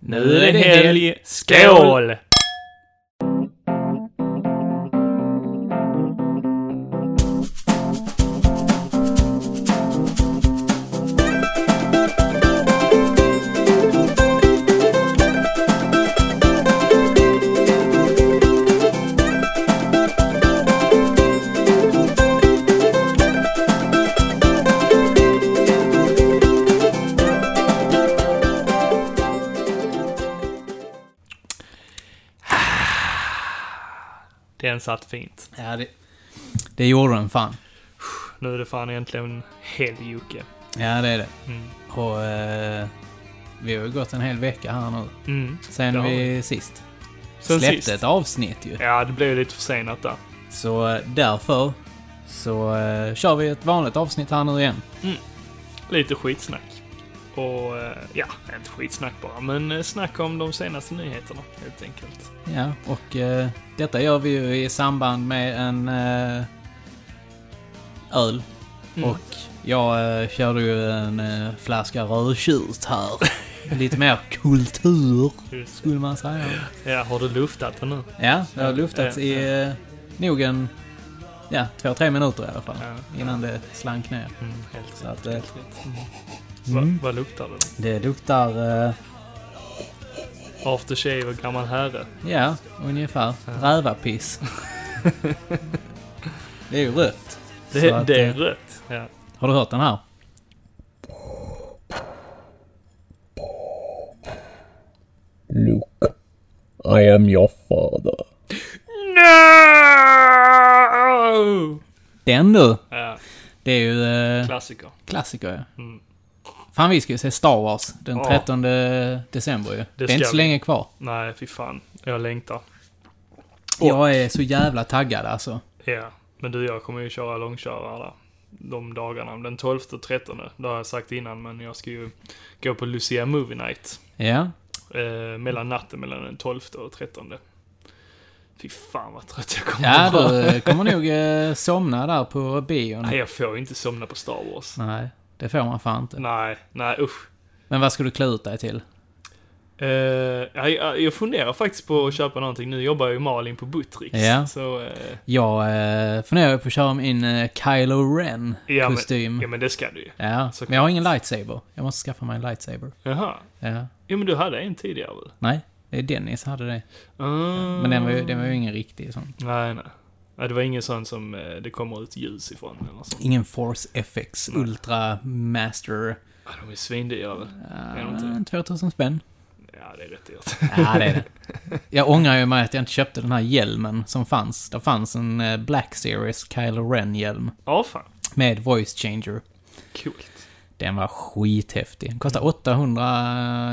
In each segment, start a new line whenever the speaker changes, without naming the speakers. Nu är det helg. Skål! Den satt fint.
Ja, det, det gjorde den fan.
Nu är det fan äntligen helg, Jocke.
Ja, det är det.
Mm.
Och eh, vi har ju gått en hel vecka här nu.
Mm.
Sen
Det har
vi sist
Sen
släppte
sist.
ett avsnitt ju.
Ja, det blev ju lite försenat där.
Så eh, därför så eh, kör vi ett vanligt avsnitt här nu igen.
Lite skitsnack. Och, eh, ja, inte skitsnack bara, men eh, snack om de senaste nyheterna, helt enkelt.
Ja, och eh, detta gör vi ju i samband med en eh, öl.
Mm.
Och jag eh, körde ju en eh, flaska rödtjut här. Lite mer kultur,
Just det.
skulle man säga.
Ja, har du luftat den nu?
Ja, det har luftats
Ja,
i eh, nog en, ja, två, tre minuter i alla fall.
Ja,
Innan det slank ner.
Mm, helt
Så
rätt.
att, eh,
Helt rätt. Mm.
Mm.
Va, vad luktar det?
Det luktar, eh,
Aftershave och gammal herre.
ja, ungefär
Ja.
rävapiss. det är ju rött. Så
Det,
att,
det är
eh,
rött. Ja.
Har du hört den här?
Luke, I am your father.
No!
Den du!
Ja,
Det är ju eh,
klassiker.
klassiker ja.
Mm.
Fan, vi ska ju se Star Wars den
Ja.
13 december ju. Det,
Det
är inte
ska
så
vi.
länge kvar.
Nej, fy fan. Jag längtar. Och-
Jag är så jävla taggad alltså.
Ja, men du jag kommer ju köra långkörare där. De dagarna. Den 12 och 13. Det har jag sagt innan, men jag ska ju gå på Lucia Movie Night.
Ja.
Eh, mellan natten mellan den 12 och 13. Fy fan vad trött jag kommer
Ja,
att vara.
du eh, kommer nog eh, somna där på bion.
Nej, jag får ju inte somna på Star Wars.
Nej, det får man fan inte.
Nej, nej usch.
Men vad ska du klä ut dig till?
Eh, ja, jag, jag funderar faktiskt på att köpa någonting. Nu jobbar ju Malin på Buttricks.
Ja.
Så, eh,
Jag eh, funderar ju på att köra min eh, Kylo
ja, men,
Ren-kostym.
ja, men det ska du ju.
Ja,
såklart.
men jag har ingen lightsaber. Jag måste skaffa mig en lightsaber.
Jaha.
Ja.
Ja, men du hade en tidigare väl?
Nej, det är Dennis hade det.
Ah.
Men den var ju, den var ju ingen riktig sån.
Nej, nej. Nej, det var ingen sån som eh, det kommer ut ljus ifrån eller sånt.
Ingen Force FX Ultra Master.
Ja, de är svindyra väl? Är de
Uh,
inte?
2000 spänn.
Ja, det är rätt dyrt.
Ja, det är det. Jag ångrar ju mig att jag inte köpte den här hjälmen som fanns. Det fanns en eh, Black Series Kylo Ren-hjälm
Ja, fan.
med voice changer.
Coolt.
Den var skithäftig. Den kostade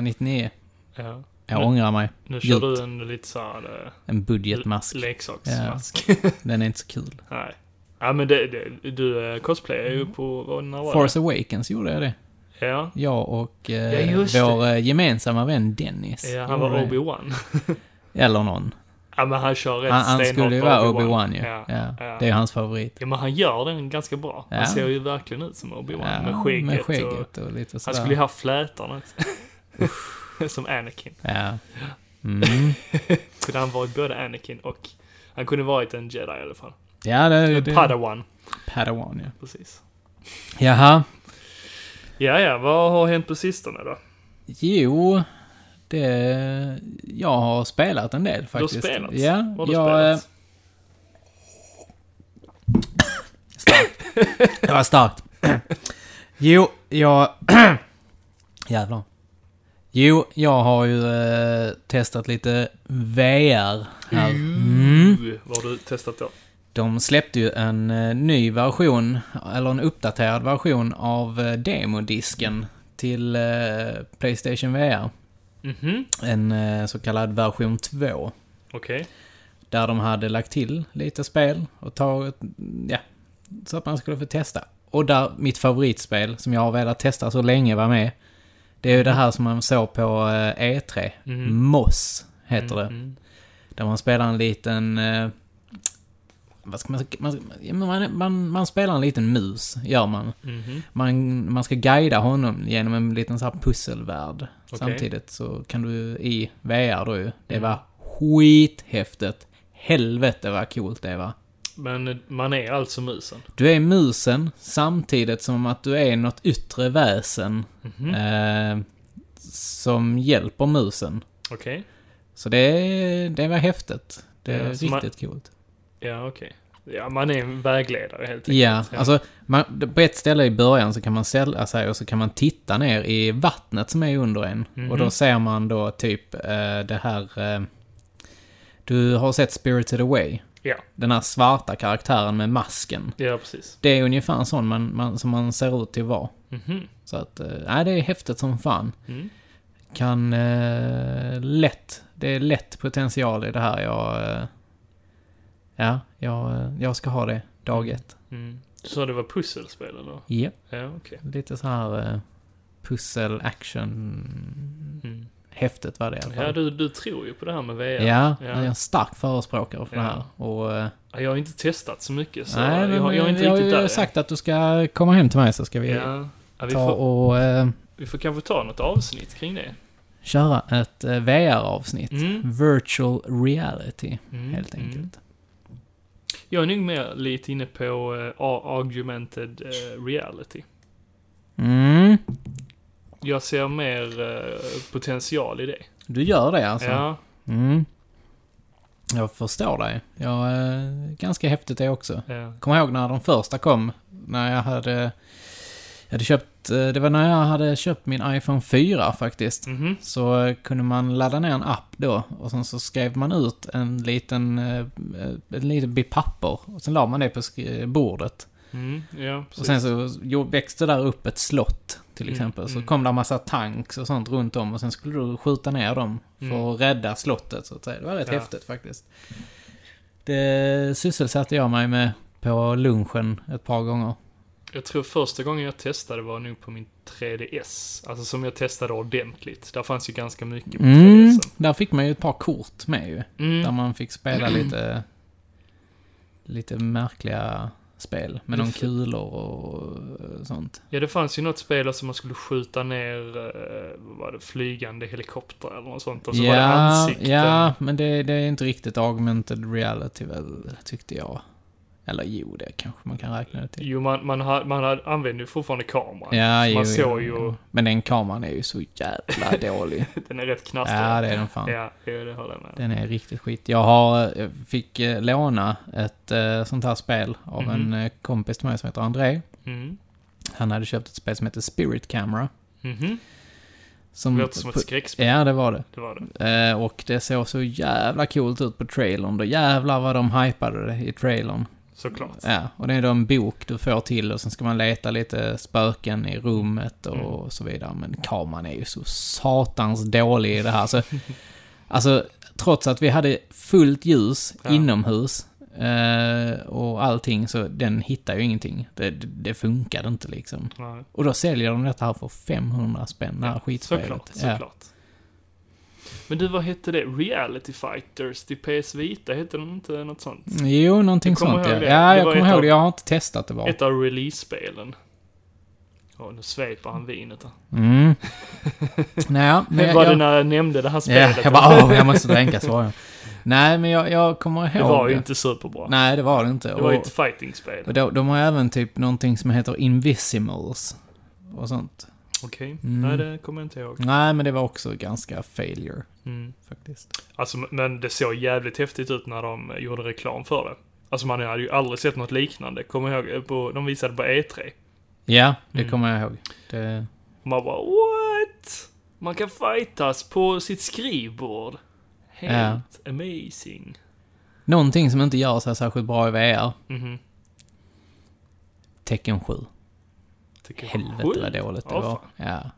899.
Ja.
Jag
Mm.
ångrar mig.
Nu kör
Djupt.
du en lite såhär...
En budgetmask.
Leksaksmask.
Den är inte så kul.
nej. Ja, men det, det, du eh, cosplayar ju på... Vad, när var
Mm. Force Awakens gjorde jag det.
det? Ja.
Jag och eh,
Ja, just
vår eh, gemensamma vän Dennis.
ja, han
gjorde
var
det.
Obi-Wan.
Eller någon.
ja, men han kör rätt
Han, han
stenhårt
skulle ju
på
vara Obi-Wan ju. Ja.
Ja. ja.
Det är ju hans favorit.
Ja, men han gör den ganska bra. Han
Ja.
ser ju verkligen ut som Obi-Wan
Ja,
med skägget.
med
Och,
skägget och, lite sådär.
han skulle ju ha flätarna. som Anakin.
Ja. Mm.
Kunde han varit både Anakin och... Han kunde varit en jedi i alla fall.
Ja, det är
En
det.
padawan,
Padawan, ja.
precis.
Jaha.
Ja, ja, vad har hänt på sistone då?
Jo, det... Jag har spelat en del faktiskt.
Du har spelat?
Ja,
Vad har du
jag... eh,
spelat?
Det var starkt. Jo, jag... Jävlar. Jo, jag har ju eh, testat lite VR här. Mm.
Uh, vad har du testat då?
De släppte ju en eh, ny version, eller en uppdaterad version av eh, demodisken till eh, Playstation VR.
Mhm,
En eh, så kallad version 2.
okej.
Där de hade lagt till lite spel och tagit, ja, så att man skulle få testa. Och där mitt favoritspel, som jag har velat testa så länge, var med. Det är ju det här som man såg på eh, E3.
Mhm.
Moss heter det.
Mm.
Där man spelar en liten eh, vad ska man, man, ja, men man, man, man spelar en liten mus, gör man.
Mm, mhm.
Man, man ska guida honom genom en liten så här pusselvärld. Samtidigt så kan du i VR då ju. Det var skithäftigt. Helvete vad coolt det var.
Men man är alltså musen.
Du är musen samtidigt som att du är något yttre väsen
Mhm, Mm.
eh, som hjälper musen.
Okej.
Så det, det var häftigt. Det är
Ja, så
riktigt
man-
coolt.
Ja, okej. Ja, man är en vägledare helt enkelt.
Ja, alltså man, på ett ställe i början så kan man sälja sig och så kan man titta ner i vattnet som är under en. Och
Mhm.
då ser man då typ eh, det här... Eh, du har sett Spirited Away?
Ja.
Den här svarta karaktären med masken.
Ja, precis.
Det är ungefär en sån man, man, som man ser ut till att vara.
Mhm.
Så att, eh, nej, det är häftigt som fan.
Mm.
Kan eh, lätt, det är lätt potential i det här. Jag, eh, ja, jag, eh, jag ska ha det dag ett.
Mm. Du sa det var pusselspel eller?
Japp.
Ja, okej.
Lite så här eh, pussel, action.
Mm.
Häftigt var det i alla
Ja,
fall.
du, du tror ju på det här med VR.
Ja, ja,
Ja.
jag är en stark förespråkare för det här. Och, eh,
Ja, Jag har inte testat så mycket så
nej, men, eh,
jag, jag är inte
har
riktigt
ju
där än.
sagt att du ska komma hem till mig så ska vi
Ja. Ja, vi,
ta
får,
och eh,
vi får kanske ta något avsnitt kring det.
köra ett eh, VR-avsnitt.
Mm.
Virtual reality,
Mm,
helt
mm.
enkelt.
Jag är nog mer lite inne på eh, a- augmented eh, reality.
Mm.
Jag ser mer eh, potential i det.
Du gör det alltså?
Ja,
Mm. Jag förstår dig. Jag, eh, ganska häftigt det också.
ja.
Kommer ihåg när de första kom. När jag hade... Jag hade köpt... eh, Det var när jag hade köpt min iPhone 4 faktiskt.
Mhm.
Så eh, kunde man ladda ner en app då och sen så skrev man ut en liten, eh, en liten bit papper. Och sen la man det på sk- bordet.
Mm, ja,
Och
precis.
sen så jo, växte där upp ett slott till
Mm,
exempel. Så
mm.
kom där massa tanks och sånt runt om och sen skulle du skjuta ner dem för
Mm.
att rädda slottet så att säga. Det var rätt
Ja.
häftigt faktiskt. Det sysselsatte jag mig med på lunchen ett par gånger.
Jag tror första gången jag testade var nog på min 3DS. Alltså som jag testade ordentligt. Där fanns ju ganska mycket på
Mm,
3DS.
där fick man ju ett par kort med ju. Där
Mm.
man fick spela lite, lite märkliga spel med någon
Just det.
kulor och sånt.
Ja, det fanns ju något spel där som man skulle skjuta ner, eh, vad var det, flygande helikoptrar eller något sånt. Och så var det ansikten.
ja, men det, det är inte riktigt augmented reality väl, tyckte jag. Eller jo, det kanske man kan räkna det till.
Jo, man, man, har, man har, använde ju fortfarande kameran.
Ja,
Så
jo,
man
jo,
såg ju,
jo. Men den kameran är ju så jävla dålig.
den är rätt knastrig.
ja, det är den fan.
Ja, jo, det håller jag med om.
Den är riktigt skit. Jag har, jag fick eh, låna ett eh, sånt här spel av
Mhm.
en eh, kompis till mig som heter André.
Mm.
Han hade köpt ett spel som heter Spirit Camera.
Mhm.
Som,
Det låter som ett skräckspel.
Ja, det var det.
Det var det.
Eh, och det såg så jävla coolt ut på trailern. Då jävlar vad de hypade det i trailern.
Såklart.
Ja, och det är då en bok du får till och sen ska man leta lite spöken i rummet och
Mm.
så vidare. Men kameran är ju så satans dålig i det här. Så, alltså, trots att vi hade fullt ljus
Ja.
inomhus eh, och allting så den hittar ju ingenting. Det, det, det funkade inte liksom.
Ja.
Och då säljer de detta här för 500 spänn, det här skitspelet.
Såklart,
Ja.
såklart. Men du, vad hette det? Reality Fighters till PS Vita, hette den inte något sånt?
Jo, någonting
Jag kommer
sånt ja.
ihåg det.
Ja,
Det
jag
var
kommer
ett
ihåg
av-
det. Jag har inte testat det bara.
Ett av release-spelen. Åh, nu svepar han vinet där.
Mm. Naja, men
Det
jag,
var det
jag,
när jag nämnde det här
ja,
spelet.
jag bara åh, jag måste dränka svaret. Nej, men jag, jag kommer ihåg
det var ju inte superbra.
Nej, det var det inte.
det var ju
och,
ett fighting-spel.
och då, de har även typ någonting som heter Invisimals. Och sånt.
Okej,
Mm.
nej det kommer jag inte ihåg.
Nej, men det var också ganska failure.
Mm.
Faktiskt.
Alltså, men det såg jävligt häftigt ut när de eh, gjorde reklam för det. Alltså man hade ju aldrig sett något liknande. Kommer jag ihåg, eh, på, de visade på E E3.
Ja, det
Mm.
kommer jag ihåg. Det,
Och man bara what? Man kan fightas på sitt skrivbord. Helt amazing.
någonting som inte gör sig särskilt bra i VR.
Mhm.
Tecken 7.
Tycker jag.
Helvete vad dåligt det
Ja,
var.
fan.
Ja.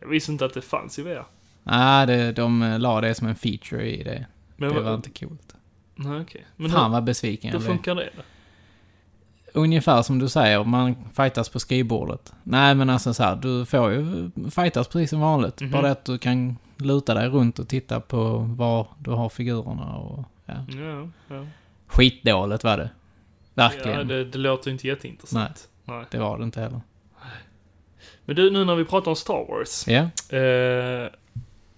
Jag visste inte att det fanns i VR.
Nej, det, de eh, la det som en feature i det.
Men
det
vad-
var inte coolt.
Nej, okej. Men
Fan
hur,
vad besviken
hur
jag blev.
funkar det då?
Ungefär som du säger, man fightas på skrivbordet. Nej, men alltså så här, du får ju fightas precis som vanligt.
Mhm.
Bara det att du kan luta dig runt och titta på var du har figurerna och... Ja.
Ja, ja.
Skitdåligt var det. Verkligen.
Ja,
det...
det, det låter ju inte jätteintressant. Nej.
var det inte heller.
Men du, nu när vi pratar om Star Wars.
Ja,
Eh,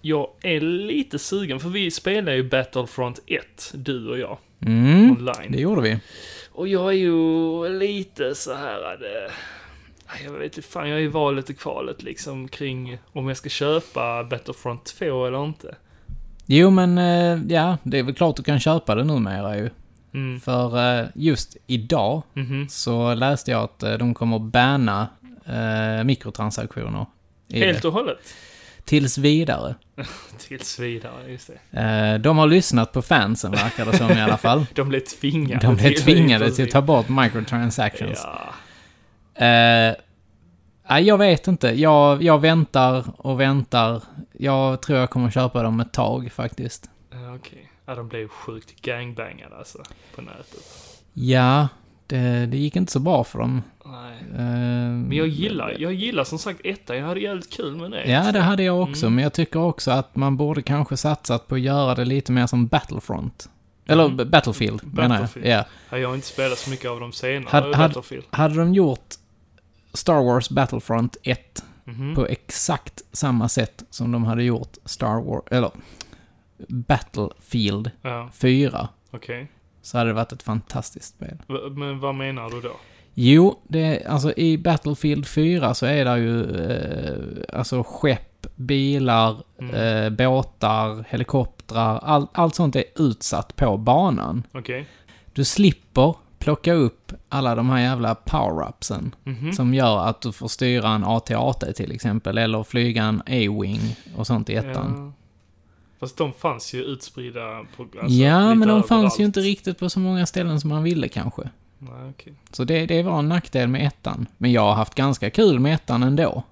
jag är lite sugen, för vi spelar ju Battlefront 1, du och jag,
mm.
online.
det gjorde vi.
Och jag är ju lite så här... Det, jag vet inte fan, jag är i valet och kvalet liksom kring om jag ska köpa Battlefront 2 eller inte.
Jo, men eh, ja, det är väl klart du kan köpa det numera ju.
Mm.
För eh, just idag
Mhm.
så läste jag att eh, de kommer banna eh, mikrotransaktioner. i det.
Helt och hållet.
Tills vidare.
Tills vidare, just det.
Eh, de har lyssnat på fansen verkar det som i alla fall.
De blev tvingade.
De blev
till-
tvingade till att ta bort
Ja.
microtransactions. Eh, nej, jag vet inte. Jag, jag väntar och väntar. Jag tror jag kommer köpa dem ett tag faktiskt.
Ja, Okej. Ja, de blev sjukt gangbangade alltså, på nätet.
Ja, det, det gick inte så bra för dem.
Nej.
Eh,
Men jag gillar, jag gillar som sagt ettan, jag hade jävligt kul med det.
Ja, det hade jag också,
Mm.
men jag tycker också att man borde kanske satsat på att göra det lite mer som Battlefront. Eller
Mm.
B- Battlefield, menar jag.
Battlefield.
Ja.
Ja, jag har inte spelat så mycket av dem senare,
Hade- hade-
Battlefield.
Hade de gjort Star Wars Battlefront 1
Mhm.
på exakt samma sätt som de hade gjort Star Wars, eller Battlefield
Ja,
4,
okej.
så hade det varit ett fantastiskt spel.
V- Men vad menar du då?
Jo, det, alltså i Battlefield 4 så är det ju eh, alltså skepp, bilar,
Mm.
eh, båtar, helikoptrar, all, allt sånt är utsatt på banan.
Okej.
Du slipper plocka upp alla de här jävla power-upsen
Mhm.
som gör att du får styra en AT-AT till exempel, eller flyga en A-Wing och sånt i ettan.
Ja. Fast de fanns ju utspridda på... alltså,
ja,
lite
men de fanns
överallt.
ju inte riktigt på så många ställen som man ville kanske.
Nej, okej.
Så det, det var en nackdel med ettan. Men jag har haft ganska kul med ettan ändå.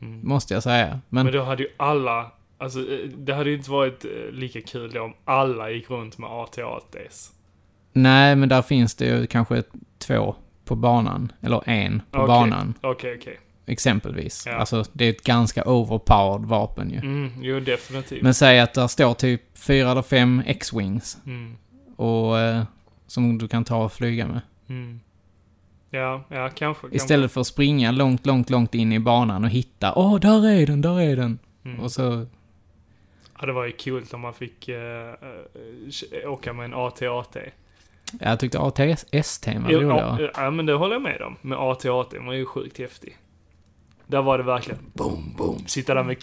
Mm.
Måste jag säga. Men,
Men då hade ju alla... Alltså, eh, det hade ju inte varit eh, lika kul då om alla gick runt med AT-ATs.
nej, men där finns det ju kanske två på banan. Eller en på
Okej.
banan,
Okej, okej.
exempelvis.
Ja.
Alltså, det är ett ganska overpowered vapen ju.
Mm, jo, definitivt.
Men säg att där står typ fyra eller fem X-Wings.
Mm,
Och... Eh, som du kan ta och flyga med.
mm. Ja, ja, kanske.
Istället för att springa långt, långt, långt in i banan och hitta. Åh, där är den, där är den.
kanske. Mm.
Och så...
Ja, det var ju kul om man fick eh, eh, åka med en AT-AT.
Jag tyckte ATS-temat var
Ja,
roligare.
ja, ja, men det håller jag med om. Men AT-AT var ju sjukt häftig. Där var det verkligen boom, boom. Sitta där med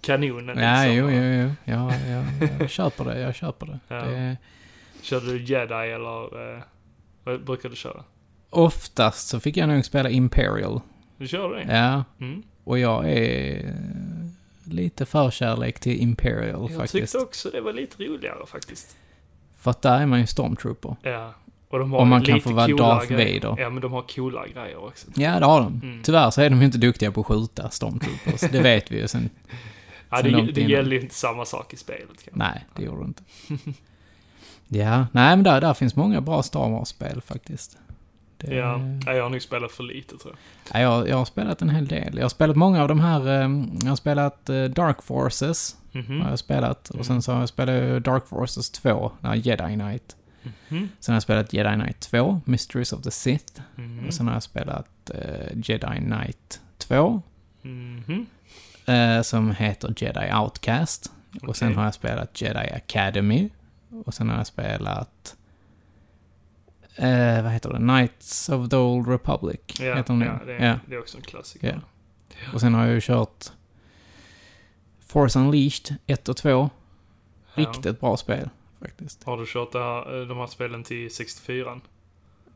kanonen
Ja,
liksom.
jo, jo, jo. Ja, ja, jag köper det, jag köper det.
Ja.
det.
Körde du jedi eller eh, vad brukar du köra?
Oftast så fick jag nog spela Imperial.
Du kör det?
Ja,
Mm.
och jag är eh, lite förkärlek till Imperial
Jag
faktiskt.
tyckte också det var lite roligare faktiskt.
För att där är man ju Stormtrooper.
Ja. Och de har
Och man kan
lite
få vara
coolare
Darth
grejer.
Vader.
Ja, men de har coola grejer också.
Ja, det har de.
Mm.
Tyvärr så är de ju inte duktiga på att skjuta Stormtroopers. det vet vi ju sen.
Ja,
Sen
det,
långt
det
innan.
gäller ju inte samma sak i spelet. Kan.
Nej, det gjorde de inte. Ja, nej men där, där finns många bra Star Wars-spel faktiskt. Det-
Ja. ja, jag har nog spelat för lite tror jag.
Ja, jag, jag har spelat en hel del. Jag har spelat många av de här, eh, jag har spelat eh, Dark Forces.
Mhm.
Har jag spelat. Och sen så har jag spelat eh, Dark Forces 2, den här Jedi Knight.
Mhm.
Sen har jag spelat Jedi Knight 2, Mysteries of the Sith.
Mhm.
Och sen har jag spelat eh, Jedi Knight 2,
Mhm.
eh, som heter Jedi Outcast. Och sen
Okej.
har jag spelat Jedi Academy. Och sen har jag spelat... Eh, vad heter det? Knights of the Old Republic.
Ja,
heter de nu.
ja, det, är,
Ja.
det är också en klassiker.
Ja. Och sen har jag ju kört Force Unleashed 1 och 2.
Ja.
Riktigt bra spel faktiskt.
Har du kört det här, eh, de här spelen till 64?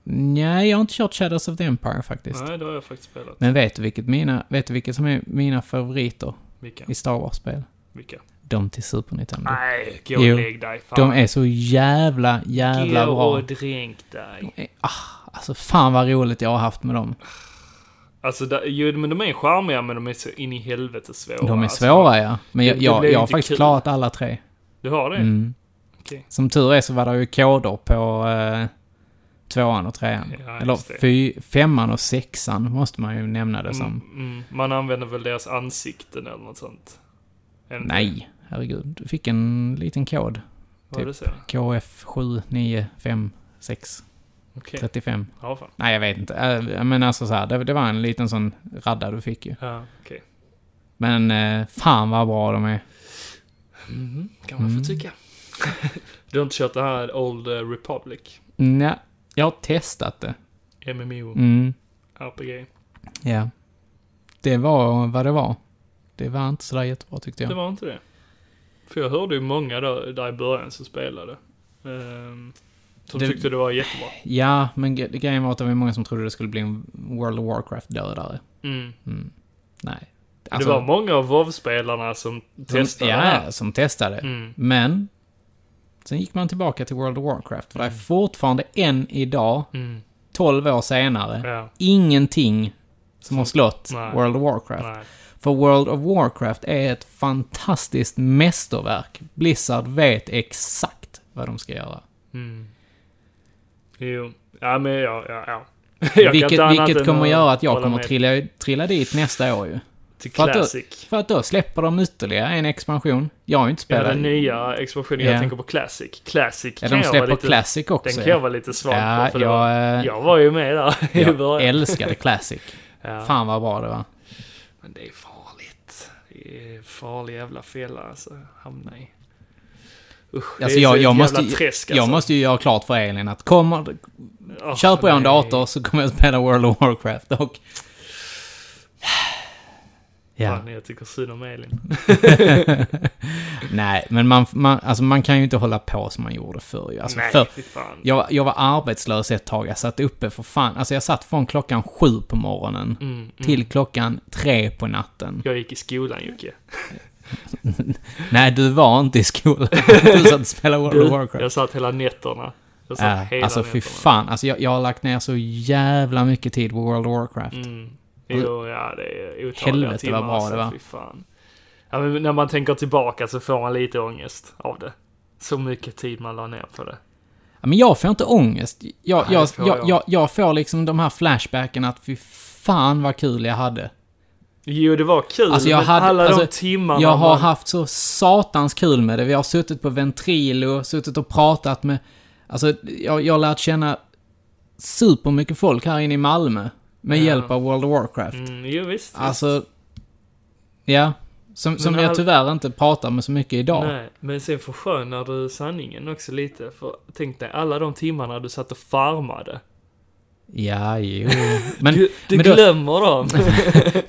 Nej, jag har inte kört Shadows of the Empire faktiskt.
Nej, det har jag faktiskt spelat.
Men vet du, vilket mina, vet du vilket som är mina favoriter
Vilka?
i Star Wars-spel?
Vilka?
De till Super Nintendo.
Nej, gå och
Jo.
lägg dig. Fan.
De är så jävla, jävla
Gå
bra.
och dränk dig.
Eh, Ah, alltså fan vad roligt jag har haft med dem.
Alltså, där, jo, men de är charmiga, men de är så in i helvete svåra.
De är
alltså.
svåra ja. Men jag,
det
jag,
blir
jag har
inte
faktiskt
kul.
klarat alla tre.
Du har det?
Mm.
Okej.
Som tur är så var det ju koder på eh, tvåan och trean.
Ja,
Eller
just det.
fy, femman och sexan måste man ju nämna det som.
Mm, mm. Man använder väl deras ansikten eller något sånt? Är det inte
Nej, herregud. Du fick en liten kod.
det? Var det så?
KF79561.
Okej.
35.
Ja, fan.
Nej, jag vet inte. Eh, Men alltså så här, det, det var en liten sån radda du fick ju.
Ja, okej.
Men eh, fan vad bra de är.
Mhm, kan man
Mm.
få tycka. du har inte kört det här Old eh, Republic?
Nja, jag har testat det.
MMO,
Mm,
RPG.
ja. Det var vad det var. Det var inte sådär jättebra tyckte
Det
jag.
var inte det. För jag hörde ju många där, där i början som spelade. ehm, som
Det-
tyckte det var jättebra.
Ja, men gre- grejen var att det var många som trodde det skulle bli en World of Warcraft-dödare.
Mm.
Mm. Nej.
det var många av WoW-spelarna som
som,
testade det här.
Alltså- ja, som testade.
Mm.
Men, sen gick man tillbaka till World of Warcraft. För det är fortfarande än idag,
Mm.
12 år senare,
Ja.
ingenting som har slått
Nej.
World of Warcraft.
Nej.
För World of Warcraft är ett fantastiskt mästerverk. Blizzard vet exakt vad de ska göra.
Mm. Jo. Ja, men ja, ja, ja. Jag kan
Vilket,
inte annat
vilket
än
kommer göra att jag
hålla
kommer
med.
trilla, trilla dit nästa år ju.
Till
för att-
Classic.
För att då släpper de ytterligare en expansion. Jag har ju inte
Ja,
spelat...
den nya expansionen.
Ja.
Jag tänker på Classic. Classic
Ja,
kan
de
jag vara
släpper
lite...
Classic
Den
också.
kan jag vara lite svag
ja,
för. för det var,
jag, eh,
jag var ju med där i
jag
början.
älskade Classic.
Ja.
Fan vad bra det var.
Men det är farligt. Det är farlig jävla fälla alltså. Hamna i. Usch,
Alltså,
det är
jag,
så
jag,
ett
måste,
jävla träsk alltså.
jag måste ju göra klart för Elin att kommer,
Åh,
köper jag en
nej.
dator så kommer jag spela World of Warcraft och... Ja.
Fan, jag tycker synd om Elin.
Nej, men man, man, alltså man kan ju inte hålla på som man gjorde förr ju. alltså
nej,
förr.
fy fan.
Jag, jag var arbetslös ett tag, jag satt uppe för fan. Alltså jag satt från klockan sju på morgonen
Mm, mm.
till klockan tre på natten.
Jag gick i skolan Jocke.
Nej, du var inte i skolan. Du satt och spelade World
Du,
of Warcraft.
Jag satt hela nätterna. Jag satt
Ja,
hela
alltså fy
nätterna.
fan, alltså jag, jag har lagt ner så jävla mycket tid på World of Warcraft.
Mm. Jo, ja, det är otaliga
Helvete,
timmar.
vad bra
alltså,
det var.
Fy fan. Ja, men när man tänker tillbaka så får man lite ångest av det. Så mycket tid man la ner på det.
Ja, Men jag får inte ångest. Jag,
Nej,
jag,
det får
jag,
jag.
jag, jag får liksom de här flashbacken att fy fan vad kul jag hade.
Jo, det var kul,
Alltså, jag
men
hade-
alla
alltså,
de timmarna
Jag har
man-
haft så satans kul med det. Vi har suttit på Ventrilo, suttit och pratat med... Alltså, jag, jag har lärt känna supermycket folk här inne i Malmö med
Ja.
hjälp av World of Warcraft.
Mm, jo, visst.
Alltså... Ja. Som, som
all-
jag tyvärr inte pratar med så mycket idag.
Nej, men sen förskönar du sanningen också lite. För tänk dig alla de timmarna du satt och farmade.
Ja, jo. Men,
du du
men då-
glömmer dem.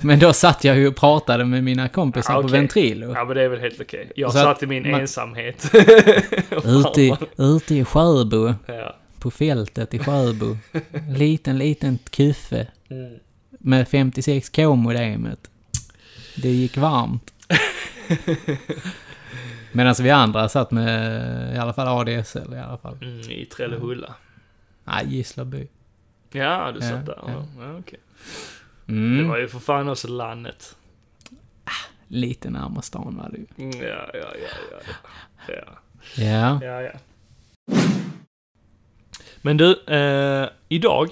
men då satt jag ju och pratade med mina kompisar
Ja,
på
Ah, okej.
Ventrilo.
ja, men det är väl helt okej. Jag
Så att
satt i min
man-
ensamhet.
Ute, i- ute i Sjöbo,
ja.
på fältet i Sjöbo. Liten, liten kuffe
Mm.
med 56k-modemet. Det gick varmt. Medan vi andra satt med i alla fall ADSL i alla fall.
Mm, I Trellehulla.
Nej, Gislavby.
Ja, du satt
Ja,
där.
ja.
Ja. Ja, okej. Det
Mm.
var ju för fan också landet.
Lite närmare stan var det ju.
Mm, Ja, ja, ja, ja. ja.
Ja.
ja, ja. Men du, eh, idag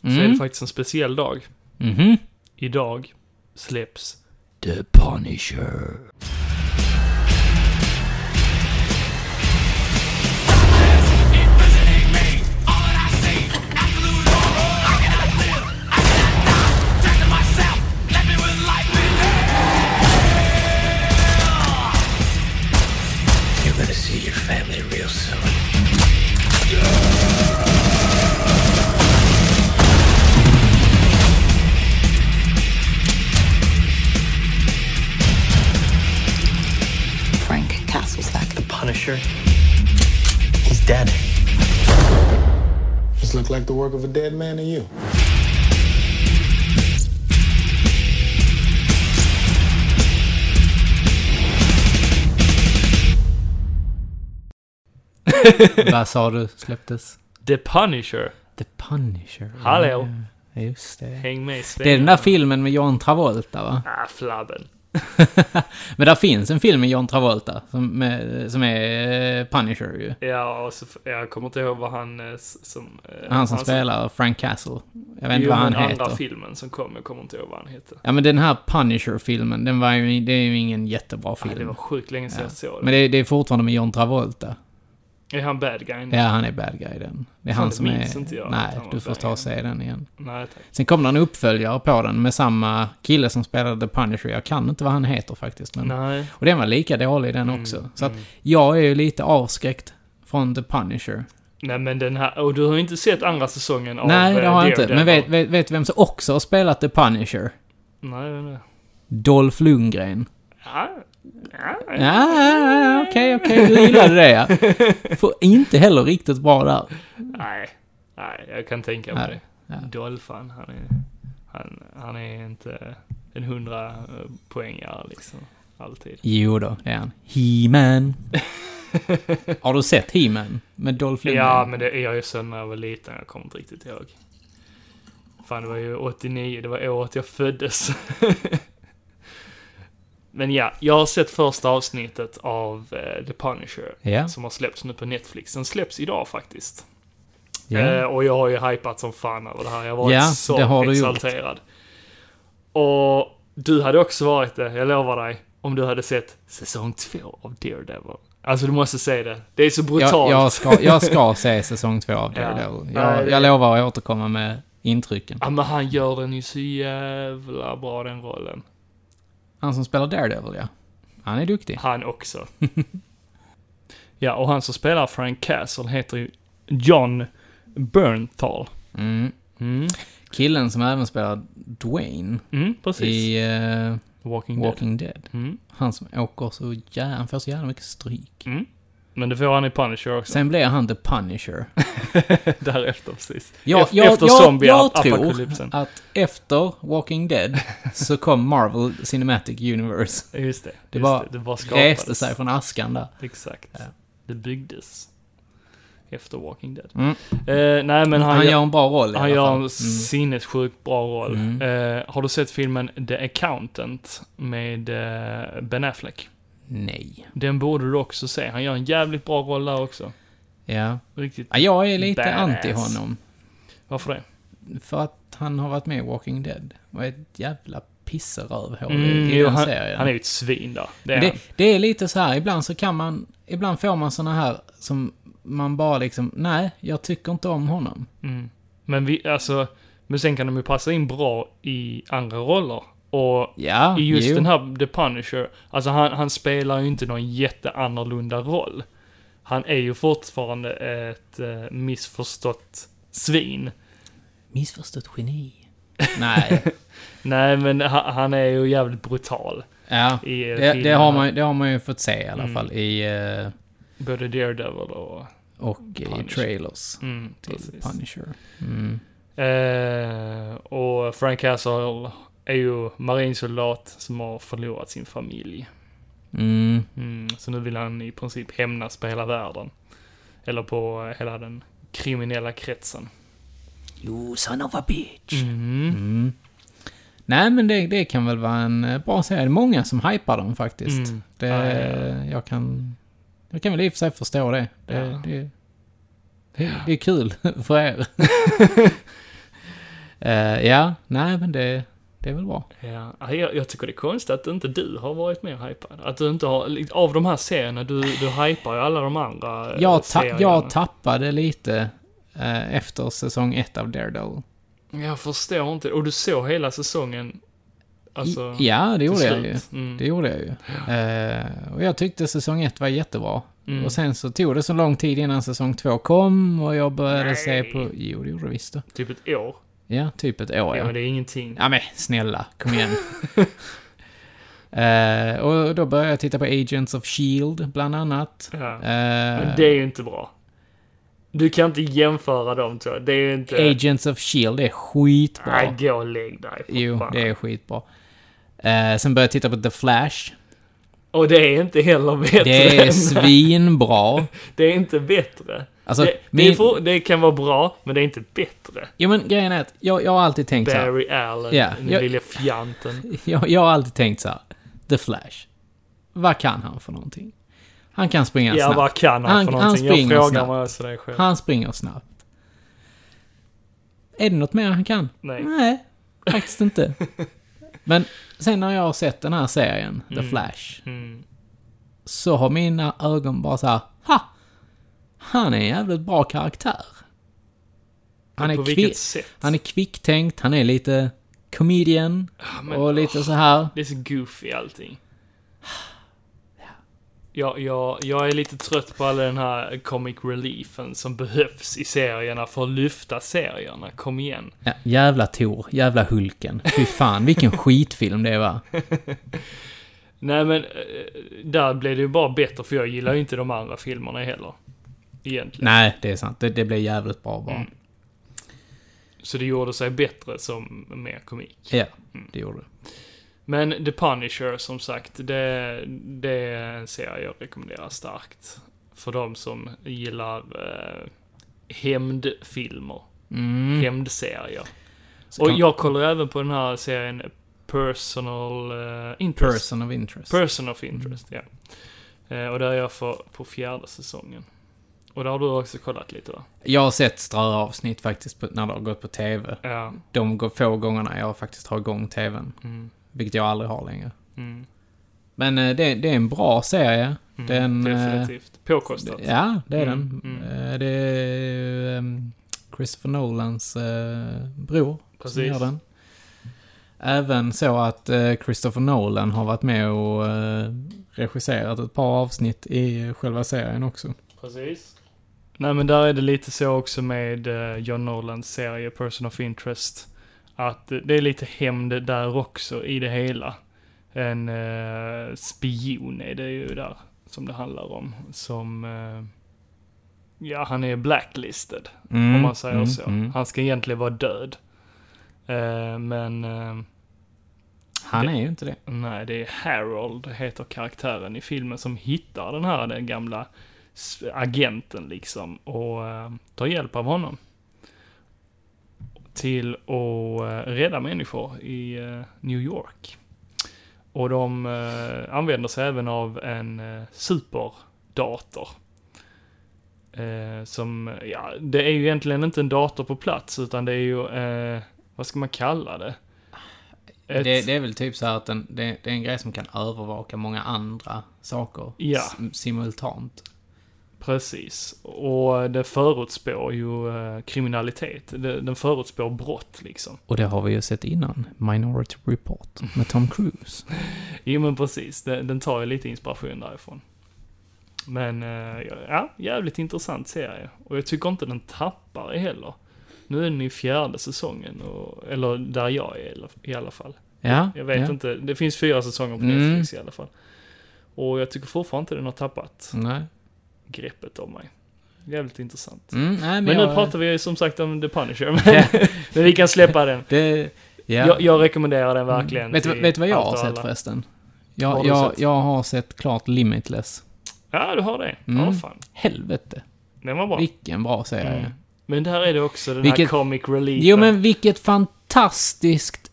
så är det
Mm.
faktiskt en speciell dag.
Mhm.
Idag släpps
The Punisher.
You're gonna see your family real soon.
Frank Castlesack.
The Punisher. He's dead.
This looked like the work of a dead man to you.
Vad sa du släpptes?
The Punisher.
The Punisher.
Hallå.
Ja, Just det.
Häng med i
Det är den
svängarna.
där filmen med John Travolta va?
Ah, flabben.
Men där finns en film med John Travolta som, med, som är eh, Punisher ju.
Ja, och så, jag kommer inte ihåg vad han eh, s- som... eh,
Han som spelar Frank Castle. Jag vet inte
Jo,
vad han
men andra
heter.
filmen som kom, jag kommer inte ihåg vad han hette.
Ja men den här Punisher-filmen, den var ju, det är ju ingen jättebra
Ah, det
film.
var Mm. sjukt länge sedan
Ja.
jag såg det.
Men det, det är fortfarande med John Travolta.
Är han bad guy nu?
Ja, han är bad guy i den. Det är
Fan,
han
det
som
minns
är...
inte jag att
Nej,
han var
du får
bad
ta
guy.
och se den igen.
Nej, tack.
Sen kom det en uppföljare på den med samma kille som spelade The Punisher. Jag kan inte vad han heter faktiskt. Men...
Nej.
Och den var lika dålig den
Mm,
också. Så att jag är ju lite avskräckt från The Punisher.
Nej, men den här... Och du har ju inte sett andra säsongen av
Nej, det
eh,
har jag inte. Men
Daredevil.
vet, vet, vet du vem som också har spelat The Punisher?
Nej, nej, nej.
Dolph Lundgren.
Ja,
Ja, ja, ja, okej, okej, du gillade det ja. Får inte heller riktigt bra där.
Nej. Nej, jag kan tänka mig
Nej.
det.
Ja.
Dolphan, han är... Han, han är inte en hundra eh, poängare liksom. Alltid.
Jo då, det är han. He-Man. Har du sett He-Man? Med Dolph Lundgren?
Ja, men det är jag ju sen när jag var liten. Jag kommer inte riktigt ihåg. Fan, det var ju 89. Det var året jag föddes. men ja, jag har sett första avsnittet av eh, The Punisher.
Ja.
Som har släppts nu på Netflix. Den släpps idag faktiskt. Eh,
ja.
och jag har ju hypat som fan över det här. Jag har varit
Ja,
så
det har du gjort.
exalterad. Och du hade också varit det, jag lovar dig. Om du hade sett säsong två av Daredevil. Alltså du måste se det. Det är så
Jag,
brutalt.
jag, ska, jag ska se säsong två av
Ja.
Daredevil.
Nej,
Jag,
det-
jag lovar att återkomma med intrycken.
Ja men han gör den ju så jävla bra den rollen.
Han som spelar Daredevil, ja. Han är duktig.
Han också. ja och han som spelar Frank Castle heter ju John Bernthal.
Mm.
Mm,
Killen som även spelar Dwayne
mm precis.
i eh,
Walking, Dead.
Walking Dead.
Mm.
Han som åker så jävla... Han får så jävla mycket stryk.
mm. Men det får han i Punisher också.
Sen blir han The Punisher.
Därefter precis.
Jag,
Ef-
jag,
efter
jag,
zombie
jag
ap-
tror
apokalypsen.
att efter Walking Dead så kom Marvel Cinematic Universe.
Just det. Just
Det bara
det bara skapades.
Reste sig från askan där.
Exakt.
Ja.
Det byggdes. Efter Walking Dead.
Mm.
Eh, nej men han,
Han gör en bra roll i
Han
alla
gör
fall.
en
Mm.
sinnessjukt bra roll.
Mm.
Eh, har du sett filmen The Accountant med eh, Ben Affleck?
Mm. Nej.
Den borde du också se. Han gör en jävligt bra roll där också.
Ja.
Riktigt.
ja. Jag är lite
Badass.
anti honom.
Varför det?
För att han har varit med i Walking Dead. Och är ett jävla pisserövhål
Mm,
i
jo,
den
han,
serien.
han är ju ett svin där. Det är
det,
han.
det är lite så här, ibland så kan man... Ibland får man såna här som man bara liksom, nej, jag tycker inte om honom.
Mm. Men vi, alltså, men sen kan de ju passa in bra i andra roller. Och
Ja,
i just
jo.
den här The Punisher, alltså han, han spelar ju inte någon jätteannorlunda roll. Han är ju fortfarande ett eh, missförstått svin.
Missförstått geni. Nej.
Nej, men ha- han är ju jävligt brutal.
Ja.
I eh,
Det, det,
filmerna.
har man, det har man ju fått se i alla
Mm.
fall i... eh,
Både Daredevil och...
Och i
Punisher.
trailers
Mm,
till
precis.
Punisher. Mm.
Eh, och Frank Castle är ju marinsoldat som har förlorat sin familj.
Mm.
Mm, så nu vill han i princip hämnas på hela världen. Eller på eh, hela den kriminella kretsen.
You son of a bitch.
Mhm.
Mm. Nej, men det, det kan väl vara en eh, bra serie. Det är många som hypar dem faktiskt.
Mm.
Det,
Ja, ja,
Jag, kan, jag kan väl i och för sig förstå det. Det,
Ja.
det, det, det är kul för er. Eh, ja, nej men det, det är väl bra.
Ja, ah, jag, jag tycker det är konstigt att inte du har varit mer hypad. Att du inte har, li- av de här serierna, du, du hypar ju alla de andra eh,
Jag, ta,
serierna.
jag tappade lite eh, efter säsong ett av Daredevil.
jag förstår inte. Och du såg hela säsongen? Alltså,
I, ja, det gjorde jag ju.
Mm.
Det gjorde jag ju. Eh, och jag tyckte säsong ett var jättebra.
Mm.
Och sen så tog det så lång tid innan säsong två kom och jag började se på... Jo, det gjorde det visst det.
Typ ett år.
Ja, typ ett år
Ja,
ja.
men det är ingenting.
Ja men snälla, kom igen. Eh, och då började jag titta på Agents of Shield, E bland annat.
Ja.
Eh,
Men det är ju inte bra. Du kan inte jämföra dem två. Det är ju inte...
Agents of Shield E är skitbra.
Nej, gå och lägg dig. för
jo,
fan.
det är skitbra. Eh, sen började jag titta på The Flash.
Och det är inte heller bättre.
Det är
än-
svinbra.
det är inte bättre.
Alltså,
det, det, är
min-
för, det kan vara bra, men det är inte bättre.
Jo men grejen är att jag, jag har alltid tänkt så här.
Barry Allen,
Ja,
den
jag-
lille fjanten.
jag, jag har alltid tänkt så här. The Flash. Vad kan han för någonting? Han kan springa
Ja,
snabbt.
vad kan han,
Han-
för
han
någonting? jag
springer
frågar
snabbt.
mig alltså det själv.
Han springer snabbt. Är det något mer han kan?
Nej.
Nej, faktiskt inte. Men sen när jag har sett den här serien, The Flash,
Mm.
så har mina ögon bara så här. Ha! Han är en jävligt bra karaktär. Han är,
på
kvi-
vilket sätt?
han är kvicktänkt, han är lite comedian
Ja, Ah, men-
och lite så här.
Det är så goofy allting. Ja, ja, jag är lite trött på all den här comic reliefen som behövs i serierna för att lyfta serierna. Kom igen.
Ja, jävla Tor, jävla Hulken. Fy fan, vilken skitfilm det var.
Nej men, eh, där blev det ju bara bättre för jag gillar ju inte de andra filmerna heller. Egentligen.
Nej, det är sant. Det, det blev jävligt bra
Mm.
bara.
Så det gjorde sig bättre som mer komik.
Ja,
Mm.
det gjorde det.
Men The Punisher, som sagt, det, det är en serie jag rekommenderar starkt. För de som gillar eh, hämndfilmer. Hämndserier.
Mm. Så
Och
kan-
jag kollar även på den här serien Personal eh, Interest.
Person of interest.
Person of
Mm.
Interest, ja. Eh, och där är jag för, på fjärde säsongen. Och där har du också kollat lite va?
jag har sett ströavsnitt faktiskt på, när det har gått på TV.
Ja.
De går få gångerna jag faktiskt har igång TVn. Vilket jag aldrig har längre.
Mm.
Men eh, det, det är en bra serie. den... eh,
Definitivt. Påkostat.
Ja, det är
Mm,
den.
mm.
Eh, Det är ehm, Christopher Nolans eh, bror som
Precis.
gör den. Även så att eh, Christopher Nolan har varit med och eh, regisserat ett par avsnitt i själva serien också.
Precis. Nej men där är det lite så också med eh, John Norlands serie Person of Interest. Att eh, det är lite hämnd där också i det hela. En eh, spion är det ju där som det handlar om. Som... Eh, ja, han är blacklisted.
Mm,
om man säger
mm,
så.
mm.
Han ska egentligen vara död. Eh, men... Eh,
Han
Det-
är ju inte det.
Nej, det är Harold, heter karaktären i filmen, som hittar den här den gamla s- agenten liksom och eh, tar hjälp av honom. Till att eh, rädda människor i eh, New York. Och de eh, använder sig även av en eh, superdator. Eh, som, ja, det är ju egentligen inte en dator på plats utan det är ju, eh, vad ska man kalla det? Ett-
Det, det är väl typ så här att den, det, det är en grej som kan övervaka många andra saker
Ja.
s- simultant.
Precis. Och det förutspår ju eh, kriminalitet. Det- Den förutspår brott liksom.
Och det har vi ju sett innan. Minority Report med Tom Cruise.
Jo men precis, den, den tar ju lite inspiration därifrån. Men eh, ja, jävligt intressant serie. Och jag tycker inte den tappar heller. Nu är den i fjärde säsongen, och, eller där jag är i alla- i alla fall.
Ja,
Jag vet
ja.
inte, det finns fyra säsonger på
Mm.
Netflix i alla fall. Och jag tycker fortfarande inte den har tappat
Nej.
greppet om mig. Jävligt intressant.
Mm, nej, men
Men nu
jag,
pratar vi ju som sagt om The Punisher, men, men vi kan släppa den.
Det, ja. Mm.
Jag, jag rekommenderar den verkligen.
vet, du-
till
vet du vad jag
allt
har
och
sett
alla.
förresten?
Vad
Jag,
har du
jag,
sett?
jag har sett klart Limitless.
Ja, du har det. Ja,
Mm.
fan.
Helvete,
Den var bra.
vilken bra serie.
Mm. Men där är det också den här
Vilket-
comic relief.
Jo, men vilket fantastiskt...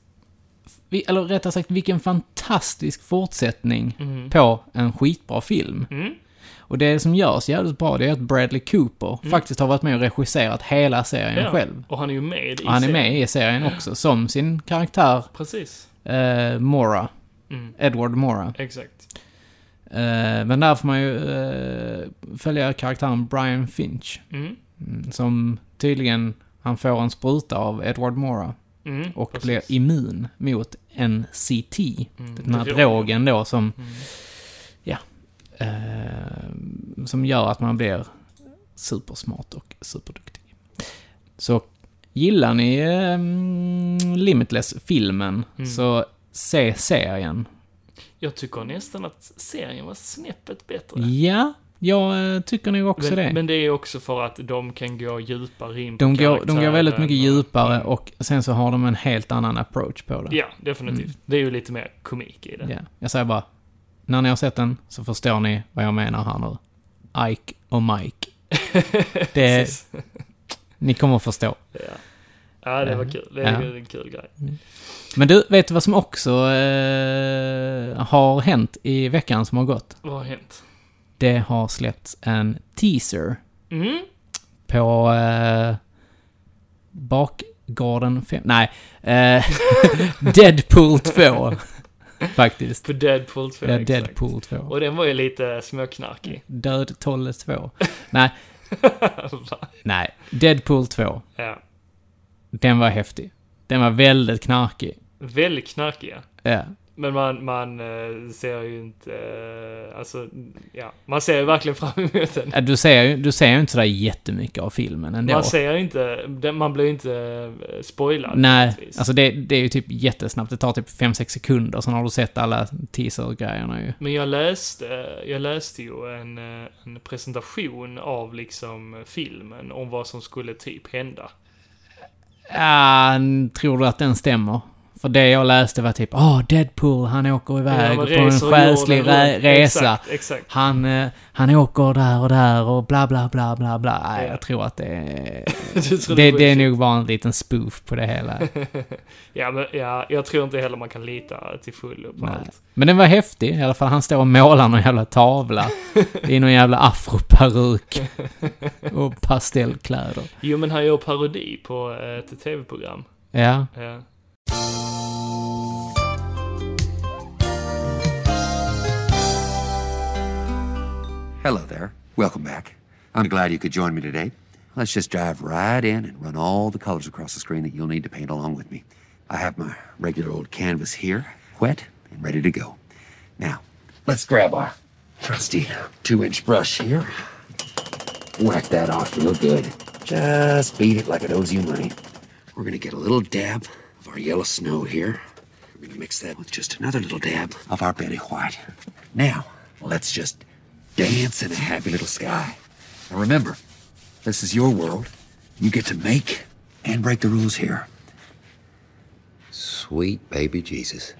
vi- Eller rättare sagt, vilken fantastisk fortsättning
Mm.
på en skitbra film.
Mm.
Och det som görs jävligt bra, det är att Bradley Cooper faktiskt har varit med och regisserat hela serien
Mm. Ja.
själv.
Och han är ju med i
Och han är
serien.
med i serien också, som sin karaktär
Precis.
eh, Mora.
Mm.
Edward Mora.
Exakt.
Eh, men där får man ju eh, följa karaktären Brian Finch.
Mm.
mm, Som tydligen, han får en spruta av Edward Mora.
Mm.
Och
Precis.
blir immun mot NCT.
Mm.
Den här
Drog.
drogen då som,
Mm.
ja, eh, som gör att man blir supersmart och superduktig. Så gillar ni eh, mm, Limitless-filmen
Mm.
så se serien.
Jag tycker nästan att serien var snäppet bättre.
Ja, jag eh, tycker nog också
men,
det.
men det är också för att de kan gå djupare in på
De går, de går väldigt mycket
karaktären och- Mm.
djupare och sen så har de en helt annan approach på det.
Ja, definitivt.
Mm.
Det är ju lite mer komik i det.
Ja. Jag säger bara, när ni har sett den så förstår ni vad jag menar här nu. Ike och Mike. Det,
Precis.
ni kommer att förstå.
Ja. ja, det var kul. Det är
Ja.
en kul grej.
Men du, vet du vad som också eh, har hänt i veckan som har gått?
Vad har hänt?
Det har släppts en teaser
Mm.
på eh, Bakgården 5. Nej, eh, Deadpool 2. Faktiskt.
På Deadpool 2,
Ja,
exakt.
Deadpool 2.
Och den var ju lite småknarkig.
Död Tolle 2. Nej, Mm. Nej, Deadpool 2.
ja.
Den var häftig. Den var väldigt knarkig.
Väldigt knarkiga.
Ja.
Men man, man eh, ser ju inte, eh, alltså, ja, man ser ju verkligen fram emot den.
Ja, Du ser ju du ser ju inte sådär jättemycket av filmen ändå.
Man ser ju inte, den- man blir ju inte eh, spoilad.
Nej,
naturligtvis.
alltså det, det är ju typ jättesnabbt. Det tar typ 5-6 sekunder, sen har du sett alla teaser-grejerna ju.
Men jag läste, jag läste ju en, eh, en presentation av liksom filmen om vad som skulle typ hända.
Ah, tror du att den stämmer? För det jag läste var typ, ah, Deadpool, han åker
Ja,
iväg
man
på en
reser i
själslig
jorden
re-
runt.
resa.
Exakt, exakt.
Han, eh, han åker där och där och bla bla bla bla bla. Nej,
Ja.
jag tror att det är...
Du tror
det,
var-
det är nog bara en liten spoof på det hela.
ja, men, ja, jag tror inte heller man kan lita till fullo på
Nej.
allt.
Men den var häftig i alla fall. Han står och målar någon jävla tavla i någon jävla afroperuk och pastellkläder.
Jo, men han gör parodi på eh, ett tv-program.
Ja,
Ja.
Hello there. Welcome back. I'm glad you could join me today. Let's just dive right in and run all the colors across the screen that you'll need to paint along with me. I have my regular old canvas here, wet and ready to go. Now, let's grab our trusty two inch brush here. Whack that off real good. Just beat it like it owes you money. We're gonna get a little dab of our yellow snow here. We're gonna mix that with just another little dab of our Betty White. Now, let's just dance in a happy little sky. And remember, this is your world. You get to make and break the rules here. Sweet baby Jesus.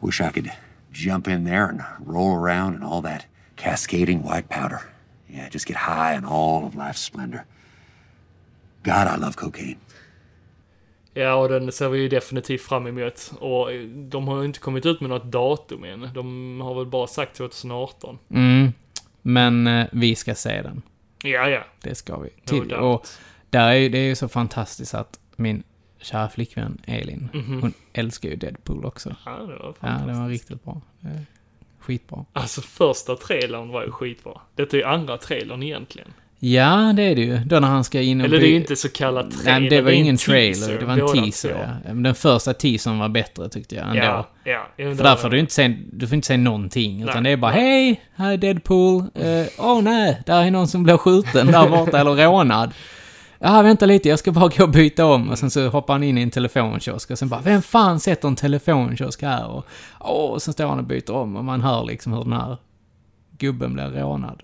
Wish I could jump in there and roll around in all that cascading white powder. Yeah, just get high in all of life's splendor. God, I love cocaine.
Ja, och den ser vi ju definitivt fram emot. Och eh, de har ju inte kommit ut med något datum än. De har väl bara sagt 2018.
men eh, vi ska se den.
Ja, ja.
Det ska vi. Till.
doubt.
och där är ju, det är ju så fantastiskt att min kära flickvän Elin,
Mhm.
hon älskar ju Deadpool också.
Ja, det var
Ja, det var riktigt bra. Eh, Skitbra.
Alltså första trailern var ju skitbra. Detta är ju andra trailern egentligen.
Ja, det är det ju. Då när han ska in och
Eller det är
bli-
ju inte så kallad trailer.
Nej, men det var
är en
ingen trailer.
teaser,
Det var en
båda
teaser,
två.
ja. Men Den första teasern var bättre tyckte jag ändå.
Ja, ja. ja
För där får du inte se, du får inte se någonting. Utan det
Nej,
är bara
nej.
hej, här är Deadpool. Eh, Åh nej, där är någon som blir skjuten där borta eller rånad. Ja, vänta lite, jag ska bara gå och byta om. Och sen så hoppar han in i en telefonkiosk och sen bara, vem fan sätter en telefonkiosk här? Och, åh, och sen står han och byter om och man hör liksom hur den här gubben blir rånad.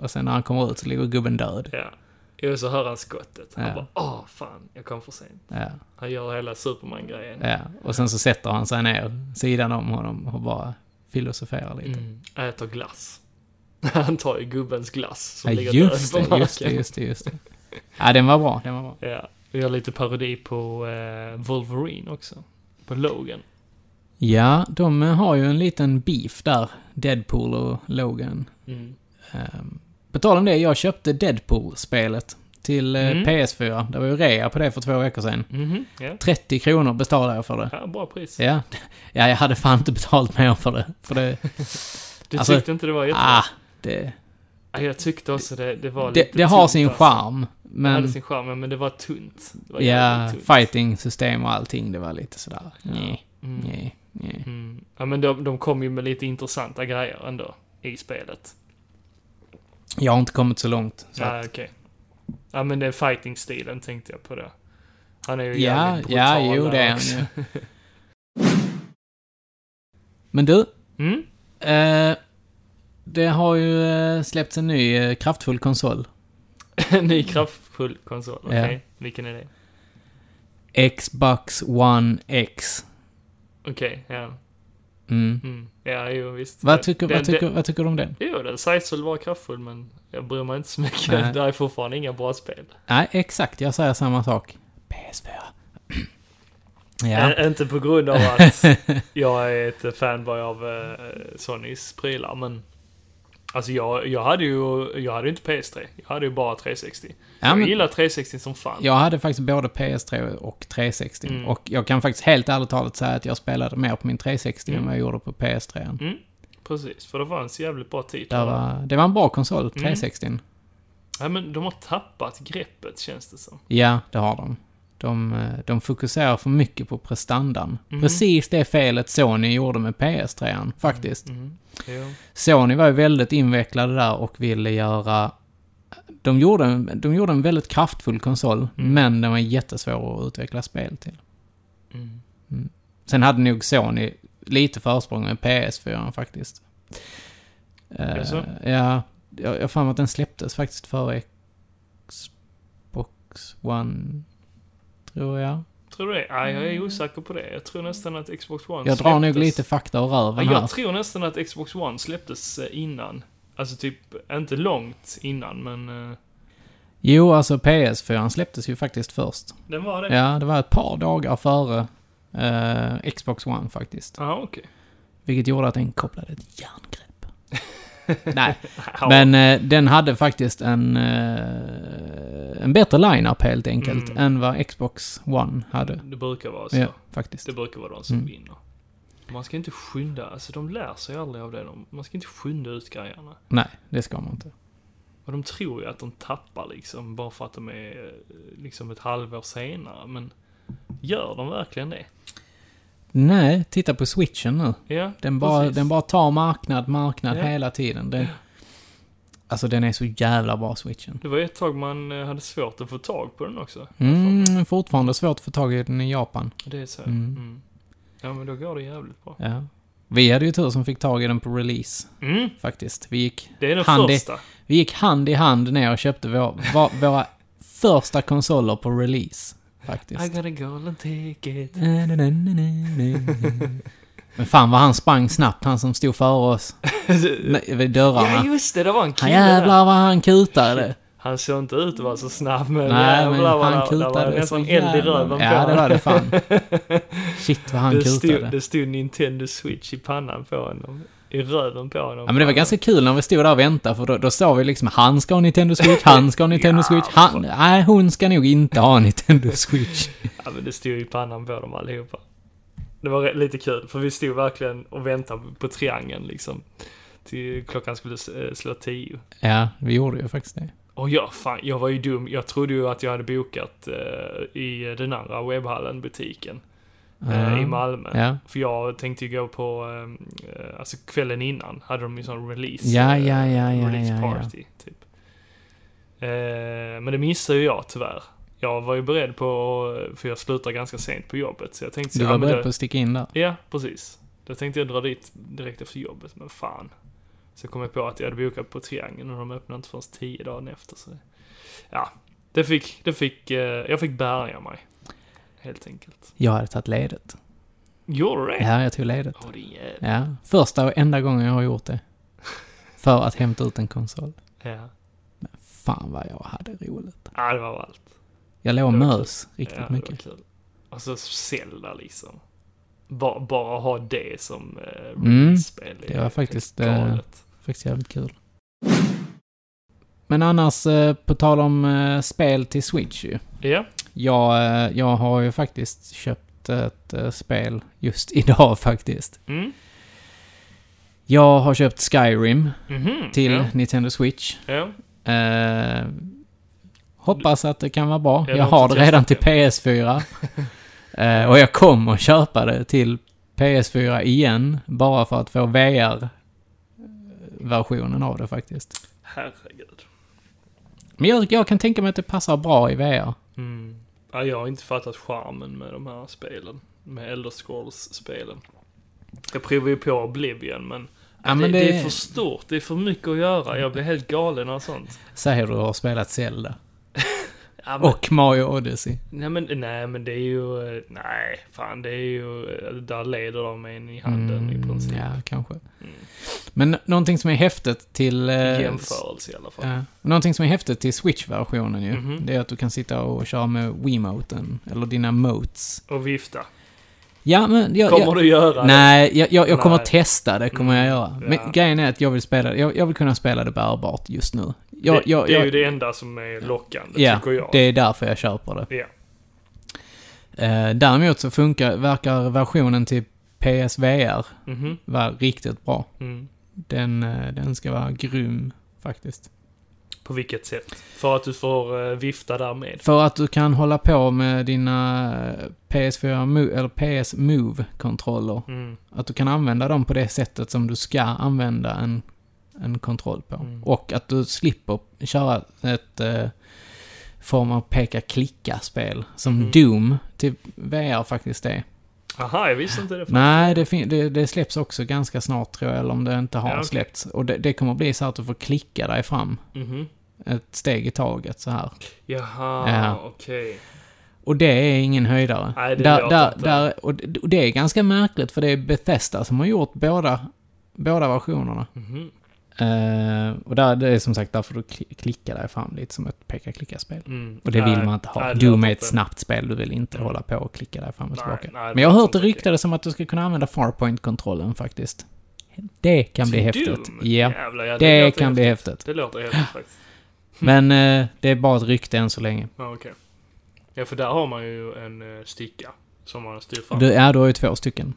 Och sen när han kommer ut så ligger gubben död.
Ja. Jo, så hör han skottet. Han
Ja.
bara åh fan, jag kom för sent.
Ja.
Han gör hela Superman-grejen.
Ja, och sen så sätter han sig ner sidan om honom och bara filosoferar lite.
Mm. Äter glass. Han tar ju gubbens glass som
Ja,
ligger
just
död på
det, just det,
marken.
just det, just det. Ja, den var bra, den var bra.
Ja. Vi gör lite parodi på eh, Wolverine också. På Logan.
Ja, de eh, har ju en liten beef där, Deadpool och Logan.
Mm.
Um, på tal om det, jag köpte Deadpool-spelet till eh,
Mm.
PS4. Det var ju rea på det för två veckor sedan.
Mhm, ja.
30 kronor betalade jag för det.
ja, bra pris.
Ja. ja, jag hade fan inte betalt mer för det. För det...
Du
Alltså,
tyckte inte det var jättebra?
ah, det,
Ja, Jag tyckte också det, det var
det,
lite
det har
tunt,
sin
alltså.
charm.
Det
Men...
hade sin charm, ja, men det var tunt. Det var
Ja,
jävligt tunt.
fighting-system och allting, det var lite sådär. Nej, nej, nej.
Mm. Ja, men de, de kom ju med lite intressanta grejer ändå i spelet.
Jag har inte kommit så långt. Så
Ja,
att,
okej. Ja, men den fighting-stilen tänkte jag på då. Han är ju
ja,
jävligt
ja,
brutal
jo
där
det är han
också.
ju. Men du,
Mm?
eh, det har ju eh, släppts en ny eh, kraftfull konsol.
En ny kraftfull konsol, okej.
Ja.
Vilken är det?
Xbox One X.
Okej, ja.
Mm.
Mm. Ja, jo visst.
Vad, tycker,
Den-
vad, tycker,
den-
vad tycker du om den?
Jo, den sägs väl vara kraftfull, men jag bryr mig inte så mycket.
Nej.
Det är fortfarande inga bra spel.
Nej, exakt. Jag säger samma sak. PS4.
Eh,
ja.
Ä- inte på grund av att jag är ett fanboy av eh, Sonys prylar, men... Alltså jag, jag hade ju, jag hade ju inte PS3. Jag hade ju bara 360.
Ja,
jag
men-
gillar 360 som fan.
Jag hade faktiskt både PS3 och 360.
Mm.
Och jag kan faktiskt helt ärligt talat säga att jag spelade mer på min 360
Mm.
än vad jag gjorde på PS3.
Precis, för det fanns jävligt bra
Det,
titlar. Mm.
var, det var en bra konsol, 360.
Nej, men de har tappat greppet känns det som.
Ja, det har de. De, eh, de fokuserar för mycket på prestandan.
Mhm.
Precis det felet Sony gjorde med
Mm.
PS3, faktiskt.
Jo.
Sony var ju väldigt invecklade där och ville göra... De gjorde, en- de gjorde en väldigt kraftfull konsol,
Mm.
men den var jättesvår att utveckla spel till. Mm. Sen hade nog Sony lite försprång med PS4 faktiskt. Är
det så?
Ja, jag jag har för mig att den släpptes faktiskt före Xbox One, tror jag.
Tror du det? Nej, jag är osäker på det. Jag tror nästan att Xbox One
Jag drar nog
släpptes-
lite fakta och rör
Ja,
mig här.
jag tror nästan att Xbox One släpptes eh, innan. Alltså typ, inte långt innan, men... eh,
Jo, alltså PS4 släpptes ju faktiskt först.
Den var det?
Ja, det var ett par dagar före eh, Xbox One faktiskt.
Ja, okej.
Vilket gjorde att den kopplade ett järngrepp. Nej, men eh, den hade faktiskt en, eh, en bättre line-up helt enkelt
Mm.
än vad Xbox One hade.
Det brukar vara så.
Ja, faktiskt.
Det brukar vara de som
Mm.
vinner. Man ska inte skynda, alltså de lär sig aldrig av det. De, man ska inte skynda ut grejerna.
Nej, det ska man inte.
Och de tror ju att de tappar liksom, bara för att de är eh, liksom ett halvår senare. Men gör de verkligen det?
Nej, titta på switchen nu.
Ja,
Den bara,
precis.
den bara tar marknad, marknad
Ja.
hela tiden. Den, alltså den är så jävla bra, switchen.
Det var ett tag man eh, hade svårt att få tag på den också.
Mm, fortfarande svårt att få tag i den i Japan.
Det är så.
Mm.
Mm. Ja, men då går det jävligt bra.
Ja. Vi hade ju tur som fick tag i den på release,
Mm,
faktiskt. Vi gick,
det är den
Han, det-
första.
vi gick hand i hand ner och köpte vår, va, våra första konsoler på release,
I
faktiskt.
got a golden ticket.
Men fan vad han sprang snabbt, han som stod före oss Nej, vid
ja,
dörrarna.
just det. Det var en
Han
kille där.
jävlar vad han kutade.
Han såg inte ut att vara så snabb, men
Nej, men
jävlar vad
han
där, där var
kutade
nästan eld i röven på
Ja, det
honom.
var det fan. Shit vad han
det, stod,
kutade.
det stod Nintendo Switch i pannan på honom. I röven på honom.
Ja, men det var ganska kul när vi stod där och väntade, för då, då sa vi liksom han ska ha Nintendo Switch, han ska ha Nintendo Switch, han, nej hon ska nog inte ha Nintendo Switch.
Ja, men det stod i pannan på dem allihopa. Det var re- lite kul, för vi stod verkligen och väntade på triangeln liksom. Till klockan skulle s- eh, slå tio.
Ja, vi gjorde ju faktiskt det.
Och jag, fan, jag var ju dum. Jag trodde ju att jag hade bokat eh, i den andra webbhallen, butiken. eh, I Malmö.
Ja.
För jag tänkte ju gå på, eh, alltså kvällen innan hade de ju sån release.
Ja,
eh,
ja, ja, ja,
Release
ja, ja.
party, typ. Eh, men det missade ju jag tyvärr. Jag var ju beredd på, för jag slutar ganska sent på jobbet, så jag tänkte
Du
så,
var
ja, men
beredd
det-
på att sticka in där.
Ja, precis. Då tänkte jag dra dit direkt efter jobbet, men fan. Så kom jag på att jag hade bokat på Triangeln och de öppnade inte förrän tio dagen efter. Så. Ja, det fick, det fick, eh, jag fick bärga mig. Helt enkelt.
Jag hade tagit ledigt.
Gjorde du det?
Ja, jag tog ledigt.
Åh, din jävel.
Ja, första och enda gången jag har gjort det. För att hämta ut en konsol.
Ja.
Fan vad jag hade roligt.
ja, det var allt.
Jag låg och
Det var
mös riktigt
Ja, det var
mycket.
kul. Och så Zelda liksom. Bara, bara ha det som eh,
Mm,
release-spel.
det var
helt
faktiskt, eh,
galet.
Faktiskt jävligt kul. Men annars, eh, på tal om eh, spel till Switch ju.
Ja,
Jag, eh, jag har ju faktiskt köpt ett eh, spel just idag faktiskt.
mm,
Jag har köpt Skyrim
mhm,
till
Ja,
Nintendo Switch.
ja.
Eh, hoppas att det kan vara bra.
Jag
Jag
har
har
inte
det redan till
testat
PS4. eh, och jag kommer köpa det till PS4 igen, bara för att få VR-versionen av det faktiskt.
Herregud.
Men jag, jag kan tänka mig att det passar bra i VR.
Mm. Ja, jag har inte fattat charmen med de här spelen. Med Elder Scrolls-spelen. Jag provar ju på Oblivion, men,
Ja, men
det,
det,
det är för stort. Det är för mycket att göra. Jag blir helt galen av sånt.
Säger du har spelat Zelda.
Ja, men-
Och Mario Odyssey.
Nej men, nej men det är ju, eh, nej fan det är ju, eh, där leder de en i handen i princip.
Mm, Ja, kanske.
Mm.
Men någonting som är häftigt till... eh,
Jämförelse i alla fall.
Ja. Någonting som är häftigt till Switch-versionen ju,
Mhm.
det är att du kan sitta och köra med Wiimoten, eller dina motes.
Och vifta.
Ja, men jag...
Kommer
jag,
du göra
Nej, jag, jag, jag kommer
Nej. Mm.
testa det, kommer jag göra. Men
Ja.
grejen är att jag vill spela, jag, jag vill kunna spela det bärbart just nu.
det?
Jag,
det,
jag,
det är
jag,
ju det enda som är lockande,
ja,
tycker jag.
det är därför jag köper det.
Ja.
Eh, däremot så funkar, verkar versionen till PSVR
Mhm.
vara riktigt bra.
Mm.
Den, eh, den ska vara grym, faktiskt.
På vilket sätt? För att du får eh, vifta därmed.
För att du kan hålla på med dina eh, PS4 Mo- eller PS Move-kontroller.
Mm.
Att du kan använda dem på det sättet som du ska använda en, en kontroll på.
Mm.
Och att du slipper köra ett eh, form av peka-klicka-spel. Som
Mm.
Doom till VR faktiskt är.
Aha, jag visste inte det.
Nej, det, fin- det, det släpps också ganska snart tror jag, eller om det inte har
Ja, okej.
släppts. Och det, det kommer bli så att du får klicka dig fram
Mhm.
ett steg i taget så här.
Jaha,
Ja.
okej.
Och det är ingen höjdare.
Nej, det
där,
låter
där,
inte.
där, och det- och det är ganska märkligt för det är Bethesda som har gjort båda, båda versionerna.
Mhm.
Eh, och där, det är som sagt, där får du kli- klicka dig fram lite som ett peka-klicka-spel.
Mm.
Och det vill
Nej,
man inte ha.
nej, det
Doom
låter
är ett
inte.
snabbt spel, du vill inte
Mm.
hålla på och klicka dig fram och
Nej,
tillbaka.
nej, det
Men jag har hört det
låter inte okej.
ryktades som att du ska kunna använda farpoint-kontrollen faktiskt. Det kan bli
Till
häftigt.
Doom?
Ja,
Jävlar, ja,
det
låter
kan bli
häftigt. Hm.
häftigt.
Det låter häftigt faktiskt.
Men eh, det är bara ett rykte än så länge.
Ja, okej. Ja, för där har man ju en eh, sticka som man styr fram.
Du, ja, du har ju två stycken.
Mm.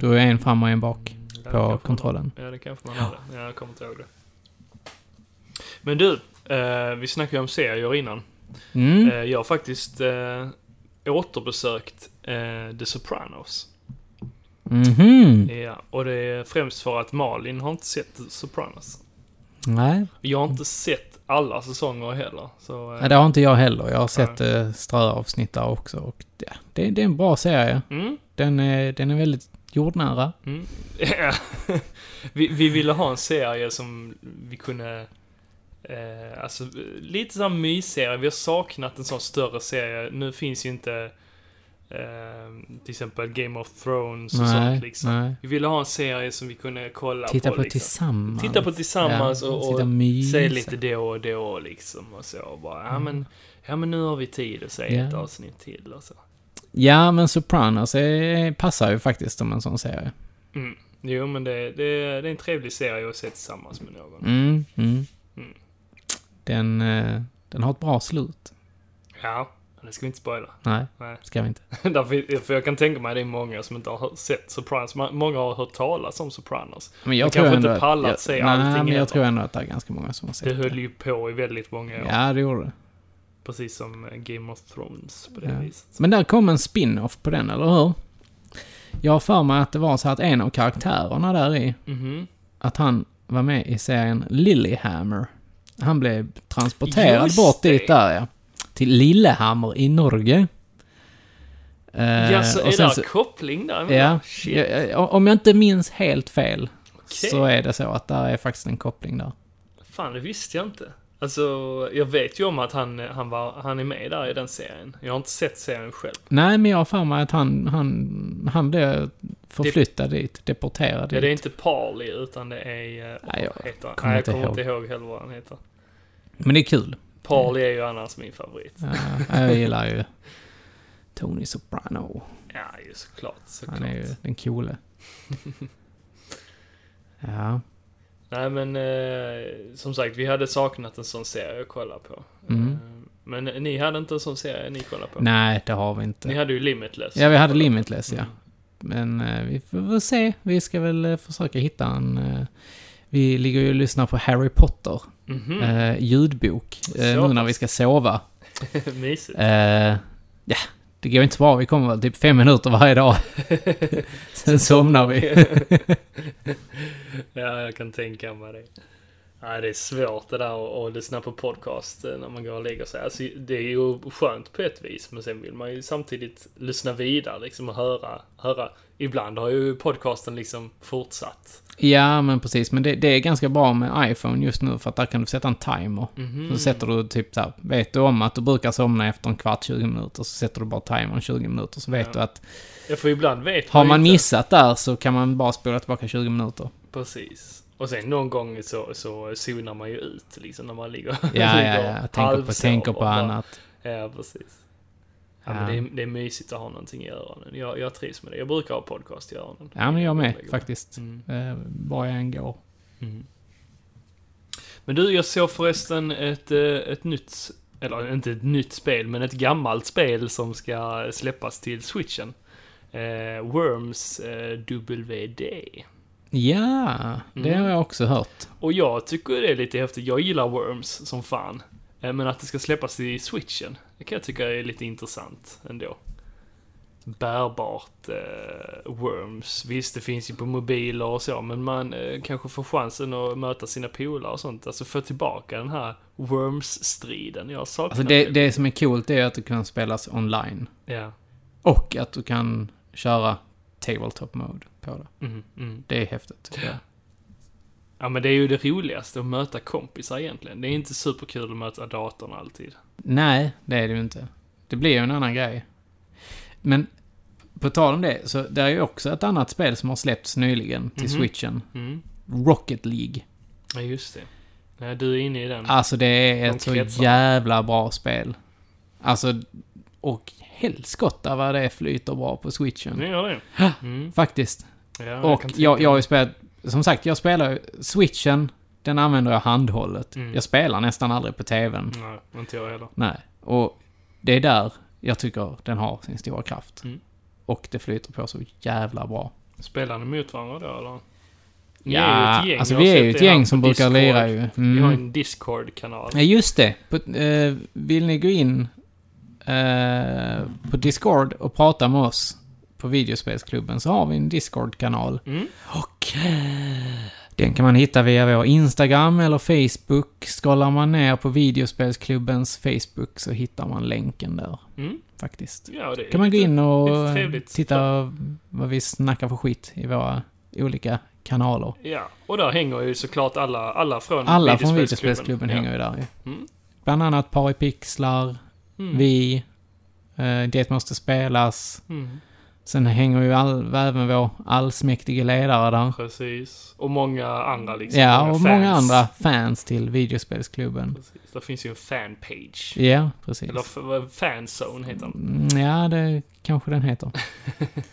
Du har en fram och en bak
Ja, det kanske
på
man-
kontrollen.
Ja, det kanske man hade. Ja, jag kommer inte ihåg det. Men du, eh, vi snackade ju om serier innan.
Mm.
Eh, jag har faktiskt eh, återbesökt eh, The Sopranos.
Mhm.
Ja, och det är främst för att Malin har inte sett The Sopranos.
Nej,
Jag har inte sett alla säsonger heller. Så, eh,
det har inte jag heller. Jag har sett eh, ströavsnitt där också. Och ja, det, det är en bra serie.
Mm,
Den är, den är väldigt jordnära.
mm. Ja. vi, vi ville ha en serie som vi kunde... Eh, alltså, eh, lite sån här mysserie. Vi har saknat en sån större serie. Nu finns ju inte eh, till exempel Game of Thrones och sånt liksom.
nej.
Vi ville ha en serie som vi kunde kolla
Titta
på,
på
liksom.
tillsammans.
Titta på tillsammans
Ja,
och,
sitta
och
mysa. Mm.
se lite då och då liksom och så. Och bara, ja, men, ja men nu har vi tid att se
Ja.
ett avsnitt till och så.
Ja, men Sopranos är, passar ju faktiskt som en sån serie.
Mm. Jo men det, det, det är en trevlig serie att se tillsammans med någon.
Mm, mm.
Mm.
Den, eh, den har ett bra slut.
Ja, det ska vi inte spoila.
Nej,
Nej.
ska vi inte.
Därför, för jag kan tänka mig att det är många som inte har hört- sett Sopranos. Ma- Många har hört talas om Sopranos.
Men jag
Vi
tror
kanske
ändå
inte pallat
jag-
se
Nej,
allting
men
heller.
jag tror ändå att det är ganska många som har sett
Det höll ju på i väldigt många år.
Ja, det gjorde det.
Precis som eh, Game of Thrones på det
Ja.
viset.
Men där kom en spin-off på den, eller hur? Jag har för mig att det var så att en av karaktärerna där i,
Mhm.
att han var med i serien Lilyhammer. Han blev transporterad
Just
bort
det.
dit där, ja. Till Lillehammer i Norge. Eh,
ja, så
och
är
sen
det koppling där?
Ja,
Shit.
jag- jag- om jag inte minns helt fel
Okej.
så är det så att där är faktiskt en koppling där.
Fan, det visste jag inte. Alltså, jag vet ju om att han, eh, han, var, han är med där i den serien. Jag har inte sett serien själv.
Nej, men jag har för mig att han, han, han blev förflyttad dit, deporterad
Ja,
dit.
det är inte Parley, utan det är... eh,
Nej, jag
vad heter han?
kommer
Nej, jag
inte
kommer
ihåg.
inte ihåg heller vad han heter.
Men det är kul.
Parley är ju annars min favorit.
Ja, jag gillar ju Tony Soprano.
Ja, ju såklart. såklart.
Han är ju den coole. Ja.
Nej, men eh, som sagt, vi hade saknat en sån serie att kolla på.
Mm.
Eh, men ni hade inte en sån serie ni kollade på?
Nej, det har vi
Ni
inte.
hade ju Limitless.
Ja, vi hade Limitless, ja.
Mm.
Men eh, vi får väl se. Vi ska väl eh, försöka hitta en... eh, vi ligger ju och lyssnar på Harry Potter,
Mhm,
eh, ljudbok, eh,
Så
nu när
pass.
vi ska sova.
Mysigt.
Eh, ja, det går inte så bra. Vi kommer väl typ fem minuter varje dag. Sen somnar vi.
Ja, jag kan tänka mig det. Ja, det är svårt det där att- att lyssna på podcast eh, när man går och lägger sig. Alltså, det är ju skönt på ett vis, men sen vill man ju samtidigt lyssna vidare liksom och höra. höra. Ibland har ju podcasten liksom fortsatt.
Ja, men precis. Men det, det är ganska bra med iPhone just nu för att där kan du sätta en timer.
Mhm.
Så sätter du typ så här, vet du om att du brukar somna efter en kvart, 20 minuter, så sätter du bara timern 20 minuter. Så vet
Ja.
du att
Ja, för ibland vet
har man
ju inte-
missat där så kan man bara spola tillbaka 20 minuter.
Precis. Och sen någon gång så, så zonar man ju ut liksom när man ligger
Ja, ja,
ligger
ja. Tänker på,
halvsover
tänker på
bara.
annat.
Ja, precis. Ja,
Ja.
Men det, är, det är mysigt att ha någonting i öronen. Jag, jag trivs med det. Jag brukar ha podcast i öronen.
Ja, men jag med
Lägger mig.
faktiskt.
Mm.
Eh, Var jag än går.
Men du, jag såg förresten ett, eh, ett nytt, eller inte ett nytt spel, men ett gammalt spel som ska släppas till switchen. Eh, Worms eh, WD.
Ja, det
Mm.
har jag också hört.
Och jag tycker det är lite häftigt. Jag gillar Worms som fan. Eh, Men att det ska släppas i switchen, det kan jag tycka är lite intressant ändå. Bärbart eh, Worms. Visst, det finns ju på mobiler och så, men man eh, kanske får chansen att möta sina polare och sånt. Alltså få tillbaka den här Worms-striden. Jag saknar
Alltså det, det som är coolt är att det kan spelas online.
Ja.
Och att du kan köra tabletop mode på det.
Mm, mm.
Det är häftigt. tycker jag.
ja, men det är ju det roligaste, att möta kompisar egentligen. Det är inte superkul att möta datorn alltid.
Nej, det är det ju inte. Det blir ju en annan grej. Men på tal om det, så det är ju också ett annat spel som har släppts nyligen till switchen.
Mm.
Rocket League.
Ja, just det. Nej, du är inne i den.
Alltså det är
De
ett så
kretsar.
jävla bra spel. Alltså, och helskotta vad det flyter bra på switchen.
Nu gör det.
Faktiskt. och
Ja, kan
jag,
tänka
jag har
mig.
ju spelat, som sagt, jag spelar ju- switchen, den använder jag handhållet.
Mm.
Jag spelar nästan aldrig på tvn.
Nej, inte jag heller.
Nej. Och det är där jag tycker den har sin stora kraft.
Mm.
Och det flyter på så jävla bra.
Spelar ni mot varandra då, eller? Ni
Ja,
är ju ett gäng.
alltså
Jag har
vi är
sett
ju ett
det här
gäng
på
som brukar
Discord.
lira ju.
Vi har
Mm.
en Discord-kanal.
Ja, just det. På, eh, vill ni gå in eh, på Discord och prata med oss på videospelsklubben så har vi en Discord-kanal.
Mm.
Och eh, den kan man hitta via vår Instagram eller Facebook. Scrollar man ner på videospelsklubbens Facebook så hittar man länken där,
Mm.
faktiskt.
Ja, det är
Kan man gå
lite-
in och
lite trevligt.
titta vad vi snackar för skit i våra olika kanaler.
Ja, och där hänger ju såklart alla, alla från
Alla från
videospelsklubben
videospelsklubben hänger ju där ju.
Mm.
Bland annat Paripixlar,
Mm.
vi, eh, Det måste spelas.
Ja. Mm.
Sen hänger ju all, även vår allsmäktige ledare där.
Precis. Och många andra liksom.
Ja, och många
fans.
andra fans till videospelsklubben.
Precis. Där finns ju en fanpage.
Ja, precis.
Eller f- vad- fanzone heter den.
Mm, Ja, det kanske den heter.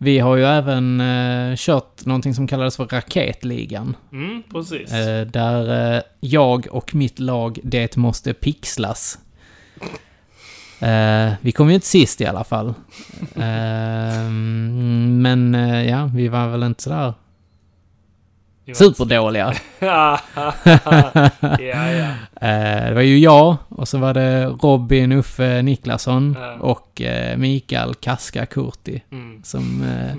Vi har ju även eh, kört någonting som kallades för Raketligan.
Mm, precis.
Eh, där eh, jag och mitt lag, det måste pixlas. Eh, vi kom ju inte sist i alla fall. Eh, mm, men eh, ja, vi var väl inte sådär
Det var-
superdåliga.
ja, ja.
Eh, det var ju jag, och så var det Robin, Uffe Niklasson
Ja.
och eh, Mikael Kaska Kurti
Mm.
som eh,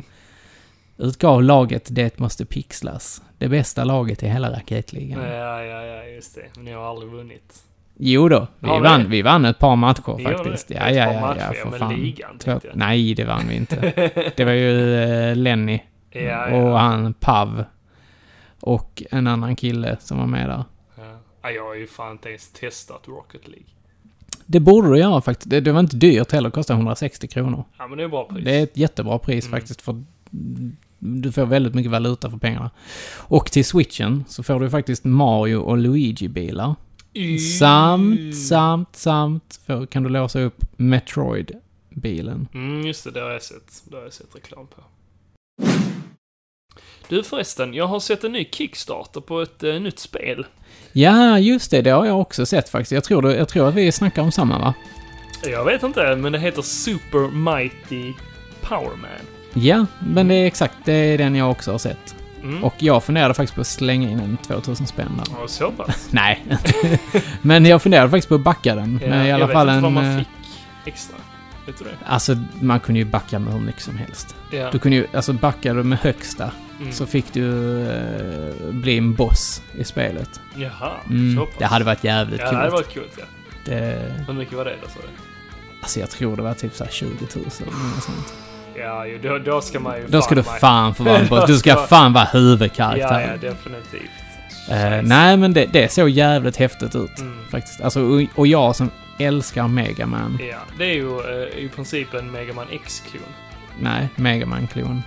utgav laget Det måste pixlas. Det bästa laget i hela raketligan.
Ja, ja, ja, just det. Men jag har aldrig vunnit.
Jo då, vi,
Har ni
vann,
det?
vi vann ett par matcher
Ni gjorde
faktiskt.
det?
Ja,
Ett
ja,
par
ja, ja,
matcher,
för
men
fan.
ligan,
Två-
tänkte jag.
Nej, det vann vi inte. Det var ju eh, Lenny
Ja, ja.
Mm. och han Pav och en annan kille som var med där.
Ja. Ja, jag har ju fan inte ens testat Rocket League.
Det borde du göra faktiskt. Det, det var inte dyrt heller, det kostade 160 kronor.
Ja, men det är bra pris.
Det är ett jättebra pris
Mm.
faktiskt för du får väldigt mycket valuta för pengarna. Och till switchen så får du faktiskt Mario och Luigi-bilar.
Y-
Samt, samt, samt för, kan du låsa upp Metroid-bilen.
Mm, just det. Det har jag sett. Det har jag sett reklam på. Du förresten, jag har sett en ny Kickstarter på ett eh, nytt spel.
Ja, just det. Det har jag också sett faktiskt. Jag tror, det, jag tror att vi snackar om samma, va?
Jag vet inte, men det heter Super Mighty Power Man.
Ja, men det är exakt. Det är den jag också har sett.
Mm.
Och jag funderade faktiskt på att slänga in en 2000 spänn där.
Ja, så pass.
Nej. men jag funderade faktiskt på att backa den.
Ja,
men i
jag
alla
vet
fall
inte
en...
vad
eh,
man fick extra. Vet du det?
Alltså, man kunde ju backa med hur mycket som helst.
Ja.
Du kunde ju, alltså backade du med högsta
Mm.
så fick du eh, bli en boss i spelet.
Jaha, så
Mm,
pass.
det hade varit jävligt
Ja,
kul.
det hade varit kul, ja.
Det,
Hur mycket var det då, sa du?
alltså jag tror det var typ såhär 20 000 eller något sånt.
Ja, ju, då, då ska man ju
Då ska du
mig-
fan få vara en boss. Du ska
Ja.
fan vara
Ja, ja,
huvudkaraktären.
definitivt.
Eh,
Scheiße.
nej, men det, det såg jävligt häftigt ut.
Mm.
Faktiskt. Alltså, och, och jag som älskar Mega Man.
Ja, det är ju eh, i princip en Mega Man X-klon.
Nej, Mega Man-klon.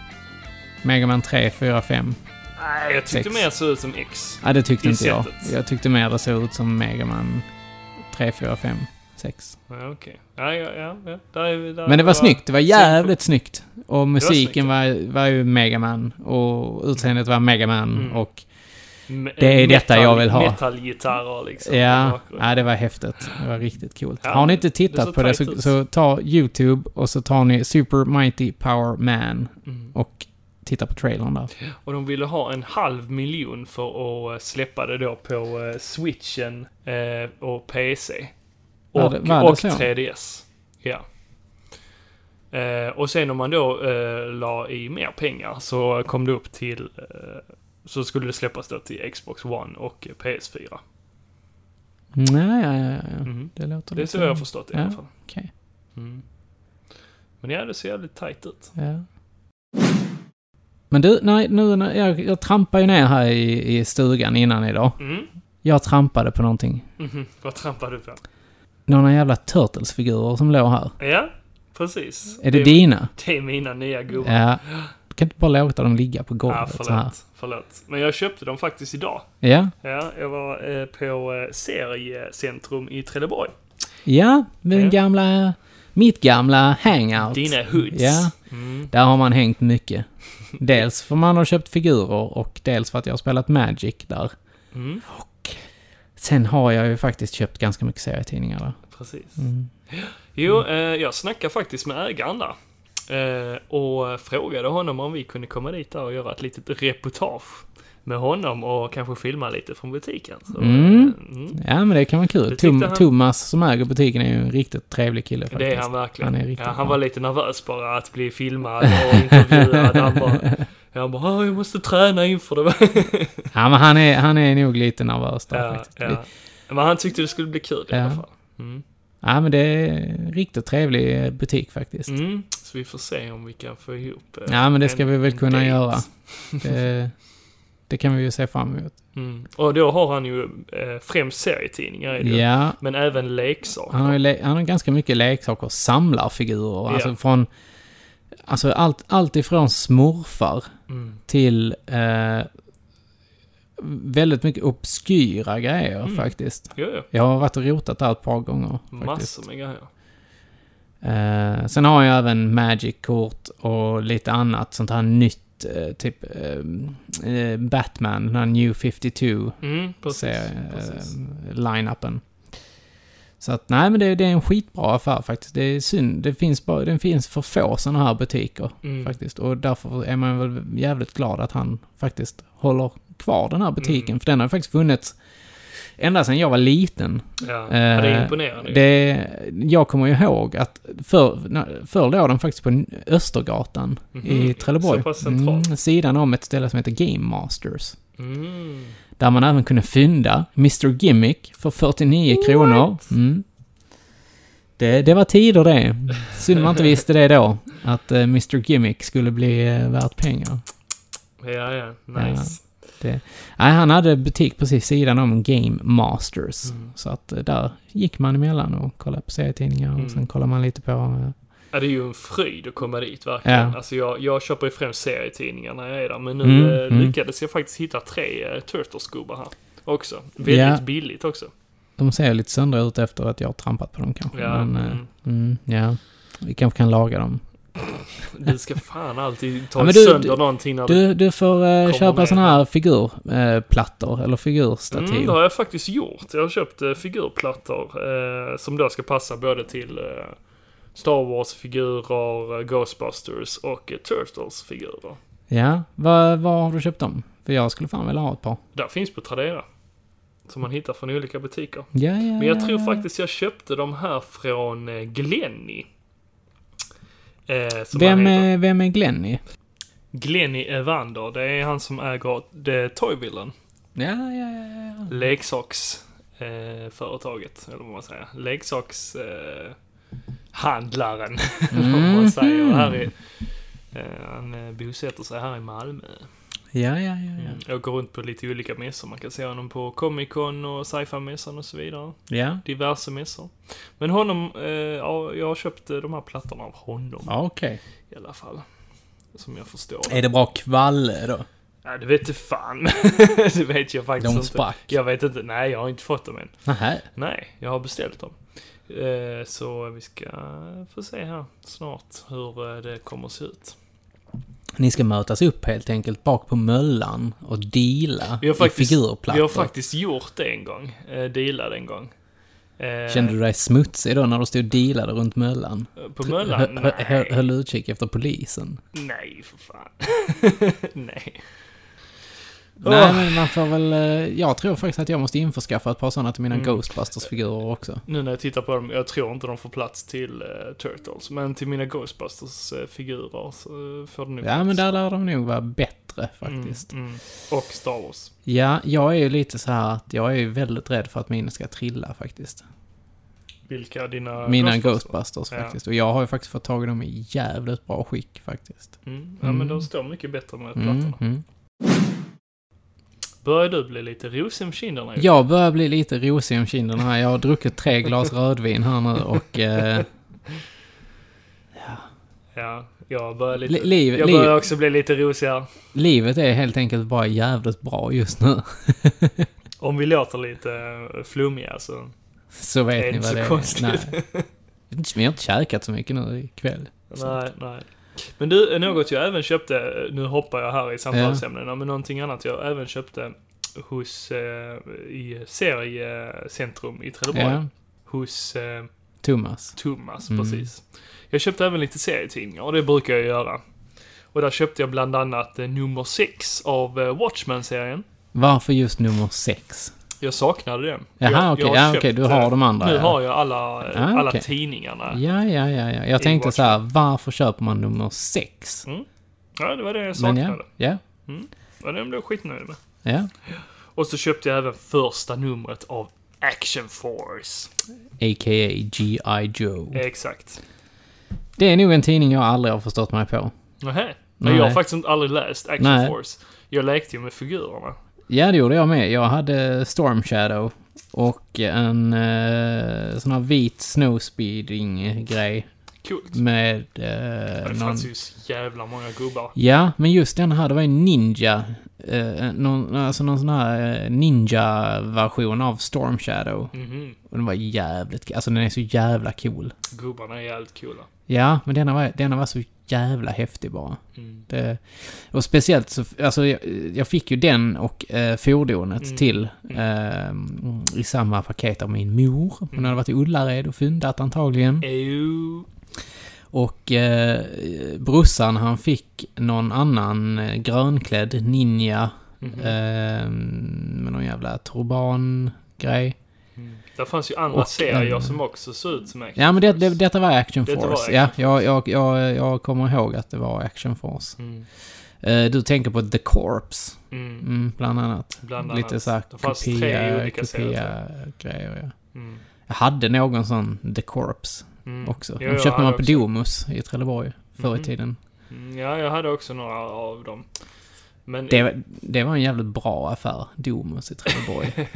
Mega Man 3, 4, 5.
Nej, jag tyckte
Sex.
mer såg ut som X.
Nej, det tyckte
I
inte jag.
sättet.
Jag tyckte mer det såg ut som Mega Man 3, 4, 5, 6.
Ja, okej. Ja, ja, ja. ja. Där är vi, där
Men det var snyggt. Det var jävligt
snyggt.
snyggt. Och musiken
snyggt,
var, var ju Mega Man. Och utseendet var Mega Man.
Mm.
Och
Me-
Det är detta jag vill ha.
Metallgitarrer liksom. i
ja,
bakgrunden.
ja, det var häftigt. Det var riktigt coolt.
Ja,
Har ni inte
det
tittat
såg
på det
tight
så,
ut. Mm.
så ta YouTube och så tar ni Super Mighty Power Man. Och titta på trailern där.
Och de ville ha en halv miljon för att eh, släppa det då på eh, switchen eh, och PC. Och,
Var det- var det
och
så?
3DS. Ja. Eh, och sen om man då eh, la i mer pengar så kom det upp till... Eh, så skulle det släppas då till Xbox One och eh, PS4.
Nej, ja, ja, ja.
Mhm.
Det låter
Det är så jag har förstått det i
Ja.
alla fall.
Okej.
Mm. Men ja, det ser jävligt tajt ut.
Ja. Men du, nej, nu, när- jag, jag trampade ju ner här i, i stugan innan idag.
Mm.
Jag trampade på någonting.
Mhm. Vad trampar du på?
Några jävla Turtles-figurer som låg här.
Ja, precis.
Är det, dina?
Det är mina nya gubbar.
Ja. Du kan inte bara låta dem ligga på
Ja,
golvet så här.
förlåt. Förlåt. Men jag köpte dem faktiskt idag.
Ja.
Ja, jag var eh, på eh, Seriecentrum i Trelleborg.
Ja, min
Ja.
gamla... Mitt gamla hangout.
Dina hoods.
Ja.
Mm.
Där har man hängt mycket. Dels för man har köpt figurer och dels för att jag har spelat Magic där.
Mm.
Och sen har jag ju faktiskt köpt ganska mycket serietidningar där.
Precis.
Mm.
Jo, eh, jag snackade faktiskt med ägaren där. Eh, och frågade honom om vi kunde komma dit där och göra ett litet reportage med honom och kanske filma lite från butiken. Så,
Mm.
eh, mm.
Ja, men det kan vara kul.
Det tyckte
Tom,
han.
Thomas som äger butiken är ju en riktigt trevlig kille faktiskt.
Det är han verkligen.
Han är riktigt bra.
ja, han var lite nervös bara att bli filmad och intervjuad. han bara, han bara "Ah, jag måste träna inför det.
Ja, men han är, han är nog lite nervös där
ja,
faktiskt.
ja. Men han tyckte det skulle bli kul i
Ja.
alla fall. Mm.
Ja, men det är en riktigt trevlig eh, butik faktiskt.
Mm. Så vi får se om vi kan få ihop eh,
Ja, men det ska
en-
vi väl
en
kunna
date.
göra. Det, det kan vi ju se fram emot.
Mm. Och då har han ju eh, främst serietidningar i det.
Ja,
Men även leksaker.
han har, ju le- han har ganska mycket leksaker och samlarfigurer.
Ja.
Alltså från... Alltså allt, allt ifrån smurfar
Mm.
till eh, väldigt mycket obskyra grejer
Mm.
faktiskt.
Jo, jo.
Jag har varit och rotat där ett par gånger. Faktiskt.
Massor med grejer.
Eh, sen har jag även Magic-kort och lite annat sånt här nytt. Eh, typ eh, eh, Batman, den här New 52
Mm, precis.
ser,
precis.
eh, line-upen. Så att nej, men det, det är en skitbra affär faktiskt. Det är synd. Det finns, bara, det finns för få sådana här butiker
Mm.
faktiskt. Och därför är man väl jävligt glad att han faktiskt håller kvar den här butiken.
Mm.
För den har faktiskt funnits ända sedan jag var liten.
Ja. ja, det är
Eh,
imponerande. ju.
Det, jag kommer ju ihåg att förr när- förr låg den faktiskt på Östergatan i
Mhm,
Trelleborg. Mm,
så pass centralt.
sidan om ett ställe som heter Game Masters.
Mm.
Där man även kunde fynda Mr Gimmick för 49 kronor. Mm. Det, det var tider det. Synd man inte visste det då. Att eh, Mr Gimmick skulle bli eh, värt pengar.
Ja, ja. Nice.
Nej, han hade butik precis sidan om Game Masters.
Mm.
Så att eh, där gick man emellan och kollade på serietidningar och
Mm.
sen kollade man lite på... eh,
Ja, det är ju en fröjd att komma dit verkligen.
Ja.
Alltså jag, jag köper ju främst serietidningar när jag är där. Men nu
Mm,
eh,
mm.
lyckades jag faktiskt hitta tre eh, Turtles-gubbar här. Också. Väldigt
Ja.
billigt också.
De ser lite söndra ut efter att jag har trampat på dem kanske.
Ja,
Men, eh,
mm.
mm, ja. Vi kanske kan laga dem.
Du ska fan alltid ta
Ja, men du-
sönder
du-
någonting när
Du, du får eh, köpa
ner.
såna här figurplattor eh, plattor, eller figurstativ.
Mm, det har jag faktiskt gjort. Jag har köpt eh, figurplattor eh, som då ska passa både till eh, Star Wars-figurer, eh, Ghostbusters och eh, Turtles-figurer.
Ja, var, var har du köpt dem? För jag skulle fan vilja ha ett par.
Där finns på Tradera. Som man hittar från olika butiker.
Ja, ja,
Men jag
ja,
tror
ja.
faktiskt jag köpte de här från eh, Glenny. Eh, som han
Vem
heter.
är, vem är Glenny?
Glenny Evander, det är han som äger The Toyvillen.
Ja, ja, ja, ja.
Leksaks... Eh, företaget, eller vad man säger. Leksaks... Eh, handlaren, eller vad
Mhm.
man säger. Här i, eh, han eh, bosätter sig här i Malmö.
Ja, ja, ja, ja.
Jag Åker runt på lite olika mässor. Man kan se honom på Comic Con och Sci-Fi-mässan och så vidare.
Ja,
diverse mässor. Men honom, eh, ja, jag har köpt eh, de här plattorna av honom
ja okej.
i alla fall. Som jag förstår.
Är det bra kvalle då?
Nej, det vet du fan. det vet jag faktiskt
De
inte.
sprack.
Jag vet inte. Nej, jag har inte fått dem än.
Nähä.
Nej, jag har beställt dem. Eh, så vi ska få se här snart hur eh, det kommer att se ut.
Ni ska mötas upp helt enkelt bak på möllan och deala
Vi
i
har faktiskt,
figurplattor.
vi har faktiskt gjort det en gång. Eh, dealat en gång. Eh, Eh,
Kände du dig smutsig då när du stod och dealade runt möllan?
På Möllan?
Hö- hö- hö-
Nej.
Höll utkik efter polisen?
Nej, för fan. Nej.
Nej,
Åh.
men man får väl... eh, Jag tror faktiskt att jag måste införskaffa ett par sådana till mina
Mm.
Ghostbusters-figurer också.
Nu när jag tittar på dem, jag tror inte de får plats till eh, Turtles, men till mina Ghostbusters-figurer så eh, får det nog
Ja,
plats.
men där lär de nog vara bättre faktiskt.
Mm, mm. Och Star Wars.
Ja, jag är ju lite så här att jag är ju väldigt rädd för att min ska trilla faktiskt.
Vilka dina
Mina
Ghostbusters?
Ghostbusters
Ja.
faktiskt. Och jag har ju faktiskt fått tag i dem i jävligt bra skick faktiskt.
Mm. Ja, men de står mycket bättre med plattorna.
Mm, mm.
Börjar du bli lite rosig om kinderna? Jocke?
Jag börjar bli lite rosig om kinderna här. Jag har druckit tre glas rödvin här nu och... Eh,
Ja, jag börjar lite...
li- liv,
jag
liv,
börjar också bli lite rosigare.
livet är helt enkelt bara jävligt bra just nu.
Om vi låter lite eh, flummiga så...
Så vet
Det är
ni
inte
vad
så
det
konstigt.
är. Nej. Vi har inte käkat så mycket nu ikväll.
Nej, nej. Men du, något jag även köpte, nu hoppar jag här i samtalsämnena, men någonting annat jag även köpte hos, eh, i seriecentrum i Trelleborg.
Ja, Mm.
Hos eh,
Thomas.
Thomas, precis. Jag köpte även lite serietidningar och det brukar jag göra. Och där köpte jag bland annat eh, nummer 6 av eh, Watchmen-serien.
Varför just nummer sex?
Jag saknade den.
Jaha,
jag,
okej.
jag har
Ja, okej,
köpt,
du har
eh,
de andra,
Nu
ja.
har jag alla, eh,
Ah,
alla
okej.
tidningarna.
Ja, ja, ja, ja. Jag
I
tänkte
Watchmen.
så här, varför köper man nummer sex?
Ja, det var det jag
Men
saknade.
ja, ja,
Och den blev jag skitnöjd med.
ja.
Och så köpte jag även första numret av Action Force.
A.k.a. G.I. Joe.
Exakt.
Det är nog en tidning jag aldrig har förstått mig på.
Nähä. Men jag har
Nej.
faktiskt inte- aldrig läst Action
Nej.
Force. Jag lekte ju med figurerna.
Ja, det gjorde jag med. Jag hade Storm Shadow och en eh, sån här vit snowspeeding-grej
Coolt.
med
Ja,
eh,
det
någon...
fanns ju så jävla många gubbar.
Ja, men just den här, det var ju Ninja. Eh, någon, alltså någon sån här eh, Ninja-version av Storm Shadow.
Mhm.
Och den var jävligt... Alltså den är så jävla cool.
Gubbarna är jävligt coola.
Ja, men denna var, denna var så jävla häftig bara.
Mm.
Det, och speciellt så, alltså jag, jag fick ju den och eh, fordonet till eh, i samma paket av min mor. Hon hade varit i Ullared och fyndat
Mm.
antagligen.
Ew.
Och eh, brorsan han fick någon annan eh, grönklädd ninja
Mhm. Mm.
eh, med någon jävla turban-grej.
Där Mm. fanns ju andra
Och
serier
en-
som också såg ut som Action
Ja, men det,
Force.
det, detta var Action
Detta
Force.
var Action
ja, jag, jag, jag, jag kommer ihåg att det var Action Force.
Mm.
Eh, du tänker på The Corps,
Mm.
mm, bland annat.
Bland
Lite
annat.
såhär
Det fanns tre
kopia,
olika serier,
kopia-grejer, ja.
Mm.
Jag hade någon sån The Corps
Mm.
också.
Jo,
De
jag
köpte man
hade
på
också-
Domus i Trelleborg förr i tiden.
Mm, Ja, jag hade också några av dem. Men
Det, var- det var en jävligt bra affär, Domus i Trelleborg.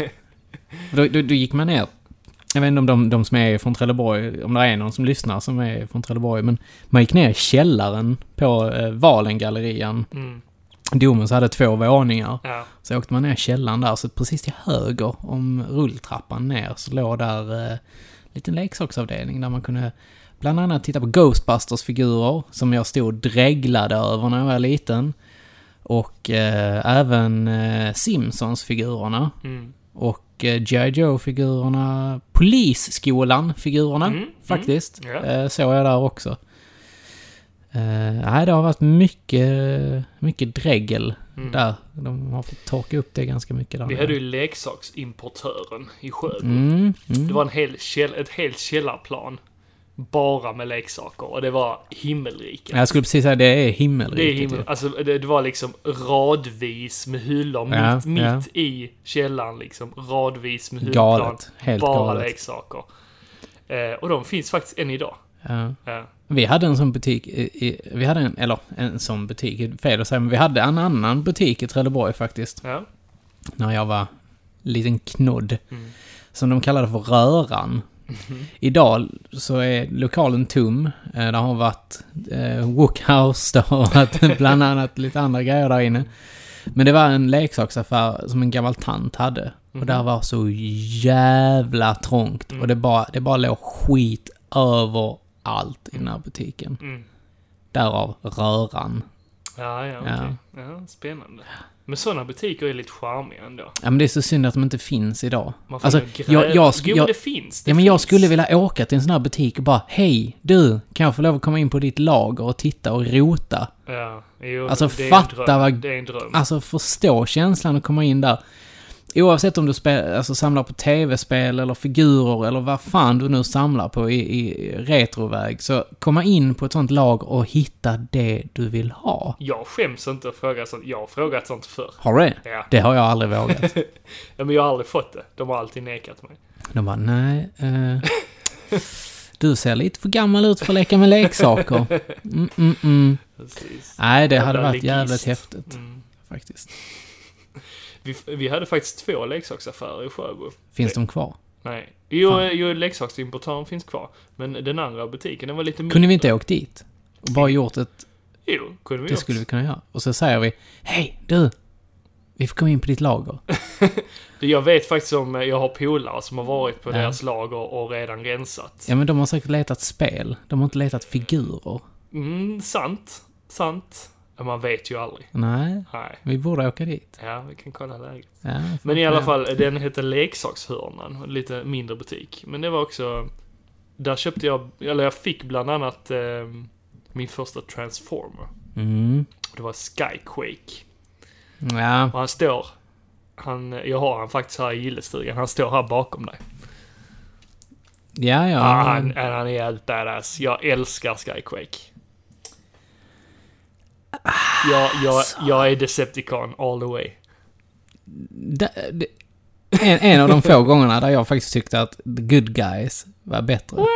då, då, då gick man ner. Jag vet inte om de, de som är från Trelleborg, om det är någon som lyssnar som är från Trelleborg, men man gick ner i källaren på eh, Valengallerian.
Mm.
Domus hade två våningar.
Ja.
Så åkte man ner i källaren där, så precis till höger om rulltrappan ner så låg där eh, en liten leksaksavdelning där man kunde bland annat titta på Ghostbusters-figurer som jag stod och dreglade över när jag var liten. Och eh, även eh, Simpsons-figurerna.
Mm.
Och eh, G.I. Joe-figurerna. Polisskolan-figurerna,
Mm,
faktiskt.
mm, ja.
eh, såg jag där också. Eh, nej, det har varit mycket, mycket dregel där. De har fått torka upp det ganska mycket där.
Mm. Vi hade ju leksaksimportören i Sjöbo.
Mm, mm.
Det var en hel käll, ett helt källarplan. Bara med leksaker. Och det var himmelrika.
Jag skulle precis säga det är
Det, är
himmelriket.
himmel,
ju.
alltså, det, det var liksom radvis med hyllor
Ja,
mitt,
ja.
mitt i källaren. Liksom, radvis med hyllplan.
Galet. Helt
bara
galet.
leksaker. Eh, och de finns faktiskt än idag.
Ja.
Ja.
Vi hade en sån butik, i, i, vi hade en, eller en sån butik, fel att säga, men vi hade en annan butik i Trelleborg faktiskt.
Ja.
när jag var liten knodd.
Mm.
Som de kallade för Röran.
Mm-hmm.
Idag så är lokalen tom. Eh, Det har varit eh, Wookhouse, det har varit bland annat lite andra grejer där inne. Men det var en leksaksaffär som en gammal tant hade.
Mm-hmm.
Och där var så jävla trångt.
Mm.
Och det bara, det bara låg skit överallt i den
Mm.
här butiken. Därav Röran.
Ja, ja, okej.
Ja.
Ja, spännande. Men sådana butiker är lite charmiga ändå.
Ja, men det är så synd att de inte finns idag.
Man får
Alltså,
ju gräva-
jag, jag, sk-
jo,
jag,
det finns. Det
ja, men jag
finns.
skulle vilja åka till en sån här butik och bara, hej, du, kan jag få lov att komma in på ditt lager och titta och rota?
Ja, jo,
Alltså,
det är en
fatta
dröm.
vad-
Det är en dröm.
Alltså förstå känslan att komma in där. Oavsett om du spel, alltså, samlar på tv-spel eller figurer eller vad fan du nu samlar på i, i retroväg. Så komma in på ett sånt lag och hitta det du vill ha.
Jag skäms inte att fråga sånt. Jag har frågat sånt förr.
Har du det?
Ja.
Det har jag aldrig vågat.
ja, men jag har aldrig fått det. De har alltid nekat mig.
De bara, nej. Eh, du ser lite för gammal ut för att leka med leksaker. Mm, mm, mm.
Precis.
Nej, det hade
Jävla
varit
legist.
jävligt häftigt
Mm.
faktiskt.
Vi, vi hade faktiskt två leksaksaffärer i Sjöbo.
Finns de kvar?
Nej. Jo,
Fan.
eh, jo leksaksimportören finns kvar. Men den andra butiken, den var lite mindre.
Kunde vi inte åkt dit? Och bara gjort ett
Jo, kunde vi
Det
gjort.
skulle vi kunna göra. Och så säger vi, hej du! Vi får komma in på ditt lager.
Det- Jag vet faktiskt om, eh, jag har polare som har varit på
Ja.
deras lager och redan rensat.
Ja men de har säkert letat spel. De har inte letat figurer.
Mm, sant. Sant. Men Man vet ju aldrig.
Nej,
Nej.
vi borde åka dit.
Ja, vi kan kolla läget.
Ja,
Men i
fan,
alla
ja.
fall, den hette Leksakshörnan. en Lite mindre butik. Men det var också... Där köpte jag, eller jag fick bland annat eh, min första Transformer.
Mm.
Det var Skyquake.
Ja,
Och han står... Han, jag har han faktiskt här i gillestugan. Han står här bakom dig.
ja, ja.
Ah, han, han är helt badass. Jag älskar Skyquake.
Ah,
Jag, jag, jag är Decepticon all the way.
Da- det- en, en av de få gångerna där jag faktiskt tyckte att the good guys var bättre.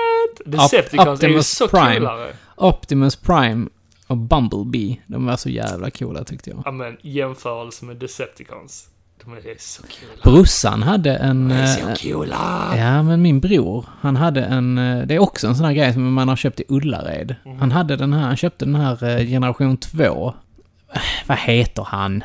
Decepticons är ju
Optimus
så
Prime.
coolare.
Optimus Prime och Bumblebee, de var så jävla coola tyckte jag.
Ja men jämförelse med Decepticons. De är så kul.
Brorsan hade en... eh, Ja, men min bror, han hade en... eh, Det är också en sån här grej som man har köpt i Ullared.
Mhm.
Han hade den här, han köpte den här eh, generation 2. Eh, Vad heter han?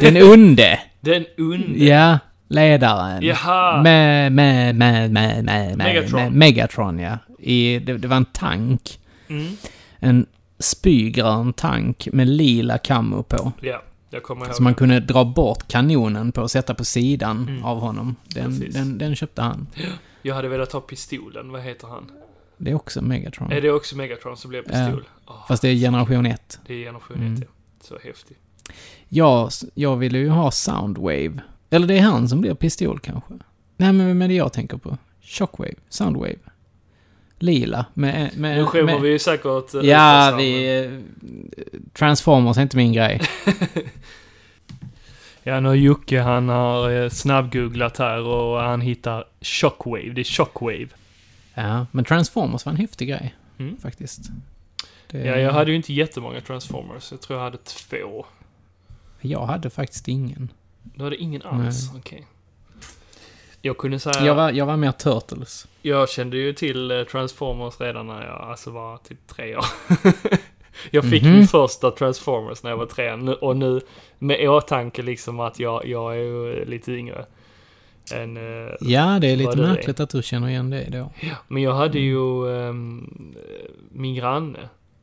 Den onde!
Den under...
ja, ledaren.
Jaha!
Med, med, med, med, med, med,
Megatron.
med Megatron, ja. I, det, det var en tank.
Mm.
En spygrön tank med lila kammo på.
Ja, jag kommer ihåg.
Så man kunde dra bort kanonen på och sätta på sidan av honom. Den,
Mm. Precis.
den, den köpte han.
Jag hade velat ha pistolen. Vad heter han?
Det är också Megatron.
Är det också Megatron som blev pistol? Åh,
Fast Mm. det är generation 1.
det är generation 1, ja. Så häftigt.
Jag, jag ville ju ha Soundwave. Eller det är han som blir pistol kanske. Nej, men, men det jag tänker på. Shockwave. Soundwave. Lila. Med, med,
Nu skämmer
med,
vi ju säkert... eh, ut oss
Ja,
här, men-
vi... eh, Transformers är inte min grej.
Ja, nu har Jocke han har eh, snabbgooglat här och han hittar Shockwave. Det är Shockwave.
Ja, men Transformers var en häftig grej.
Mm.
Faktiskt. Det,
Ja, jag hade ju inte jättemånga Transformers. Jag tror jag hade två.
jag hade faktiskt ingen.
Du hade ingen alls? Okej. Jag kunde säga...
Jag, var, jag var mer Turtles.
Jag kände ju till eh, Transformers redan när jag alltså var typ tre år. jag fick
Mhm.
min första Transformers när jag var tre nu- och nu med i åtanke liksom att jag, jag är ju eh, lite yngre. Än, eh,
Ja, det är lite
Vad är det?
märkligt att du känner igen det då.
men jag hade
Mm.
ju ehm, min granne.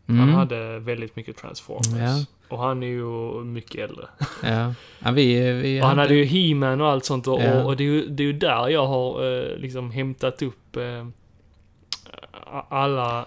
Han
Mm.
hade väldigt mycket Transformers.
Ja.
Och han är ju mycket äldre.
Ja. ja vi, eh, vi
Och han hade ju He-Man och allt sånt och,
Ja.
och, och det, är ju, det är ju där jag har eh, liksom hämtat upp eh, alla,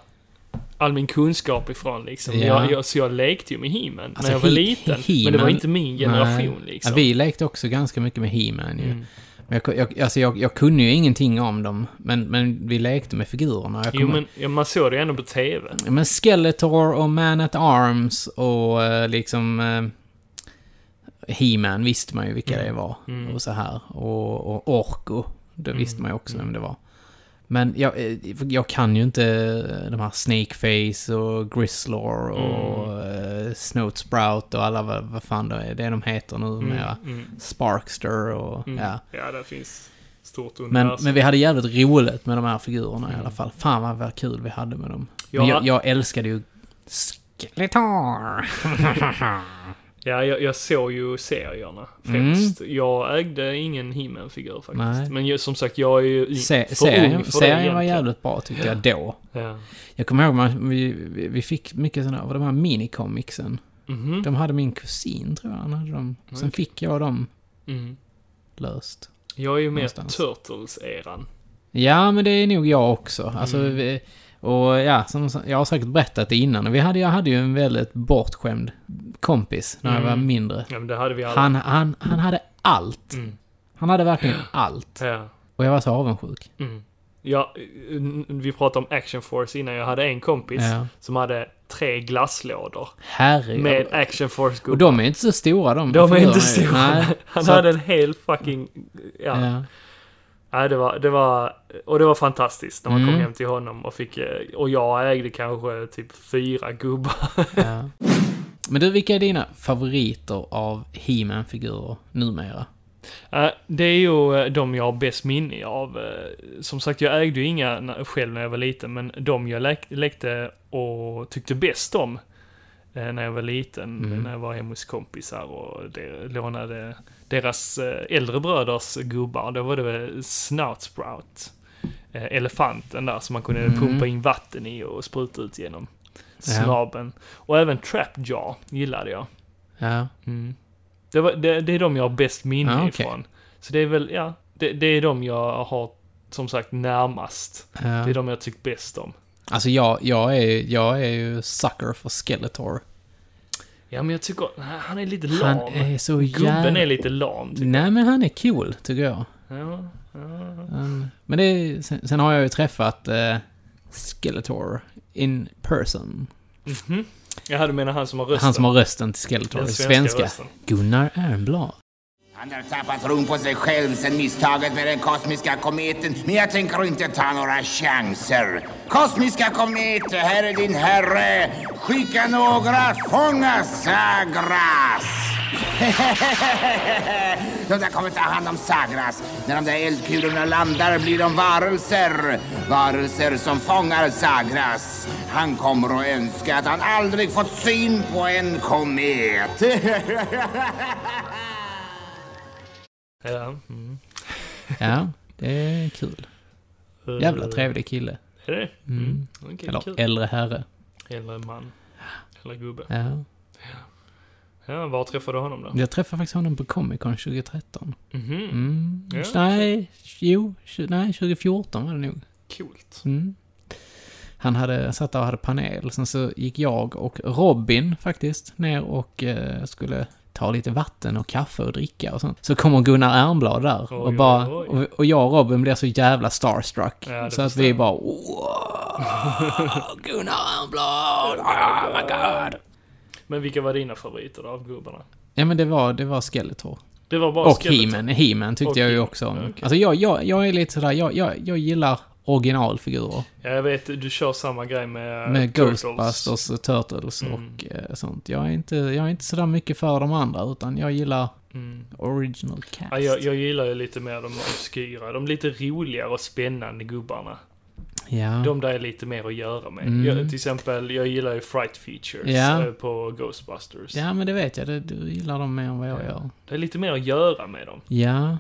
all min kunskap ifrån liksom.
Ja.
Jag, jag, så jag lekte ju med He-Man
Alltså,
när jag var
He-
liten. men det var
He-Man-
inte min generation
Nej.
liksom.
Ja, vi lekte också ganska mycket med He-Man ju.
Mm.
Men jag, jag, alltså jag, jag kunde ju ingenting om dem, men, men vi lekte med figurerna. Jag
Jo
kommer-
men ja, man såg det ju ändå på TV.
men Skeletor och Man at Arms och eh, liksom... Eh, He-Man visste man ju vilka det var
Mm.
och så här. Och, och Orko, det visste man ju också
Mm.
vem det var. Men jag, eh, jag kan ju inte eh, de här Snakeface och Grislor
Mm.
och eh, Snowsprout och alla vad, vad fan det är, det de heter nu
Mm,
med
mm,
Sparkster och
mm.
ja.
ja, det finns stort
Men,
universum.
men vi hade jävligt roligt med de här figurerna i alla fall. Fan vad, vad kul vi hade med dem.
Ja.
Men jag, jag älskade ju Skeletor.
Ja, jag, jag såg ju serierna främst. Jag ägde ingen He-Man-figur faktiskt.
Mm. Nej.
Men ju, som sagt, jag är ju i-
Se,
för ung
serien
för det
serien var
egentligen.
jävligt bra tyckte jag då.
Ja.
Jag kommer ihåg man, vi, vi vi fick mycket sådana av de här minicomicsen.
Mhm.
De hade min kusin, tror jag. Han hade dem. Sen fick jag dem
Mm.
löst.
Jag är ju mer
Någonstans.
Turtles-eran.
Ja, men det är nog jag också. Alltså,
Mm.
vi, och ja, som sa- jag har säkert berättat det innan. Vi hade, jag hade ju en väldigt bortskämd kompis när jag var
Mm.
mindre.
Ja, men det hade vi alla.
Han, han, han hade allt.
Mm.
Han hade verkligen allt.
Ja.
Och jag var så avundsjuk.
Mm. Ja, n- vi pratade om Action Force innan. Jag hade en kompis
Ja.
som hade tre glasslådor med
Herregud.
Action
Och
Force-gubbar.
de är inte så stora de.
De är inte
figurerna ju.
stora.
Nej.
Han
Så
hade en hel fucking... Ja.
Ja.
Nej, det var, det var... Och det var fantastiskt när man kom
Mm.
hem till honom och fick... eh, Och jag ägde kanske typ fyra gubbar.
Ja. Men du, vilka är dina favoriter av He-Man-figurer numera?
Eh, Det är ju eh, de jag har bäst minne av. Eh, Som sagt, jag ägde ju inga na- själv när jag var liten, men de jag lek- lekte och tyckte bäst om eh, när jag var liten,
Mm.
när jag var hemma hos kompisar och de, lånade deras eh, äldre bröders gubbar. Då var det väl Snout Sprout, eh, elefanten där som man kunde
Mm.
pumpa in vatten i och spruta ut genom
Ja.
snabeln. Och även Trapjaw gillade jag.
Ja.
Det, var, det, det är de jag har bäst minne
Ah, okej.
ifrån. Så det är väl, ja, det, det är de jag har som sagt närmast. Det är
ja.
de jag tyckt bäst om.
Alltså, jag, jag, är, jag är ju sucker för Skeletor.
Ja, men jag tycker, han är lite
Han
lam.
är så
Gubben
jävla...
är lite lam, tycker
Nej, men han är cool, tycker jag.
jag. Ja, ja.
Um, men det är, sen, sen har jag ju träffat eh, Skeletor in person.
Mhm. Jag hade menat han som har rösten.
Han som har rösten till Skeletor,
Den
svenska.
rösten.
Gunnar Ernblad.
Han har tappat tron på sig själv sedan misstaget med den kosmiska kometen. Men jag tänker inte ta några chanser. Kosmiska komet, här är din herre. Skicka några, fånga Sagras. de där kommer ta hand om Sagras. När de där eldkulorna landar blir de varelser. Varelser som fångar Sagras. Han kommer att önska att han aldrig fått syn på en komet.
Ja. Mm.
Ja, det är kul. Jävla trevlig kille.
Är det mm. mm. Okej,
Eller
kul.
äldre herre.
Eller man. Eller gubbe.
Ja.
Ja, var träffade du honom då?
Jag träffade faktiskt honom på Comic Con 2013.
Mhm.
Mm.
Ja,
nej, jo, tju- nej, 2014 var det nog.
Coolt.
Mm. Han hade, satt där och hade panel. Sen så gick jag och Robin faktiskt ner och eh, skulle ta lite vatten och kaffe och dricka och sånt. Så kommer Gunnar Ernblad där
Oj,
och bara...
oj,
Och, och jag och Robin blir så jävla starstruck.
Ja, det
så att
förstår
vi
jag.
bara... "Wow, Gunnar Ernblad! Oh my god!
Men vilka var dina favoriter då, av gubbarna?
Ja men det var, det var Skeletor.
Det var bara
Och
Skeletor.
He-Man. He-Man tyckte
Och
jag ju
He-Man.
också om.
Ja, okej.
Alltså jag, jag, jag är lite sådär, jag, jag, jag gillar originalfigurer.
Ja, jag vet, du kör samma grej med...
Med
Eh, Turtles. Mm.
Ghostbusters och Turtles och eh, sånt. Jag är, inte, jag är inte sådär mycket för de andra, utan jag gillar original cast.
Mm. Ja, jag, jag gillar ju lite mer de obskyra, de lite roligare och spännande gubbarna.
ja.
De där är lite mer att göra med.
Mm.
Jag, till exempel, jag gillar ju Fright Features
Ja.
eh, på Ghostbusters.
ja, men det vet jag. Det, du gillar dem mer än vad jag gör.
Det är lite mer att göra med dem.
Ja.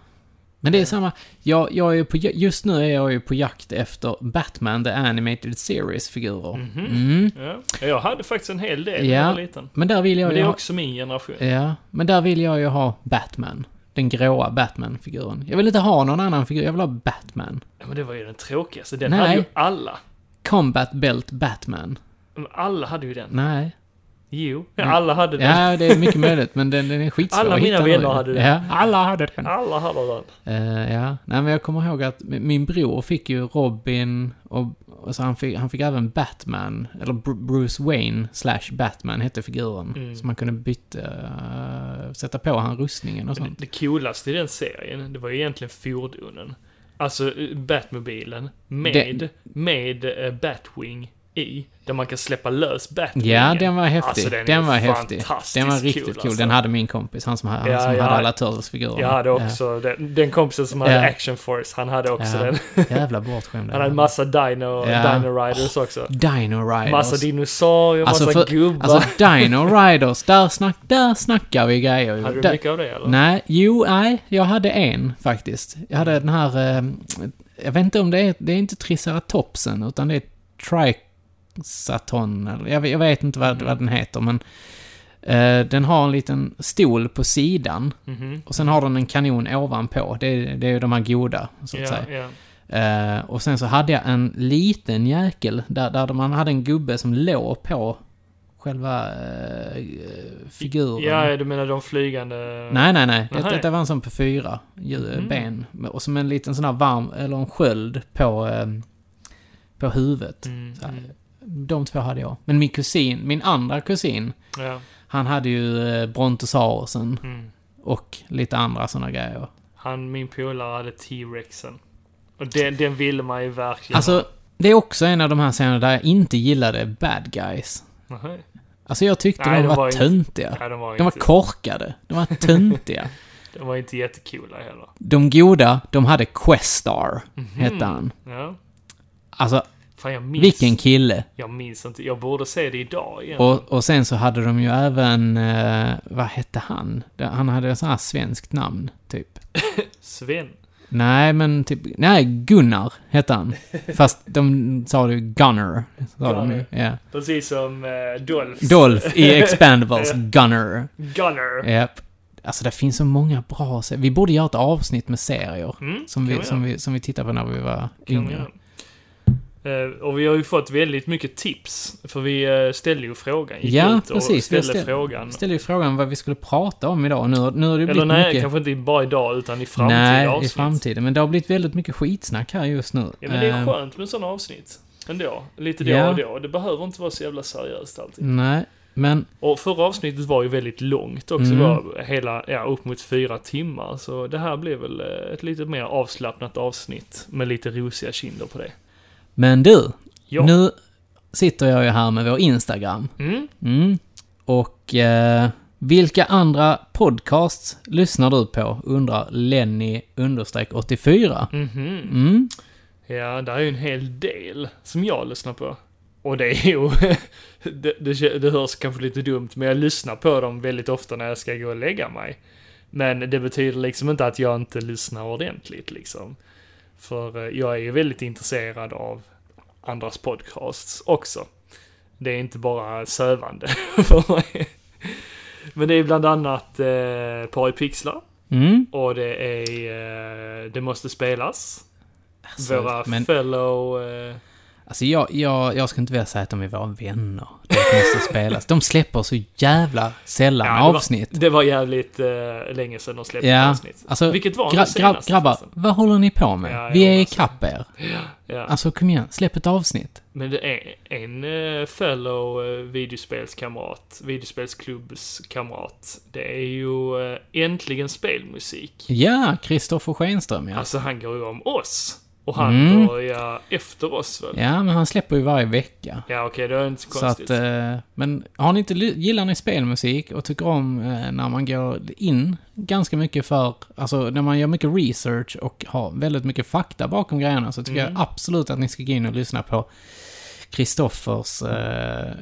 Men det är samma. Jag, jag är ju på, just nu är jag ju på jakt efter Batman The Animated Series-figurer. Mm.
Ja. Jag hade faktiskt en hel del när Mhm, jag
Ja.
var liten.
Men där vill jag
Men det är
ju
också min generation.
Ja, men där vill jag ju ha Batman. Den gråa Batman-figuren. Jag vill inte ha någon annan figur, jag vill ha Batman.
Ja, men det var ju den tråkigaste. Den
Nej.
hade ju alla.
Combat Belt Batman.
Men Alla hade ju den.
Nej.
Jo, alla hade den.
Ja, det är mycket möjligt, men den, den är skitsvår
Alla
att hitta
mina
nu.
vänner hade den.
Ja, alla hade den.
Alla hade den.
Eh, ja, nej men jag kommer ihåg att mi- min bror fick ju Robin och, och så han fick, han fick även Batman, eller Bru- Bruce Wayne slash Batman hette figuren.
Mm.
Så man kunde byta, eh, sätta på han rustningen och
Men
sånt.
Det coolaste i den serien, det var ju egentligen fordonen. Alltså eh, Batmobilen med, med eh, Batwing i. Där man kan släppa lös Batwingen.
Ja, den var häftig.
Alltså,
den,
den är
var häftig.
fantastiskt
Den var riktigt
cool,
cool.
alltså.
Den hade min kompis, han som, han
Ja,
som
ja.
hade alla Turtles-figurer.
Jag hade också den, den kompisen som hade
Ja.
Action Force, han hade också
Ja.
den.
Jävla bortskämd.
Han hade en massa Dino,
Ja.
Dino Riders också.
Dino Riders.
Massa dinosaurier,
Alltså,
massa
för-
gubbar.
Alltså, Dino Riders, där, snack, där snackar vi grejer. ju.
hade du
Där-
mycket av det eller?
Nej, jo, nej. Jag hade en faktiskt. Jag hade
Mm.
den här... Eh, jag vet inte om det är... Det är inte triceratopsen, utan det
Mm.
är triceratonen. Jag, vet- jag vet inte vad, vad den heter, men... Eh, Den har en liten stol på sidan
Mhm.
och sen har den en kanon ovanpå. Det är, det är ju de här goda, så att
Ja,
säga.
ja.
Eh, och sen så hade jag en liten jäkel där, där man hade en gubbe som låg på själva eh, figuren.
ja, du menar de flygande...
Nej, nej, nej. Det,
Nej.
detta var en sån på fyra djur,
Mm.
ben. Och som en liten sån här varm, eller en sköld på, eh, på huvudet.
Mm,
Så här. De två hade jag. Men min kusin, min andra kusin,
Ja.
han hade ju eh, brontosaurusen
Mm.
och lite andra såna grejer.
Han, min polare, hade T-Rexen. Och den, den ville man ju verkligen
Alltså, det är också en av de här scenerna där jag inte gillade bad guys.
Aha.
Alltså jag tyckte
Nej,
de
de
var,
var inte-
töntiga.
Nej, de var,
de var
inte,
korkade. De var töntiga.
de var inte jättecoola heller.
de goda, de hade Questar,
Mhm.
hette han.
Ja.
Alltså,
Fan, jag minns,
vilken kille.
jag minns inte. Jag borde se det idag igen.
Och, och sen så hade de ju även, eh, vad hette han? Det- Han hade ett sånt här svenskt namn, typ.
Sven.
Nej, men typ, nej, Gunnar hette han. Fast de sa ju Gunner. Sa de ju.
Gunner.
Ja.
Precis som eh, Dolphs.
Dolph i Expendables, Gunner.
Gunner.
Japp. Alltså det finns så många bra serier. Vi borde göra ett avsnitt med serier.
Mm,
som,
kan
vi,
vi
som, vi, som vi tittade på när vi var
kan
yngre.
man göra. Eh, Och vi har ju fått väldigt mycket tips. För vi eh, ställde ju frågan. Gick
Ja,
ut och
precis. Vi
ställde
ställ-
frågan.
Jag ställde ju frågan vad vi skulle prata om idag. Nu, har- nu har det ju
Eller
blivit
nej,
mycket...
kanske inte bara idag utan i framtida
nej,
avsnitt.
i framtiden. Men det har blivit väldigt mycket skitsnack här just nu.
Ja, men det är
Eh,
skönt med sådana avsnitt. Ändå. Lite då
Ja. Mm.
och då. Det behöver inte vara så jävla seriöst alltid.
Nej, men
Och förra avsnittet var ju väldigt långt också.
Mm.
Det var hela, ja, upp mot fyra timmar. Så det här blev väl eh, ett lite mer avslappnat avsnitt. Med lite rosiga kinder på det.
Men du,
Ja.
nu sitter jag ju här med vår Instagram.
Mm.
Mm. Och eh, vilka andra podcasts lyssnar du på? Undrar Lenny-84.
Mhm.
Mm.
Ja, det är ju en hel del som jag lyssnar på. Och det är ju... det, det, kä- det hörs kanske lite dumt, men jag lyssnar på dem väldigt ofta när jag ska gå och lägga mig. Men det betyder liksom inte att jag inte lyssnar ordentligt liksom. För eh, jag är ju väldigt intresserad av andras podcasts också. Det är inte bara sövande för mig. Men det är bland annat eh, Par i pixlar
Mm.
och det är eh, Det måste spelas.
Alltså,
Våra
men-
fellow... eh,
Alltså jag, jag, jag skulle inte vilja säga att de är våra vänner. De måste spelas. De släpper så jävla sällan
ja,
avsnitt.
Det var, det var jävligt eh, länge sedan de släppte
Ja,
avsnitt.
alltså
Vilket var
gra-
det senaste
gra- grabbar,
förresten.
vad håller ni på med?
Ja,
Vi
jag
är
hoppas det.
ikapp er.
Ja.
Alltså kom igen, släpp ett avsnitt.
Men det är en eh, fellow eh, videospelskamrat, videospelsklubbskamrat. Det är ju eh, äntligen spelmusik.
Ja, Kristoffer Schenström ja.
Alltså han går ju om oss. Och han
Mm.
börjar efter oss väl? Ja,
Ja, men han släpper ju varje vecka.
okej, det är inte så
Så
konstigt.
att, eh, men har ni inte, ly- gillar ni spelmusik och tycker om eh, när man går in ganska mycket för, alltså när man gör mycket research och har väldigt mycket fakta bakom grejerna så tycker jag absolut att ni ska gå in och lyssna på Kristoffers eh,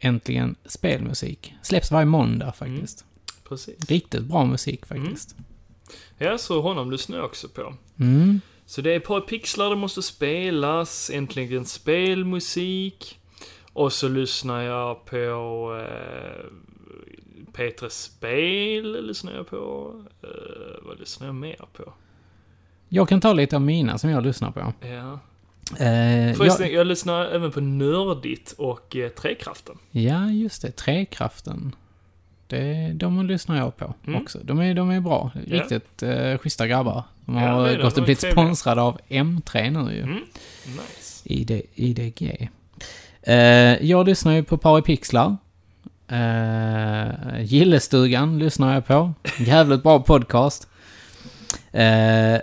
Äntligen spelmusik. Släpps varje måndag faktiskt.
Precis.
Riktigt bra musik faktiskt.
Ja, så honom lyssnar jag också på.
Mm.
Så det är ett par pixlar det måste spelas, äntligen spelmusik. Och så lyssnar jag på eh, Petres Spel, lyssnar jag på. Eh, vad lyssnar jag mer på?
Jag kan ta lite av mina som jag lyssnar på.
Ja.
Eh,
Förresten,
jag,
jag... lyssnar även på Nördigt och eh, Trekraften.
ja, just det. Träkraften. Det, de lyssnar jag på
Mm.
också. De är, de är bra. Riktigt eh, schyssta grabbar. De
Ja,
har
det är det.
gått
De
och
är
blivit
trevliga. Mm.
sponsrade av M3 nu ju.
Nice.
ID, IDG. Eh, jag lyssnar ju på Paripixlar. Eh, Gillestugan lyssnar jag på. Jävligt bra podcast. Eh,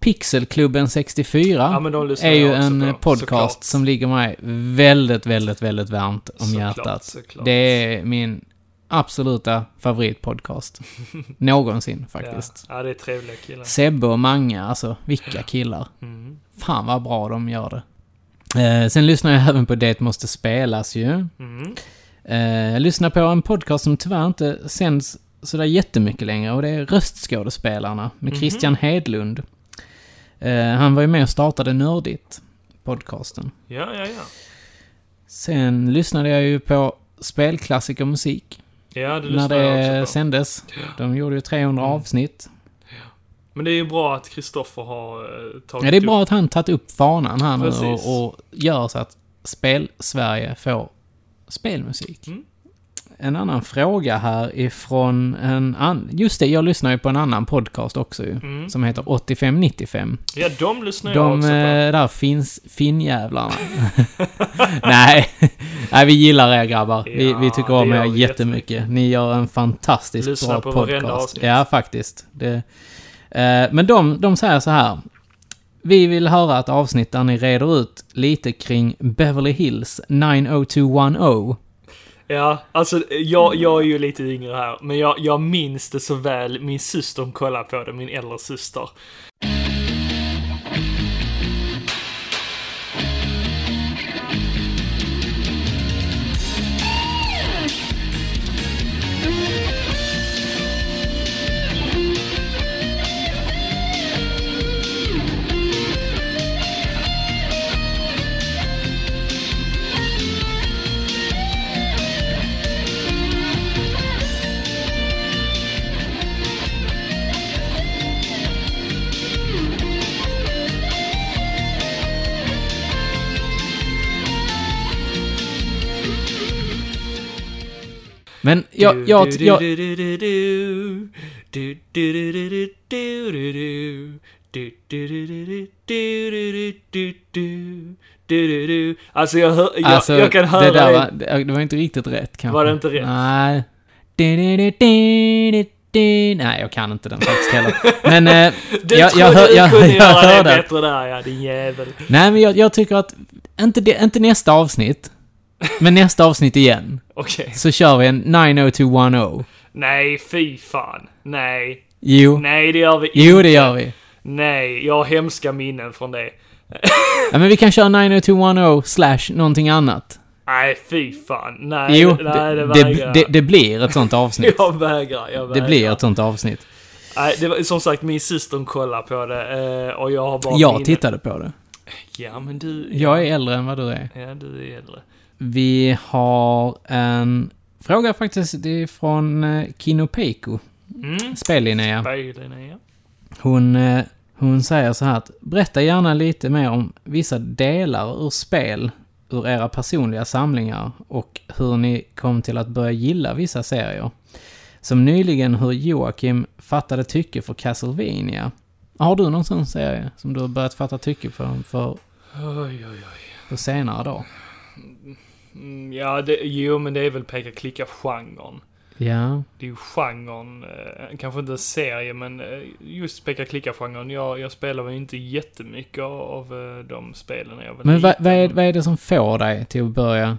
Pixelklubben 64
Ja, men de lyssnar
är ju
jag också
en
på,
eh, podcast
såklart.
som ligger mig väldigt, väldigt, väldigt varmt om
Såklart,
hjärtat.
såklart.
Det är min absoluta favoritpodcast. Någonsin
Ja.
faktiskt.
ja, det är trevliga killar.
Sebbe och Mange, alltså vilka killar.
Mm.
Fan vad bra de gör det. Eh, sen lyssnar jag även på Det måste spelas ju.
Mm.
Eh, jag lyssnar på en podcast som tyvärr inte sänds sådär jättemycket längre och det är Röstskådespelarna
Mhm.
med Christian Hedlund. Eh, han var ju med och startade Nördigt, podcasten.
Ja, ja, ja.
Sen lyssnade jag ju på spelklassikermusik.
Ja, det
när
lyssnar jag
det
också på. Mm.
sändes. De gjorde ju 300 avsnitt.
Men det är ju bra att Kristoffer har eh, tagit
Ja, det är
upp.
bra att han tagit upp fanan här nu
Precis.
och, och gör så att Spel-Sverige får spelmusik.
Mm.
En annan fråga här ifrån en annan... Just det, jag lyssnar ju på en annan podcast också ju.
Mm.
Som heter 8595.
Ja, de lyssnar jag
De
också på.
eh, där finns finjävlarna. Nej. Nej, vi gillar er grabbar. vi,
Ja,
vi tycker
det
om
gör
er
vi
jättemycket. Ni gör en fantastiskt bra
Lyssna på varenda
podcast.
avsnitt.
Ja, faktiskt. Det, eh, men de, de säger så här. Vi vill höra ett avsnitt där ni reder ut lite kring Beverly Hills 90210.
Ja, alltså jag, jag är ju lite yngre här, men jag, jag minns det så väl. Min syster kollade på det, min äldre syster.
Men jag... jag,
Du, du,
jag
du, du, du, du. Du, du, du, du, du, du, du, du. Du, du, du, du, du, du, du, du, du, du. Du, du, du. Alltså jag, hör, jag,
Alltså,
jag kan höra
det där var, det, det var inte riktigt rätt kanske.
Var det inte rätt?
Nej. Du-du-du-du-du-du. Nej, jag kan inte den faktiskt heller. Men eh,
Du
jag,
trodde
jag, hör,
du
jag,
kunde
jag,
göra det
hör det.
bättre där, ja din jävel.
Nej, men jag, jag tycker att inte, det, inte nästa avsnitt, men nästa avsnitt igen,
Okej.
så kör vi en 90210.
Nej, fy fan. Nej.
Jo,
Nej, det gör vi
jo det gör vi.
Nej, jag har hemska minnen från det.
Ja, men vi kan köra 90210 slash någonting annat.
Nej, fy fan. Nej,
Jo,
nej, det,
det, det,
vägrar
det,
jag.
det blir ett sånt avsnitt.
Jag vägrar, jag
Det
vägrar.
blir ett sånt avsnitt.
Nej, det var, som sagt, min syster kollar på det eh, och jag har bara
Jag
minnen.
tittade på det.
Ja, men du...
Jag är äldre än vad du är.
Ja, du är äldre.
Vi har en fråga faktiskt. Det är från eh, Kinopeko.
Mm.
Spellinnea.
Böjlen, ja.
Hon, eh, hon säger så här att berätta gärna lite mer om vissa delar ur spel ur era personliga samlingar och hur ni kom till att börja gilla vissa serier. Som nyligen hur Joakim fattade tycke för Castlevania. Har du någon sån serie som du har börjat fatta tycke för, för
Oj, oj, oj.
på senare dag?
Mm, Ja, det, jo, men det är väl peka-klicka-genren.
Ja.
Det är ju genren, eh, kanske inte en serie, men eh, just peka-klicka-genren. Jag, jag spelar väl inte jättemycket av eh, de spelen när jag var
Men vad,
liten.
vad, är, vad är det som får dig till att börja,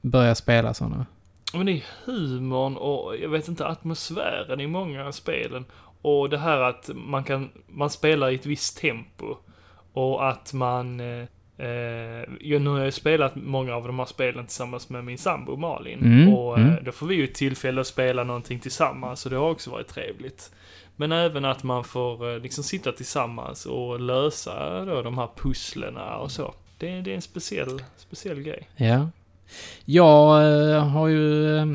börja spela sådana?
Men det är humorn och jag vet inte atmosfären i många av spelen. Och det här att man kan, man spelar i ett visst tempo. Och att man, eh, eh, jag- nu har jag spelat många av de här spelen tillsammans med min sambo Malin.
Mm,
Och eh, då får vi ju tillfälle att spela någonting tillsammans så det har också varit trevligt. Men även att man får eh, liksom sitta tillsammans och lösa då de här pusslerna och så. Det, det är en speciell, speciell grej.
Ja. Jag eh, har ju, eh,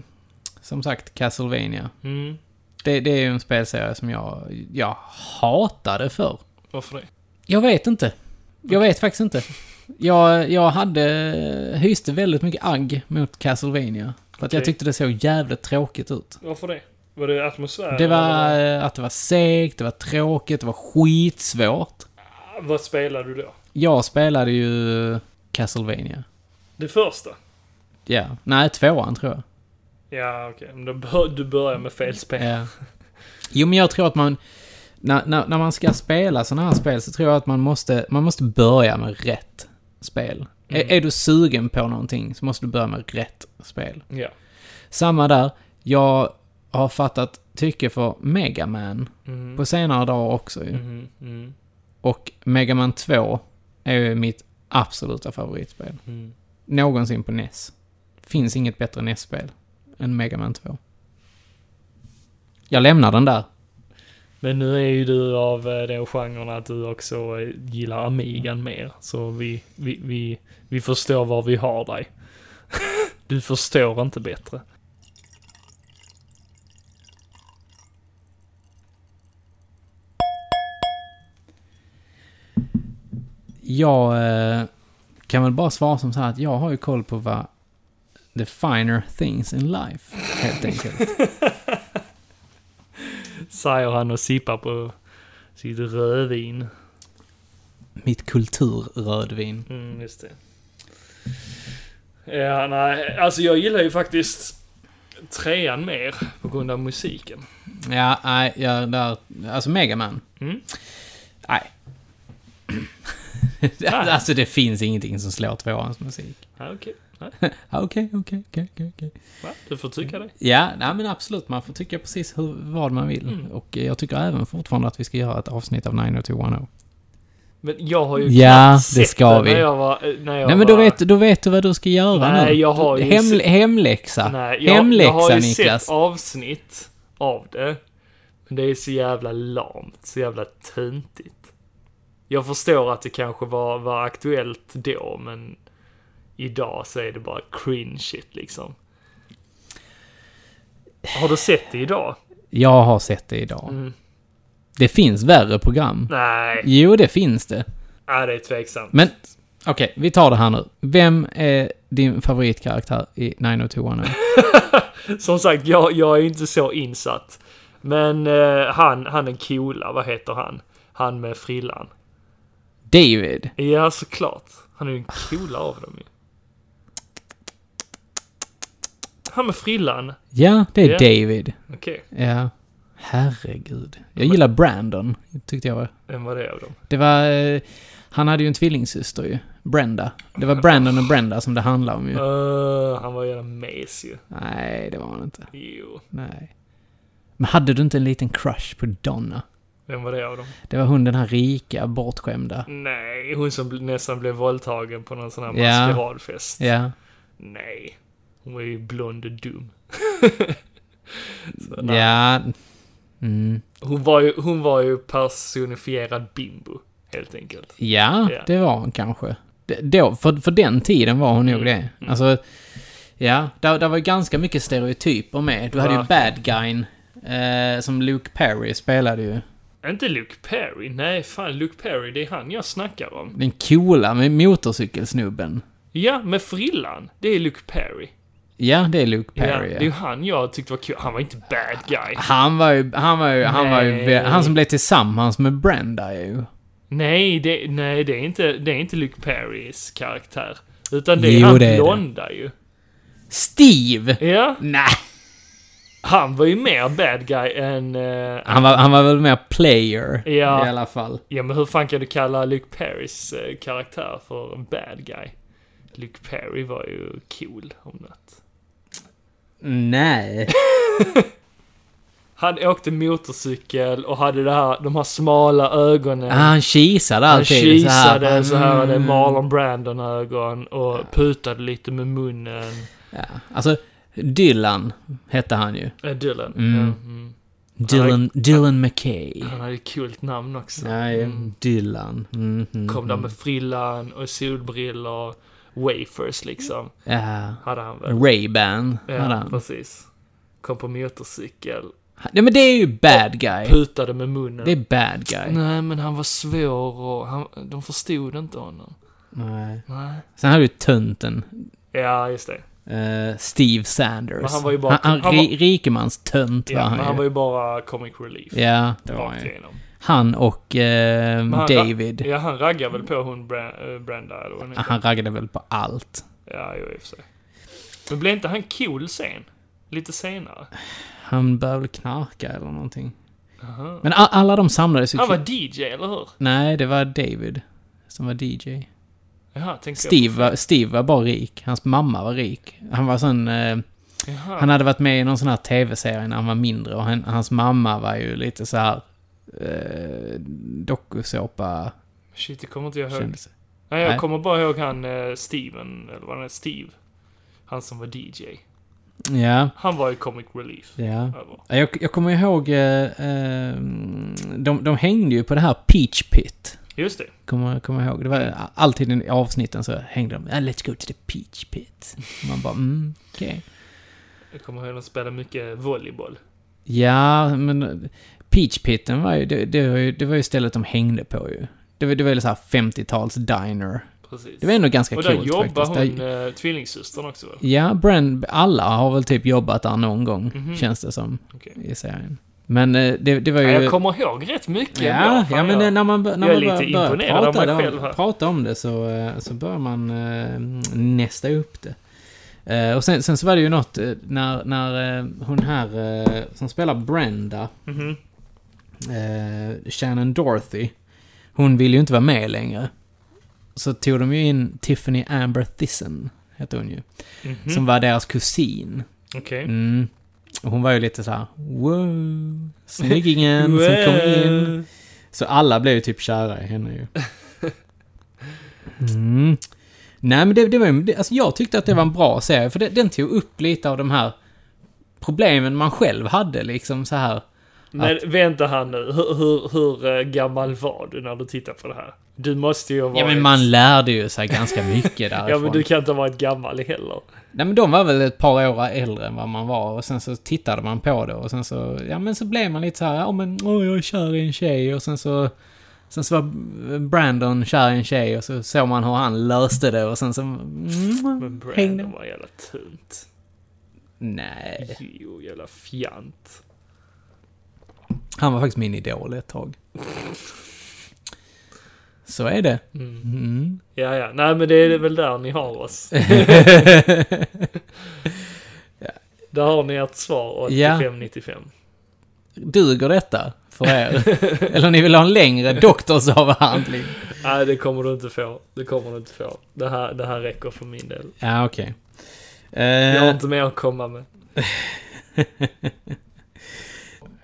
som sagt, Castlevania.
Mm,
Det, det är ju en spelserie som jag, jag hatade för.
varför det?
Jag vet inte. Jag vet faktiskt inte. Jag, jag hade, eh, hyste väldigt mycket agg mot Castlevania. För att jag
Okej.
tyckte det såg jävligt tråkigt ut.
Varför det? Var det atmosfären?
Det var
eller
eh, att det var segt, det var tråkigt, det var skitsvårt.
Vad, vad spelade du då?
Jag spelade ju Castlevania.
Det första?
Ja. Nej, tvåan tror jag.
Ja, okej. Men då bör, du börjar med fel spel.
Ja. Jo, men jag tror att man... När, när, när man ska spela sådana här spel så tror jag att man måste, man måste börja med rätt spel. Är, är du sugen på någonting så måste du börja med rätt spel.
Ja.
Samma där. Jag har fattat tycke för Mega Man
Mhm.
på senare dagar också ju.
Mhm, mm,
Och Mega Man 2 är ju mitt absoluta favoritspel.
Mm.
Någonsin på NES. Finns inget bättre NES-spel än Mega Man 2. Jag lämnar den där.
Men nu är ju du av eh, den genren att du också eh, gillar Amigan mer. Så vi, vi, vi, vi förstår var vi har dig. Du förstår inte bättre.
jag eh, kan väl bara svara som så här att jag har ju koll på vad the finer things in life, helt enkelt.
Säger han och sippar på sitt rödvin.
Mitt kulturrödvin.
Mm, just det. Ja, nej, alltså jag gillar ju faktiskt trean mer på grund av musiken.
Ja, nej, ja, där, alltså Megaman.
Mm.
Nej. alltså det finns ingenting som slår tvåans musik.
Ja, okej. Nej,
Ja, Ah, Okej, okej, okej, okej, okej.
va? Du får tycka det.
Ja, nej men absolut. Man får tycka precis hur, vad man vill.
Mm.
Och eh, jag tycker även fortfarande att vi ska göra ett avsnitt av 90210.
Men jag har ju
Ja,
knappt
det
sett
ska
den
vi.
När jag var, eh, när jag
Nej men
var,
då vet, då vet du vad du ska göra
Nej,
nu.
jag har ju
Hem,
se-
hemläxa.
Nej, jag,
hemläxa
jag har ju
Niklas.
sett avsnitt av det. Men det är så jävla lamt, så jävla töntigt. Jag förstår att det kanske var, var aktuellt då, men idag så är det bara cringe shit liksom. Har du sett det idag?
Jag har sett det idag. Det finns värre program.
Mm. Nej,
Jo, det finns det.
ja, det är tveksamt.
Men okej, vi tar det här nu. Vem är din favoritkaraktär i 90210?
Som sagt, jag, jag är inte så insatt. Men eh, han, han är coola, vad heter han? Han med frillan.
David.
Ja, såklart. Han är ju den coola av dem ju. Han med frillan.
Ja, det är
Ja.
David.
Okej,
Ja. Herregud. Jag gillar Brandon, tyckte jag var.
vem var det av dem?
Det var... eh, Han hade ju en tvillingsyster ju. Brenda. Det var Brandon och Brenda som det handlade om ju.
Eh, han var jävla mes ju.
Nej, det var han inte.
Jo,
Nej. Men hade du inte en liten crush på Donna?
vem var det av dem?
Det var hon den här rika, bortskämda.
Nej, hon som bl- nästan blev våldtagen på någon sån här
Ja.
maskeradfest.
Ja.
Nej, hon var ju blond och dum. Så, nej.
Ja. Mm.
Hon, var ju, hon var ju personifierad bimbo, helt enkelt.
Ja,
Ja.
det var hon kanske. Det- Då, för, för den tiden var hon
Mm.
nog det. Alltså, ja, där, där var ju ganska mycket stereotyper med. Du hade ju bad guyn, eh, som Luke Perry spelade ju.
Inte Luke Perry, nej fan Luke Perry, det är han jag snackar om.
Den coola med motorcykelsnubben.
Ja, med frillan. Det är Luke Perry.
Ja, det är Luke
ja,
Perry.
det
Ja,
är ju han jag tyckte var kul. Han var inte bad guy.
Han var ju, han var ju, han var ju,
Nej.
vä- han som blev tillsammans med Brenda ju.
Nej, det, nej, det är inte, det är inte Luke Perrys karaktär. Utan det är
Jo,
han
det är det.
blonda ju.
Steve!
Ja,
Nej,
han var ju mer bad guy än... eh,
han var, han var väl mer player
Ja.
i alla fall.
ja, men hur fan kan du kalla Luke Perrys eh, karaktär för en bad guy? Luke Perry var ju cool om något.
Nej.
Han åkte motorcykel och hade det här, de här smala ögonen.
Han kisade
Han
alltid
kisade så här, hade
mm.
Marlon Brandon-ögon och putade lite med munnen.
Ja. Alltså, Dylan hette han ju.
Äh, Dylan.
Mm.
Ja, mm.
Dylan, Dylan McKay.
Han hade ett coolt namn också.
Ja, ja. Dylan. Mm, mm,
Kom där
mm.
med frillan och solbrillor. Wafers liksom.
Ja.
Hade han väl.
Ray-Ban hade
Ja,
han.
precis. Kom på motorcykel.
Nej, men det är ju bad guy.
Putade med munnen.
Det är bad guy.
Nej, men han var svår och han, de förstod inte honom.
Nej.
Nej.
Sen hade du tönten.
Ja, just det.
eh, Steve Sanders.
Men han var ju bara-
Han,
han
ri-
var-
Rikemans-tönt
Ja,
var
men
han,
han var
ju.
ju bara comic relief.
Ja, det var
Rakt
han ju.
igenom.
Han och eh,
Men han ra-
David.
Ja, han raggar väl på hon Bra- eh, Brenda, eller vad hon heter.
Han raggade väl på allt.
Ja, jo, i och för sig. Men blev inte han cool sen? Lite senare?
Han började väl knarka eller någonting. Men a- alla de samlades ju
Han var
kring-
DJ, eller hur?
Nej, det var David som var DJ.
Jaha, tänkte
Steve var, Steve var bara rik. Hans mamma var rik. Han var sån... Eh, han hade varit med i någon sån här tv-serie när han var mindre och han, hans mamma var ju lite så här... Eh, dokusåpa
jag på. Shit, det kommer inte jag ihåg.
kändes det.
Nej, jag
Nej.
kommer bara ihåg han eh, Steven, eller vad han är, Steve. Han som var DJ.
Ja,
Han var ju comic relief.
ja.
Över.
Jag, jag kommer ihåg... Eh, eh, de, de hängde ju på det här Peach Pit.
Just det.
Kommer, kommer ihåg. Det var alltid i avsnitten så hängde de "Ah, Let's go to the peach pit. Man bara mm, okej.
Jag kommer ihåg att de spelade mycket volleyboll.
eh, Ja, men peach piten var ju det, det var ju... det var ju stället de hängde på ju. Det var, det var ju så här 50-tals diner.
Precis.
Det var ändå ganska
och
coolt
där
faktiskt.
jobbar
Där-
hon, eh, tvillingsystern också väl?
Ja, Brand, alla har väl typ jobbat där någon gång, känns det som,
Okej.
i serien. Men eh, det, det var ju...
Mhm. Ja, jag kommer ihåg rätt mycket
Ja,
ändå.
ja,
Fan,
men
jag-
när man, bör- när
jag är
man bör-
lite
börjar
imponerad av
prata,
mig
det-
själv här.
prata om det så, eh, så bör man eh, nästa upp det. Eh, och sen, sen så var det ju något eh, när, när eh, hon här eh, som spelar Brenda,
Mhm.
eh, Shannon Dorothy, hon vill ju inte vara med längre. Så tog de ju in Tiffany Amber Thyssen, hette hon ju.
Mhm.
Som var deras kusin.
Okej.
Mm. Och hon var ju lite så här: wow, snyggingen som kom in. Så alla blev ju typ kära i henne ju. Mm. Nej men det, det var ju- det, alltså jag tyckte att det var en bra serie, för det, den tog upp lite av de här problemen man själv hade liksom så här.
Men vänta här nu, hur, hur, hur eh, gammal var du när du tittade på det här? Du måste ju ha varit...
Ja men man lärde ju sig ganska mycket därifrån.
Ja men du kan inte ha varit gammal heller.
Nej men de var väl ett par år äldre än vad man var och sen så tittade man på det och sen så, ja men så blev man lite så här, ja men åh jag är kär i en tjej och sen så Sen så var Brandon kär i en tjej och så såg man hur han löste det och sen så... Mm,
Men
hängde-
Brandon var jävla tunt.
Nej.
Jo, jävla fjant.
Han var faktiskt min idol ett tag. Så är det. Mm.
Ja, ja. Nej men det är väl där ni har oss. Där har ni ert svar, 85-95.
Duger detta för er? Eller ni vill ha en längre doktorsavhandling?
Nej, det kommer du inte få. Det kommer du inte få. Det här, det här räcker för min del.
Ja, okej.
Jag har
Eh,
inte mer att komma med.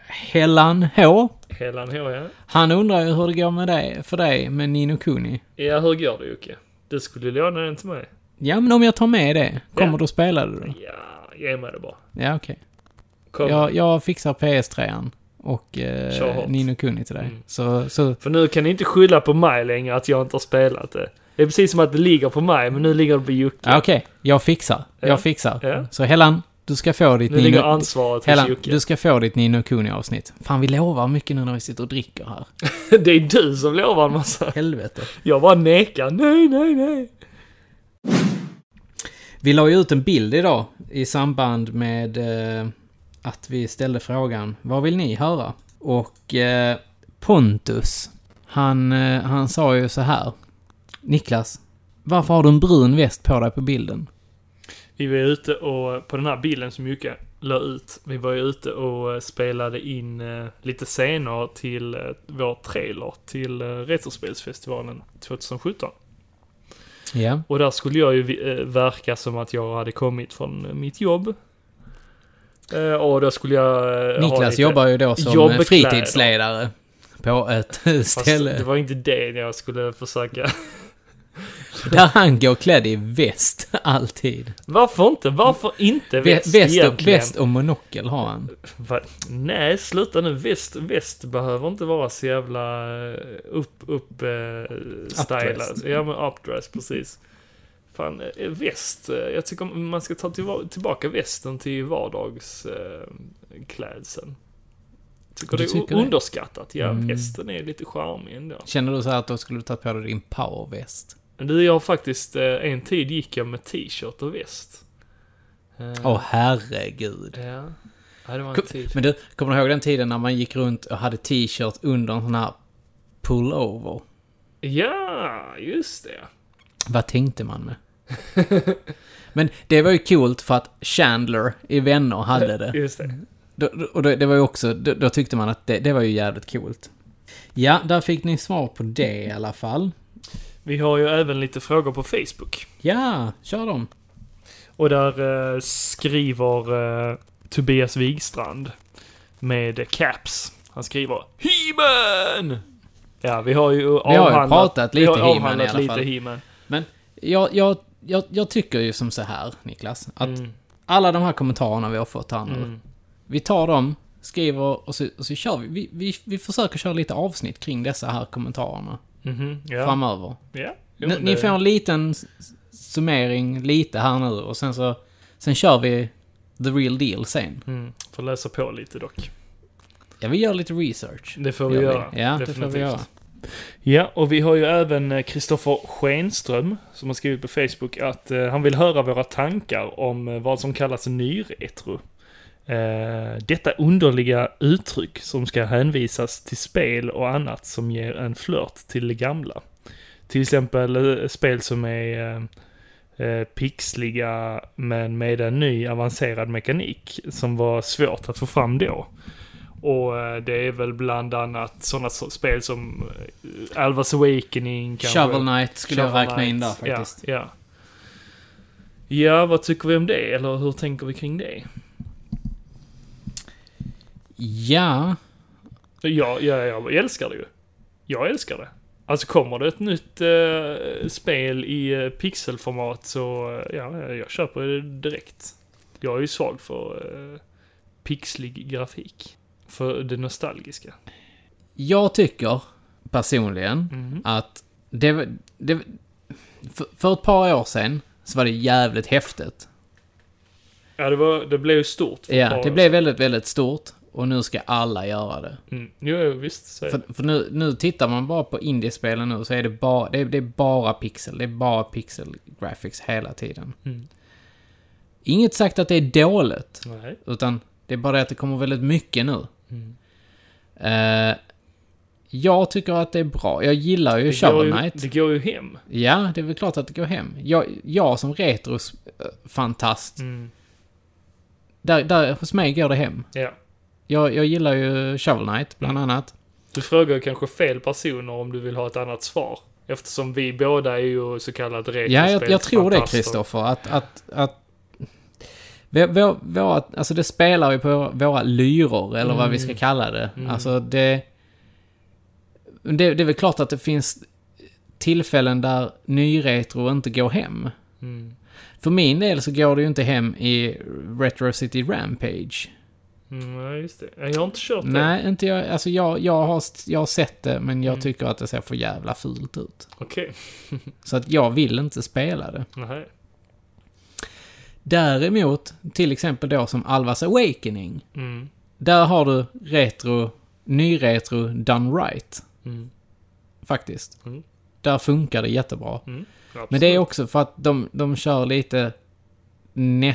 Hellan H.
Helan H, ja.
Han undrar ju hur det går med dig, för dig med Nino Kuni.
Ja, hur går det Jocke? Du skulle låna den till mig.
Ja, men om jag tar med det, kommer
Ja.
du att spela det då?
Ja, ge mig det bara.
Ja, okej.
Kom.
Jag, jag fixar PS3 och
Kör
eh,
hårt. Mm.
Nino Kuni till dig. Så, så,
För nu kan ni inte skylla på mig längre att jag inte har spelat det. Det är precis som att det ligger på mig, men nu ligger det på Jocke.
ja, okej. Jag fixar.
Ja.
Jag fixar.
Ja.
Så Hellan, du ska få ditt
Nu ligger
Nino...
ansvaret hos
Hellan, du
Jocke.
ska få ditt Nino Kuni-avsnitt. Fan, vi lovar mycket nu när vi sitter och dricker här.
Det är du som lovar en massa.
Helvete.
Jag bara nekar. Nej, nej, nej.
Vi la ju ut en bild idag i samband med eh, att vi ställde frågan Vad vill ni höra? Och eh, Pontus, han, eh, han sa ju så här Niklas, varför har du en brun väst på dig på bilden?
Vi var ute och, på den här bilden som Jocke la ut, vi var ju ute och eh, spelade in eh, lite scener till eh, vår trailer till eh, Retrospelsfestivalen 2017.
Ja.
Och där skulle jag ju vi- eh, verka som att jag hade kommit från eh, mitt jobb. Eh, och då skulle jag... eh, ha
Niklas
lite-
jobbar ju då som
jobbkläder.
eh, fritidsledare på ett
Fast
ställe
Det var inte det jag skulle försöka...
där han går klädd i väst alltid.
Varför inte? Varför inte
Vä- Väst
väst,
och,
egentligen?
väst och monokel har han.
Va? Nej, sluta nu. Väst, väst behöver inte vara så jävla eh, upp, upp eh, stylad.
Updressed.
Ja, men updress, precis. Fan, eh, väst. eh, Jag tycker man ska ta tillva- tillbaka västen till vardagsklädseln. Tycker
Du
det är
tycker
o-
det? Mm.
underskattat. Ja, västen är lite charmig ändå.
Känner du så här att då skulle du tagit på dig din powerväst?
Men Du, jag har faktiskt, eh, en tid gick jag med t-shirt och väst. Eh,
Åh herregud.
Ja. ja, det var en
Kom-
tid.
Men du, kommer du ihåg den tiden när man gick runt och hade t-shirt under en sån här pullover?
Ja, just det.
Vad tänkte man med? Men det var ju coolt för att Chandler i Vänner hade det.
Just det.
Då- då- Och det, det var ju också, då, då tyckte man att det, det var ju jävligt coolt. Ja, där fick ni svar på det i alla fall.
Vi har ju även lite frågor på Facebook.
Ja, kör dem.
Och där eh, skriver eh, Tobias Wigstrand med eh, caps. Han skriver He-Man! Ja, vi har ju
har ju pratat lite
vi har
He-Man
avhandlat
i alla fall.
lite He-Man.
Men jag, jag, jag, jag tycker ju som så här, Niklas, att
Mm,
alla de här kommentarerna vi har fått här nu,
mm.
Vi tar dem, skriver och så, och så kör vi. Vi, vi. vi försöker köra lite avsnitt kring dessa här kommentarerna
Mhm, ja.
framöver.
ja. Jo,
Ni, ni
det-
får en liten s- summering lite här nu och sen så sen kör vi the real deal sen.
Mm, får läsa på lite dock.
Ja, vi gör lite research.
Det får vi
Gör
göra.
Ja, det får vi
definitivt.
göra.
Ja, och vi har ju även Kristoffer Schenström som har skrivit på Facebook att eh, han vill höra våra tankar om eh, vad som kallas nyretro. Eh, detta underliga uttryck som ska hänvisas till spel och annat som ger en flört till det gamla. Till exempel eh, spel som är eh, eh, pixliga men med en ny avancerad mekanik som var svårt att få fram då. Och eh, det är väl bland annat sådana spel som eh, Alvas Awakening kanske.
Shovel Knight skulle
Shovel
jag räkna in där
Knight.
faktiskt.
Ja, ja. ja, vad tycker vi om det? Eller hur tänker vi kring det?
Ja,
Ja, ja, jag älskar det ju. Jag älskar det. Alltså kommer det ett nytt eh, spel i eh, pixelformat så eh, ja, jag köper det direkt. Jag är ju svag för eh, pixlig grafik. För det nostalgiska.
jag tycker personligen
Mm.
att det, det för, för ett par år sedan så var det jävligt häftigt.
Ja, det, var, det blev ju stort. för ett par
Ja,
år
det
sedan.
blev väldigt, väldigt stort och nu ska alla göra det.
Mm. Jo, jo, visst. Så är det.
För, för nu, nu tittar man bara på indiespelen nu så är det bara, det är, det är bara pixel. Det är bara pixel graphics hela tiden.
Mm.
Inget sagt att det är dåligt.
Nej.
Utan det är bara det att det kommer väldigt mycket nu.
Mm.
Eh, jag tycker att det är bra. Jag gillar ju
Det, går
Shovel
ju,
Knight.
det går ju hem.
Ja, det är väl klart att det går hem. Jag, jag som retrofantast,
Mm.
där, där hos mig går det hem.
Ja.
Jag, jag gillar ju Shovel Knight, bland annat.
Du frågar kanske fel personer om du vill ha ett annat svar. Eftersom vi båda är ju så kallat
Ja, jag, jag tror det,
retrospelsfantaster.
Kristoffer. Att, att, att vår, vår, vår, alltså det spelar ju på våra lyror, eller vad vi ska kalla det. Alltså det, det... Det är väl klart att det finns tillfällen där nyretro inte går hem. För min del så går det ju inte hem i Retro City Rampage.
Mm, ja, just det. Jag har inte kört det.
Nej, inte jag. Alltså jag, jag, har, jag har sett det, men
Mm.
jag tycker att det ser för jävla fult ut.
Okej.
Så att jag vill inte spela det.
Nej.
Däremot, till exempel då som Alvas Awakening.
Mm.
Där har du retro, nyretro done right.
Mm.
Faktiskt.
Mm.
Där funkar det jättebra.
Mm. Absolut.
Men det är också för att de, de kör lite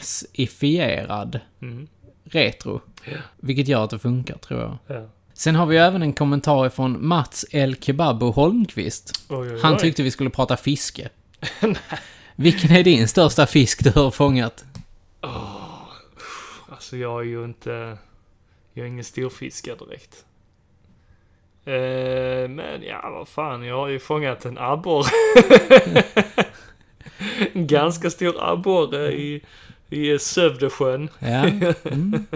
NES-ifierad
Mm.
retro. Vilket gör att det funkar, tror jag.
Ja.
Sen har vi ju även en kommentar från Mats El Kebabo Holmqvist.
Oj, oj, oj.
Han tyckte vi skulle prata fiske. Vilken är din största fisk du har fångat?
Alltså jag är ju inte... Jag är ingen storfiskare direkt. Eh, men ja, vad fan. Jag har ju fångat en abborre. en ganska stor abborre i,
Mm.
i Sövdesjön.
Ja. Mm.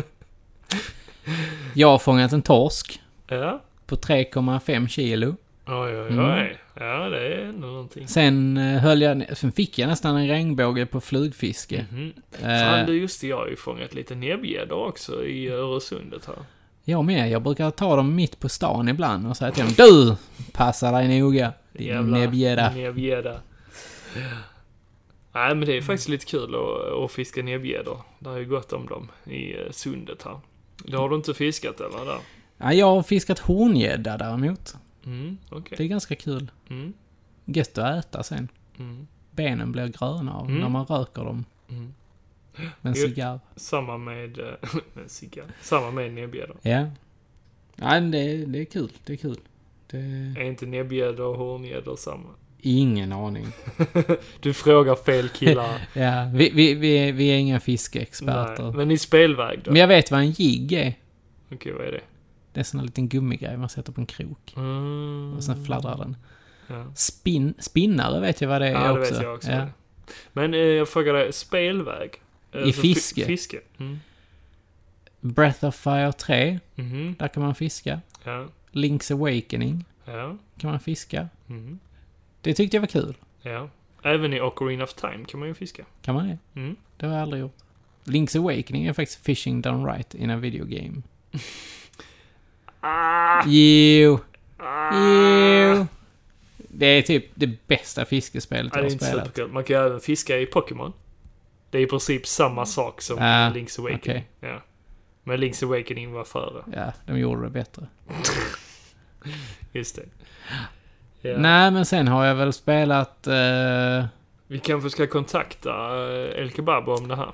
Jag har fångat en torsk
Ja.
på 3,5 kilo.
Oj, oj, oj.
Mm.
Ja, det är ändå någonting.
Sen, eh, höll jag, sen fick jag nästan en regnbåge på flugfiske.
Mhm. Fan
Eh,
du, just det, jag har ju fångat lite näbbgäddor också i Öresundet här.
jag med. Jag brukar ta dem mitt på stan ibland och säga till dem Du! Passa dig noga, din
Jävla
näbbgädda.
Näbbgädda. Nej, men det är faktiskt lite kul att, att fiska näbbgäddor. Det är ju gott om dem i eh, sundet här. Det har du inte fiskat eller? Där?
Ja, jag har fiskat horngädda däremot.
Mm, okej.
Det är ganska kul.
Mm.
Gött att äta sen. Benen blir gröna av när man röker dem. Med en
Mm. Gött.
cigarr.
Samma med, eh, med cigarr. Samma med näbbgäddor.
Ja. Nej, men det, det är kul. Det är kul. Det...
Är inte näbbgäddor och horngäddor samma?
Ingen aning.
Du frågar fel killar.
Ja, vi, vi, vi, är, vi är inga
Nej.
fiskeexperter.
Men i spelväg då?
Men jag vet vad en jigg är.
Okej, vad är det?
Det är en sån här liten gummigrej man sätter på en krok.
Mm.
Och sen fladdrar den.
Ja.
Spin, spinnare vet jag vad det är
Ja, det
också.
vet jag också.
Ja.
Men eh, jag frågar dig, spelväg? Eh,
I
så
fiske?
Fiske? Mm.
Breath of Fire 3,
Mhm.
där kan man fiska.
Ja,
Link's Awakening
ja,
kan man fiska.
Mhm.
Det tyckte jag var kul.
ja. Även i Ocarina of Time kan man ju fiska.
Kan man det?
Mm.
Det har jag aldrig gjort. Link's Awakening är faktiskt fishing done right in a video game.
Ah.
Jo. Jo. Det är typ det bästa fiskespelet
Ja,
jag
det
har
är inte
spelat.
superkul. Man kan ju även fiska i Pokémon. Det är i princip samma sak som
Ah,
Link's Awakening. Ja. Men Link's Awakening var före.
Ja, de gjorde det bättre.
Just det. Ja.
Nej, men sen har jag väl spelat... Eh,
Vi kanske ska kontakta eh, El Kebab om det här.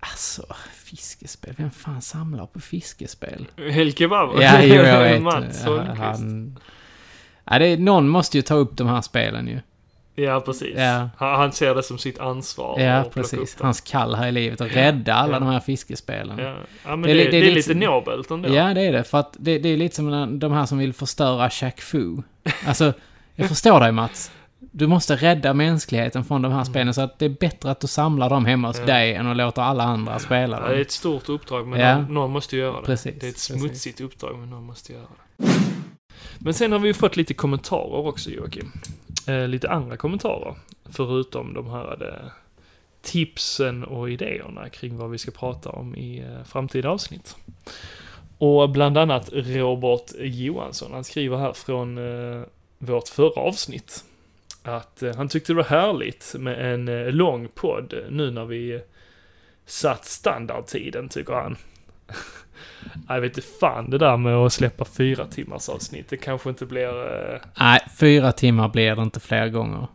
alltså, fiskespel. Vem fan samlar på fiskespel?
El Kebab?
Ja, jo, jag vet.
Mats
Ja,
Holmqvist.
Ja, det är, någon måste ju ta upp de här spelen ju.
Ja, precis.
Ja.
Han, han ser det som sitt ansvar.
Ja,
att plocka upp
precis.
det.
Hans kall här i livet och rädda alla
Ja.
de här fiskespelen.
Ja. ja, men
Det
det,
är li-
det, är lite nobelt ändå.
Ja, det är det. För att det, det är lite som när- de här som vill förstöra Shaq Fu. Alltså, jag förstår dig Mats. Du måste rädda mänskligheten från
Mm.
de här spelen. Så att det är bättre att du samlar dem hemma hos dig än att låta alla andra spela
Ja, det är
dem.
ett stort uppdrag, men
Ja.
någon, någon måste göra det.
Precis,
det är ett
precis.
smutsigt uppdrag, men någon måste göra det. Men sen har vi ju fått lite kommentarer också, Joakim. Eh, lite andra kommentarer, förutom de här eh, tipsen och idéerna kring vad vi ska prata om i eh, framtida avsnitt. Och bland annat Robert Johansson, han skriver här från eh, vårt förra avsnitt att eh, han tyckte det var härligt med en eh, lång podd nu när vi satt standardtiden, tycker han. Jag vet inte fan det där med att släppa fyra timmars avsnitt. Det kanske inte blir... eh,
Nej, fyra timmar blir det inte fler gånger.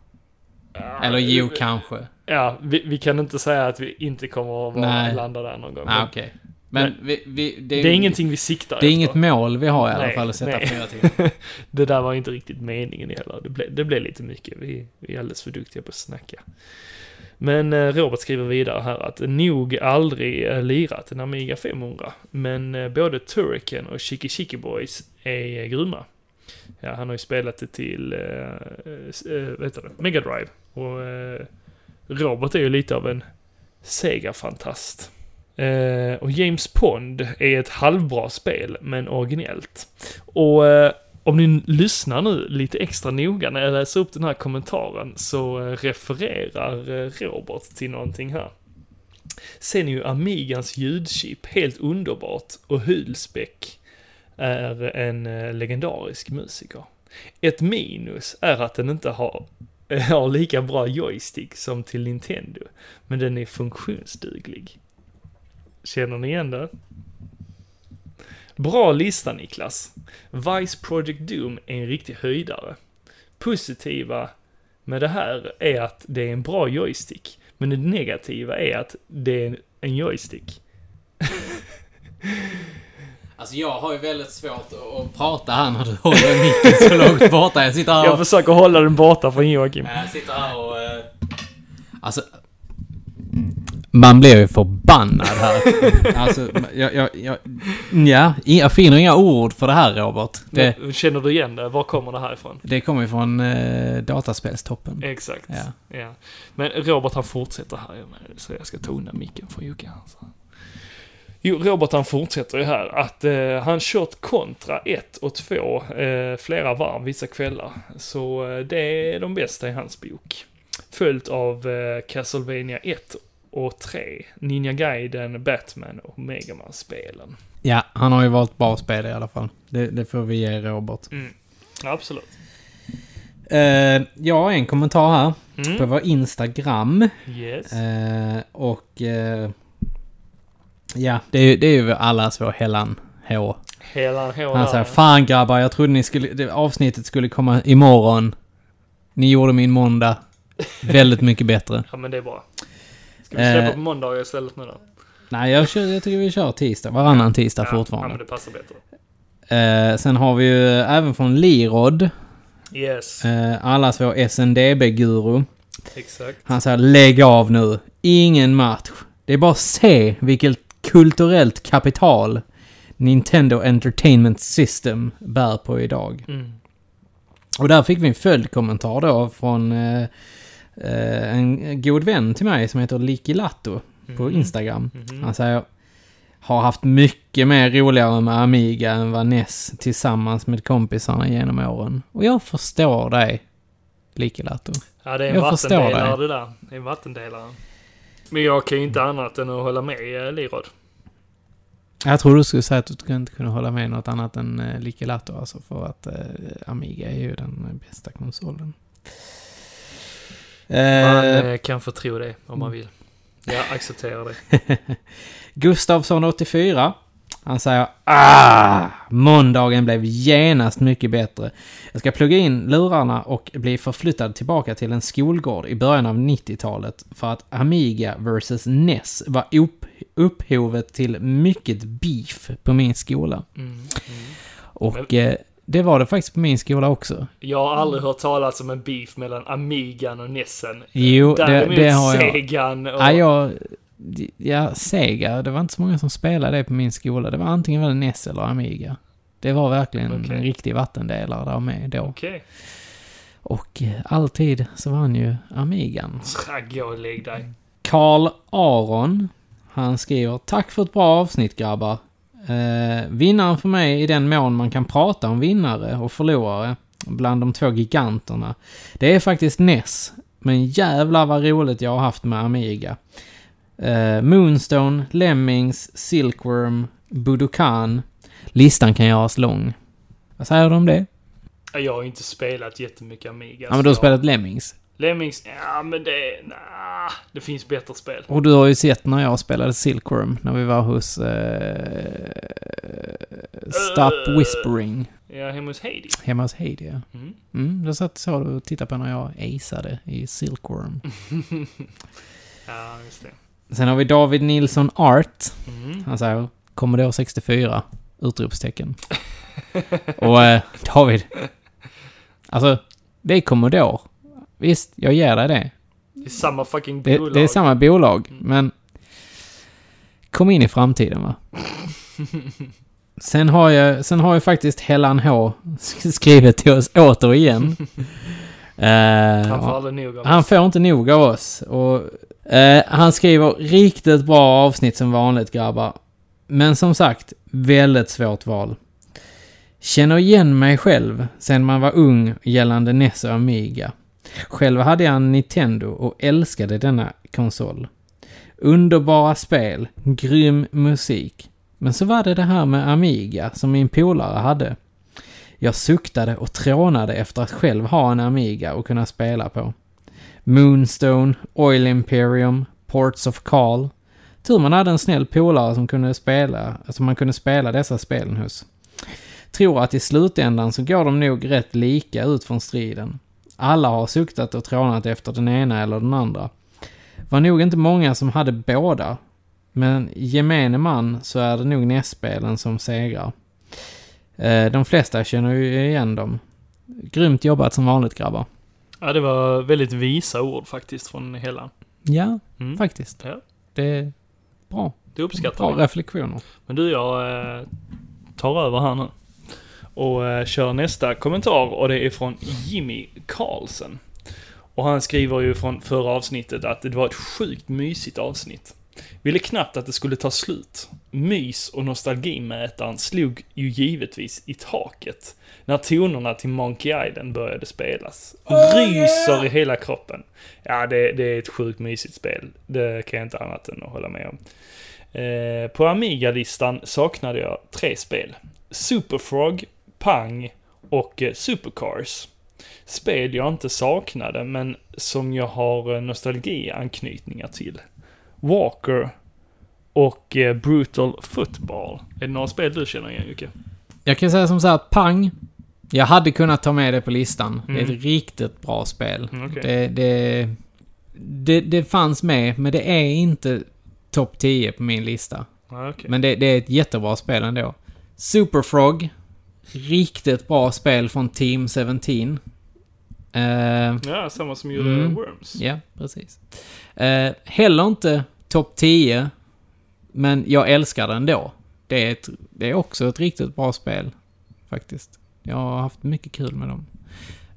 Eller jo,
eh,
kanske.
Ja, vi, vi kan inte säga att vi inte kommer att vara,
Nej.
landa där någon gång.
Nej,
Men
Ah, okej. Men vi, vi, det, är,
Det är ingenting vi siktar
Det är
efter.
inget mål vi har i alla
Nej,
fall att sätta
nej.
fyra timmar.
Det där var inte riktigt meningen heller. Det blev, det blev lite mycket. Vi, vi är alldeles för duktiga på att snacka. Men eh, Robert skriver vidare här att nog aldrig eh, lirat en Amiga 500. Men eh, både Turrican och Chiki Chiki Boys är eh, grymma. Ja, han har ju spelat det till eh, eh, vad heter det? Mega Drive. Och eh, Robert är ju lite av en Sega-fantast. Eh, och James Pond är ett halvbra spel, men originellt. Och eh, om ni lyssnar nu lite extra noga när jag läser upp den här kommentaren så eh, refererar eh, Robert till någonting här. Sen är ju Amigans ljudchip helt underbart och Hulsbäck är en eh, legendarisk musiker. Ett minus är att den inte har, har lika bra joystick som till Nintendo, men den är funktionsduglig. Känner ni igen det? Bra lista Niklas. Vice Project Doom är en riktig höjdare. Positiva med det här är att det är en bra joystick, men det negativa är att det är en- en joystick.
Alltså jag har ju väldigt svårt att- att prata här när du håller micken så långt borta. Jag sitter här
Jag
och...
försöker hålla den borta från Joakim.
Jag sitter här och... eh, Alltså... Man blir ju förbannad här. Alltså, jag... jag, jag ja, jag finner inga ord för det här Robert. Det,
Men Känner du igen det? Var kommer det här ifrån?
det kommer ju från eh, dataspelstoppen.
Exakt.
Ja.
Ja. Men Robert han fortsätter här, jag menar, så jag ska tona micken från Jocke här. så. Jo, Robert han fortsätter ju här att eh, han kört kontra 1 och 2 eh, flera varv vissa kvällar. Så eh, det är de bästa i hans bok. Följt av eh, Castlevania 1 och 3, Ninja Gaiden, Batman och Megaman-spelen.
Ja, han har ju valt bra spel i alla fall. Det, det får vi ge Robert.
Absolut.
Eh, jag har en kommentar här.
Mm.
På vår Instagram.
Yes.
Eh, och... Eh, ja, det är, ju- det är ju allas vår Hellan H.
Hela hela.
Han säger Fan grabbar, jag trodde ni skulle, det, avsnittet skulle komma imorgon. Ni gjorde min måndag väldigt mycket bättre.
Ja, men det är bra. Ska vi släppa
Eh,
på måndag istället nu då?
Nej, jag, kör, jag tycker vi kör tisdag. Varannan tisdag
Ja, Ja,
fortfarande.
men det passar bättre.
Eh, sen har vi ju även från Lirod.
Yes,
Eh, allas vår SNDB-guru.
exakt.
Han säger lägg av nu. Ingen match. Det är bara att se vilket kulturellt kapital Nintendo Entertainment System bär på idag.
Mm.
Och där fick vi en följdkommentar då från eh, eh, en god vän till mig som heter Likilato på Instagram. Han säger har haft mycket mer roligare med Amiga än vad NES tillsammans med kompisarna genom åren. Och jag förstår dig, Likilato.
Ja, det är en
Jag förstår
vattendelare
dig.
det där. Det är en vattendelare. Men jag kan ju inte annat än att hålla med eh, Lirod.
Jag tror du skulle säga att du skulle inte kunna hålla med något annat än eh, Licky Lato, alltså för att eh, Amiga är ju den eh, bästa konsolen.
Man
Eh,
eh, kan få tro det om man vill. Jag accepterar det.
Gustavsson 84 Han säger ah, måndagen blev genast mycket bättre. Jag ska plugga in lurarna och bli förflyttad tillbaka till en skolgård i början av 90-talet för att Amiga vs. NES var upp, upphovet till mycket beef på min skola. Och eh, det var det faktiskt på min skola också.
Jag har aldrig hört talas om en beef mellan Amigan och Nessen.
Jo, det-
Däremot
det har jag.
Segan och...
Ja, jag... Ja, Sega. Det var inte så många som spelade det på min skola. Det var antingen var det NES eller Amiga. Det var verkligen
Okej.
en riktig vattendelare där med då.
Okej.
Och eh, alltid så vann ju Amigan.
Okay. Gå och lägg dig.
Karl Aron, han skriver Tack för ett bra avsnitt grabbar. Eh, vinnaren för mig i den mån man kan prata om vinnare och förlorare bland de två giganterna. Det är faktiskt Ness. Men jävlar vad roligt jag har haft med Amiga. Eh, Moonstone, Lemmings, Silkworm, Budokan. Listan kan göras lång. Vad säger du om det?
Ja, Jag har ju inte spelat jättemycket Amiga.
Ja, men
så
du har
jag-
spelat Lemmings.
Lemmings? Ja, men det... Nah, det finns bättre spel.
Och du har ju sett när jag spelade Silkworm, när vi var hos... Eh, Stop Whispering,
Ja, hemma hos Heidi.
hemma hos Heidi. ja.
Mm.
Mm, då satt så du och tittade på när jag aceade i Silkworm.
Ja, just det.
Sen har vi David Nilsson Art.
Mm.
Han säger Commodore 64! Utropstecken. och eh, David. Alltså, det är Commodore. Visst, jag ger dig det.
Det är samma fucking
Det,
bolag. Mm.
det är samma bolag, men... Kom in i framtiden, va? Sen har jag, sen har jag faktiskt Helen H skrivit till oss återigen. Eh,
Han får
och-
aldrig nog av
han får inte nog av oss. Och, eh, han skriver riktigt bra avsnitt som vanligt grabbar. Men som sagt, väldigt svårt val. Känner igen mig själv sen man var ung gällande NES och Amiga. Själv hade jag en Nintendo och älskade denna konsol. Underbara spel, grym musik. Men så var det det här med Amiga som min polare hade. Jag suktade och trånade efter att själv ha en Amiga och kunna spela på. Moonstone, Oil Imperium, Ports of Call. Tur man hade en snäll polare som kunde spela, som man kunde spela dessa spelen hos. Tror att i slutändan så går de nog rätt lika ut från striden. Alla har suktat och trånat efter den ena eller den andra. Var nog inte många som hade båda. Men gemene man så är det nog nästspelen som segrar. Eh, De flesta känner ju igen dem. Grymt jobbat som vanligt grabbar.
Ja, det var väldigt visa ord faktiskt från Hellan.
Ja,
Mm.
faktiskt.
Ja.
Det är bra.
Det uppskattar
Bra
vi.
reflektioner.
Men du, jag eh, tar över här nu. Och eh, kör nästa kommentar och det är från Jimmy Karlsson. Och han skriver ju från förra avsnittet att det var ett sjukt mysigt avsnitt. Ville knappt att det skulle ta slut. Mys och nostalgimätaren slog ju givetvis i taket när tonerna till Monkey Island började spelas. Och ryser i hela kroppen. Ja, det, det är ett sjukt mysigt spel. Det kan jag inte annat än att hålla med om. Eh, på Amiga-listan saknade jag tre spel. Superfrog, Pang och eh, Supercars. Spel jag inte saknade, men som jag har eh, nostalgianknytningar till. Walker och eh, Brutal Football. Är det några spel du känner igen, Jocke?
Jag kan säga som så här, pang. Jag hade kunnat ta med det på listan. Det är ett riktigt bra spel.
Mm, okej.
det, det, det, det fanns med, men det är inte topp 10 på min lista.
Ah, okay.
Men det, det är ett jättebra spel ändå. Superfrog. Riktigt bra spel från Team 17. Eh,
Ja, samma som gjorde
Mm.
Worms.
Ja, precis. Eh, heller inte topp 10, men jag älskar den ändå. Det är, ett, det är också ett riktigt bra spel, faktiskt. Jag har haft mycket kul med dem.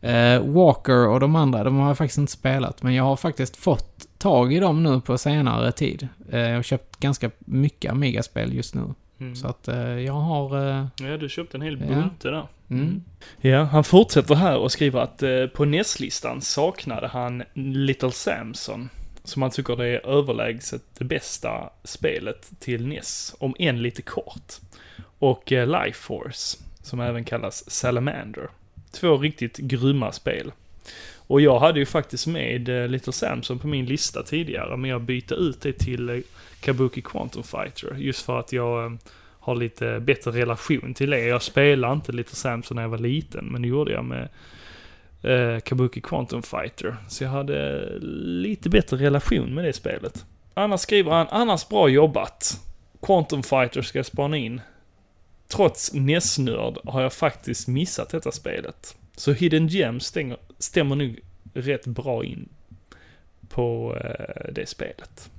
Eh, Walker och de andra, de har jag faktiskt inte spelat, men jag har faktiskt fått tag i dem nu på senare tid. Eh, jag har köpt ganska mycket Amiga-spel just nu,
Mm.
så att eh, jag har... Eh,
Ja, du köpte en hel
Ja.
bunte där.
mm.
Ja, han fortsätter här och skriver att eh, på NES-listan saknade han Little Samson, som han tycker det är överlägset det bästa spelet till NES, om än lite kort. Och eh, Life Force, som även kallas Salamander. Två riktigt grymma spel. Och jag hade ju faktiskt med eh, Little Samson på min lista tidigare, men jag bytte ut det till eh, Kabuki Quantum Fighter, just för att jag eh, har lite bättre relation till det. Jag spelade inte Little Samson när jag var liten, men det gjorde jag med eh, Kabuki Quantum Fighter. Så jag hade lite bättre relation med det spelet. Annars skriver han, annars bra jobbat. Quantum Fighter ska jag spana in. Trots näsnörd har jag faktiskt missat detta spelet. Så Hidden Gem stänger, stämmer nog rätt bra in på eh, det spelet.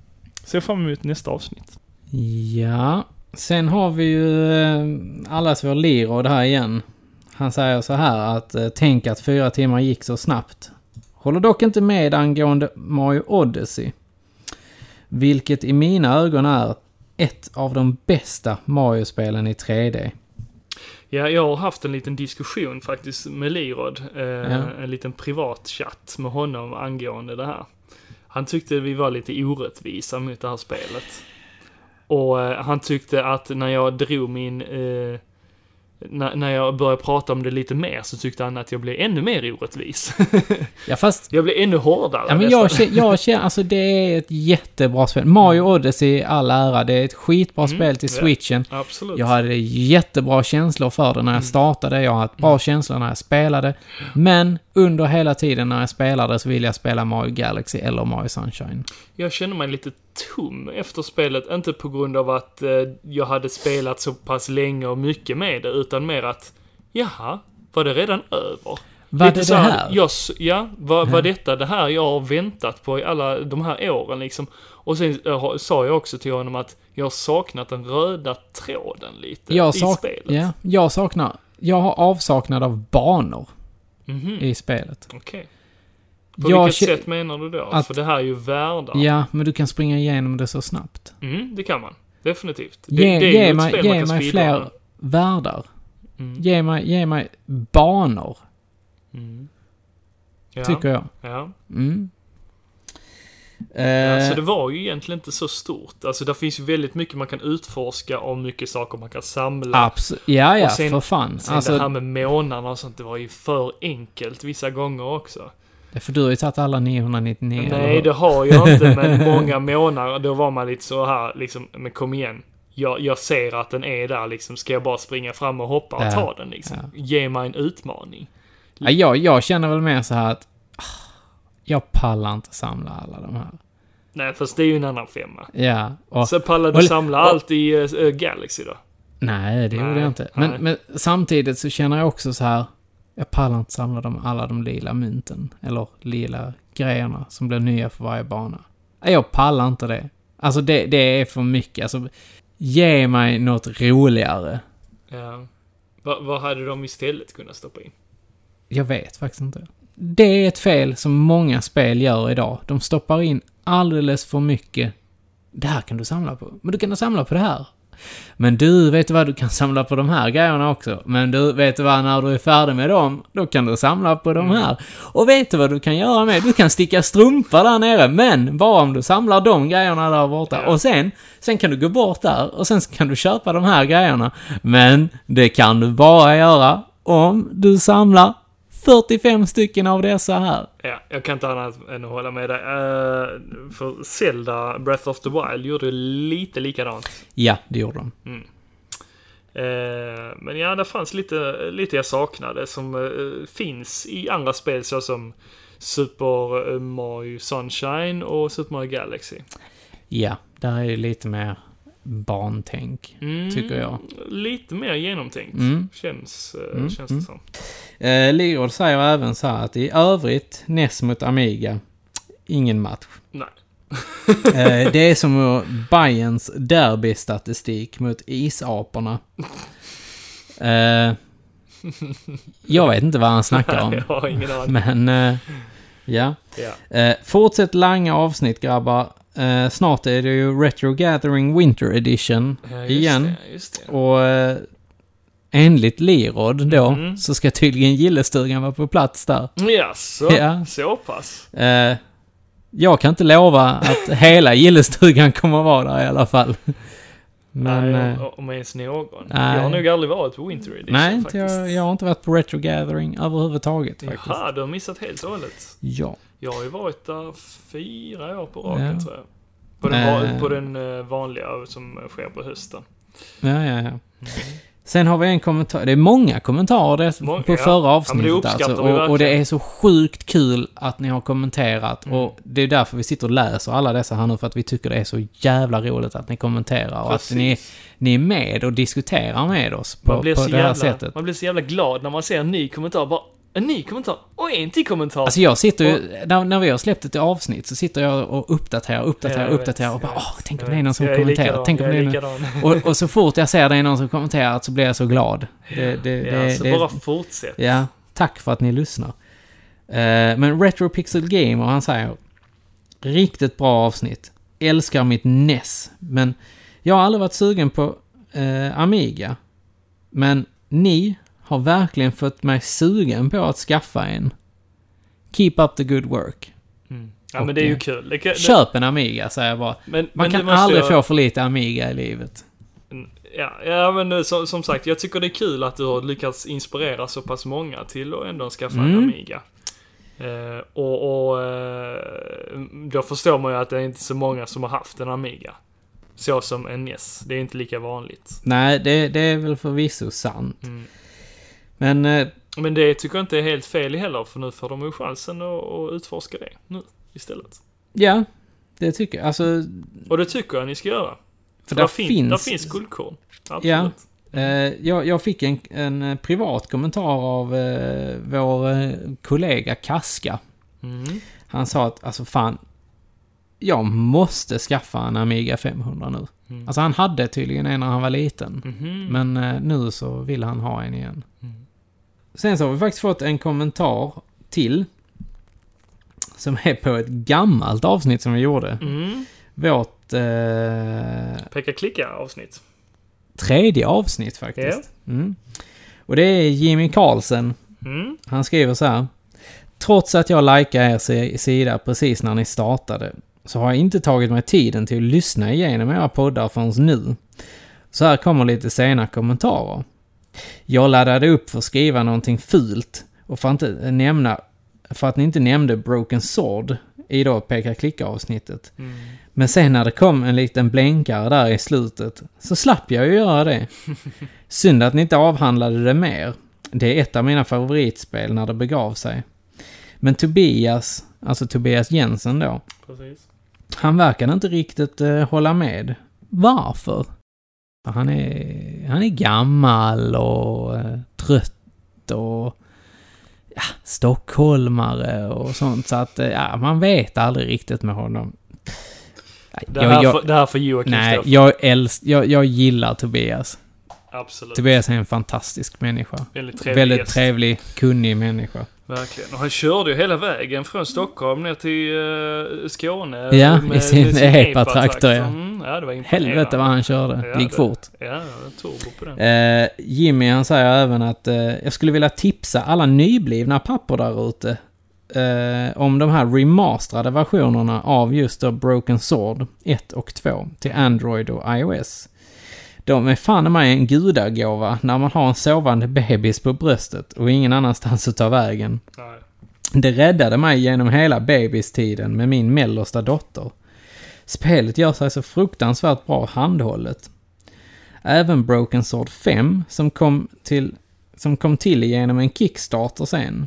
Ser fram emot nästa avsnitt.
Ja. Sen har vi ju eh, allas vår Liråd här igen. Han säger så här att eh, tänk att fyra timmar gick så snabbt. Håller dock inte med angående Mario Odyssey. Vilket i mina ögon är ett av de bästa Mario-spelen i 3D.
Ja, jag har haft en liten diskussion faktiskt med Lirod. Eh, En liten privat chatt med honom angående det här. Han tyckte vi var lite orättvisa mot det här spelet. Och eh, han tyckte att när jag drog min... Eh, när, när jag började prata om det lite mer så tyckte han att jag blev ännu mer orättvis.
Ja, fast
jag blev ännu hårdare.
Ja, men
nästan.
jag, känner, jag känner, alltså det är ett jättebra spel. Mario Odyssey i all ära, det är ett skitbra spel till
ja.
switchen.
Absolut.
Jag hade jättebra känslor för det när
Mm.
jag startade, jag har haft bra känslor när jag spelade. Men under hela tiden när jag spelade så ville jag spela Mario Galaxy eller Mario Sunshine.
Jag kände mig lite tom efter spelet, inte på grund av att eh, jag hade spelat så pass länge och mycket med det, utan mer att jaha, var det redan över?
Var
Lite
det
så
det
här,
här?
Jag, s- ja, var, var detta det här jag har väntat på i alla de här åren liksom? Och sen eh, ha- sa jag också till honom att jag har saknat den röda tråden lite
Jag,
i
sak
spelet.
ja, jag saknar, jag har avsaknad av banor
Mhm.
i spelet.
Okej. På
Jag
vilket
kä-
sätt menar du då?
att-
För det här är ju världar.
Ja, men du kan springa igenom det så snabbt.
Mm, det kan man. Definitivt. Det,
Ge,
det är ju
ge
ett
mig,
spel man
ge
kan Mm.
mig
speedrunna.
fler världar. Ge, mig, ge mig banor,
Ja.
tycker jag.
Ja.
Mm.
ja, så
Eh,
det var ju egentligen inte så stort. Alltså, där finns ju väldigt mycket man kan utforska och mycket saker man kan samla.
abs- ja, ja,
Och sen-
för fan.
Sen
Alltså,
det här med månarna och sånt, det var ju för enkelt vissa gånger också.
För du har ju tagit alla 999, eller
Nej,
hur?
det har jag inte, men många månader, då var man lite så här liksom, men kom igen. Jag, jag ser att den är där liksom, ska jag bara springa fram och hoppa och
Ja,
ta den liksom? Ge mig en utmaning.
Ja, jag, jag känner väl mer så här att... ah, Jag pallar inte samla alla de här.
Nej, fast det är ju en annan femma.
Ja, och...
Så pallar du
Och-
samla
och-
allt i eh, Galaxy då?
Nej, det gjorde
Nej,
jag inte. Men,
nej.
men samtidigt så känner jag också så här... Jag pallar inte samla de, alla de lila mynten. Eller lila grejerna som blir nya för varje bana. Nej, Jag pallar inte det. Alltså det, det är för mycket. Alltså, ge mig något roligare.
Ja. Vad, vad hade de istället kunnat stoppa in?
Jag vet faktiskt inte. Det är ett fel som många spel gör idag. De stoppar in alldeles för mycket. Det här kan du samla på. Men du kan samla på det här. Men du, vet du vad? Du kan samla på de här grejerna också. Men du, vet du vad? När du är färdig med dem, då kan du samla på de här. Och vet du vad du kan göra med? Du kan sticka strumpa där nere, men bara om du samlar de grejerna där borta. Och sen, sen kan du gå bort där och sen kan du köpa de här grejerna. Men det kan du bara göra om du samlar 45 stycken av dessa här.
Ja, jag kan inte annat än att hålla med dig. Eh, för Zelda Breath of the Wild gjorde lite likadant.
Ja, det gjorde de.
Eh, men ja, det fanns lite, lite jag saknade som eh, finns i andra spel såsom Super eh, Mario Sunshine och Super Mario Galaxy.
Ja, där är ju lite mer barntänk, tycker jag.
Lite mer genomtänkt,
Mm.
känns, eh, känns det som.
Eh, Ligord säger även så här att i övrigt, NES mot Amiga, ingen match.
Nej.
Eh, det är som ur Bayerns derbystatistik mot isaporna. Eh, jag vet inte vad han snackar om.
Jag har ingen aning.
Men, eh, ja.
Ja.
Eh, fortsätt langa avsnitt grabbar. Eh, snart är det ju Retro Gathering Winter Edition
Ja, just
igen.
Det, just det.
Och eh, enligt Lirod då, så ska tydligen gillestugan vara på plats där.
Jaså,
Ja.
så pass.
Eh, jag kan inte lova att hela gillestugan kommer vara där i alla fall. Men...
nej,
eh,
om- om ens någon.
nej.
Jag har nog aldrig varit på Winter Edition
nej, inte
faktiskt.
jag, jag har inte varit på Retro Gathering överhuvudtaget faktiskt.
Jaha, du har missat helt och hållet.
Ja.
Jag har ju varit där fyra år på raken
Ja.
tror jag. På den, va-
Eh.
på den eh, vanliga som sker på hösten.
Ja, ja, ja. Sen har vi en kommentar. Det är många kommentarer det,
Många,
på
ja. Ja, men
förra
det
avsnittet
uppskattar
alltså.
vi
Och, och det
verkligen. Mm.
är så sjukt kul att ni har kommenterat. Och det är därför vi sitter och läser alla dessa här nu. För att vi tycker det är så jävla roligt att ni kommenterar. Och att ni, ni är med och diskuterar med oss på,
Man
på
blir,
det
så
här
jävla,
sättet.
man blir så jävla glad när man ser en ny kommentar. Bara, en ny kommentar och en till kommentar.
Alltså jag sitter ju, när, när vi har släppt ett avsnitt så sitter jag och uppdaterar,
Ja,
uppdaterar,
jag vet,
uppdaterar och bara
jag vet,
åh, tänk om
jag
det är någon
vet.
som
Eh, Jag är
kommenterar.
likadan,
Tänk om
jag
det
är
är någon...
likadan.
och, och så fort jag ser det är någon som kommenterar så blir jag så glad. Det, det,
Ja,
det,
så
det,
bara fortsätt.
Ja, tack för att ni lyssnar. Eh, men Retro Pixel Gamer, han säger Riktigt bra avsnitt. Älskar mitt NES. Men jag har aldrig varit sugen på eh, Amiga. Men ni har verkligen fått mig sugen på att skaffa en. Keep up the good work.
Ja, men det är ju
Okej.
kul. Det, kan- det,
Köp en Amiga, säger jag bara.
Men-
Man
men det
kan
måste
aldrig
jag-
få för lite Amiga i livet.
Ja, ja men eh, som, som sagt, jag tycker det är kul att du har lyckats inspirera så pass många till att ändå skaffa
Mm.
en Amiga. Eh, och och eh, då förstår man ju att det är inte så många som har haft en Amiga. Så som en NES. Det är inte lika vanligt.
Nej, det, det är väl förvisso sant.
Mm.
Men eh,
Men det tycker jag inte är helt fel heller, för nu får de ju chansen att, att utforska det nu istället.
Ja, det tycker jag. Alltså,
Och det tycker jag ni ska göra. För
där
där, fin-
finns-
där finns guldkorn. Absolut.
ja. Eh, jag, jag fick en, en eh, privat kommentar av eh, vår eh, kollega Kaska.
Mm.
Han sa att, alltså fan, jag måste skaffa en Amiga 500 nu.
Mm.
Alltså han hade tydligen en när han var liten.
Mhm.
Men eh, nu så vill han ha en igen.
Mm.
Sen så har vi faktiskt fått en kommentar till. Som är på ett gammalt avsnitt som vi gjorde.
Mm.
Vårt... Eh,
Peka klicka avsnitt.
tredje avsnitt faktiskt. Mm. Och det är Jimmy Karlsson.
Mm.
Han skriver så här. Trots att jag likade er si- sida precis när ni startade så har jag inte tagit mig tiden till att lyssna igenom era poddar förrän nu. Så här kommer lite sena kommentarer. Jag laddade upp för att skriva någonting fult och för att inte nämna för att ni inte nämnde Broken Sword i då peka klicka avsnittet. Men sen när det kom en liten blänkare där i slutet så slapp jag ju göra det. Synd att ni inte avhandlade det mer. Det är ett av mina favoritspel när det begav sig. Men Tobias, alltså Tobias Jensen då,
Precis.
han verkade inte riktigt eh, hålla med. Varför? För Han är, han är gammal och eh, trött och ja, stockholmare och sånt. Så att eh, ja, man vet aldrig riktigt med honom.
Det här,
jag,
får, det här får Joakim
nej,
stå för.
jag, älsk, jag, jag gillar Tobias.
Absolut.
Tobias är en fantastisk människa.
Väldigt trevlig
Väldigt
gäst.
trevlig, kunnig människa.
Verkligen. Och han körde ju hela vägen från Stockholm ner till eh, Skåne.
Ja, i sin epatraktor,
epatraktor.
ja.
Mm, ja, det var imponerande.
Helvete vad han körde.
Ja,
det gick fort.
Ja, turbo på den.
Eh, Jimmy han säger även att eh, jag skulle vilja tipsa alla nyblivna pappor där ute eh, om de här remasterade versionerna av just då Broken Sword 1 och 2 till Android och iOS. De är fan i mig en gudagåva när man har en sovande bebis på bröstet och ingen annanstans att ta vägen.
Nej.
Det räddade mig genom hela bebistiden med min mellersta dotter. Spelet gör sig så fruktansvärt bra handhållet. Även Broken Sword 5, som kom till, som kom till genom en Kickstarter sen.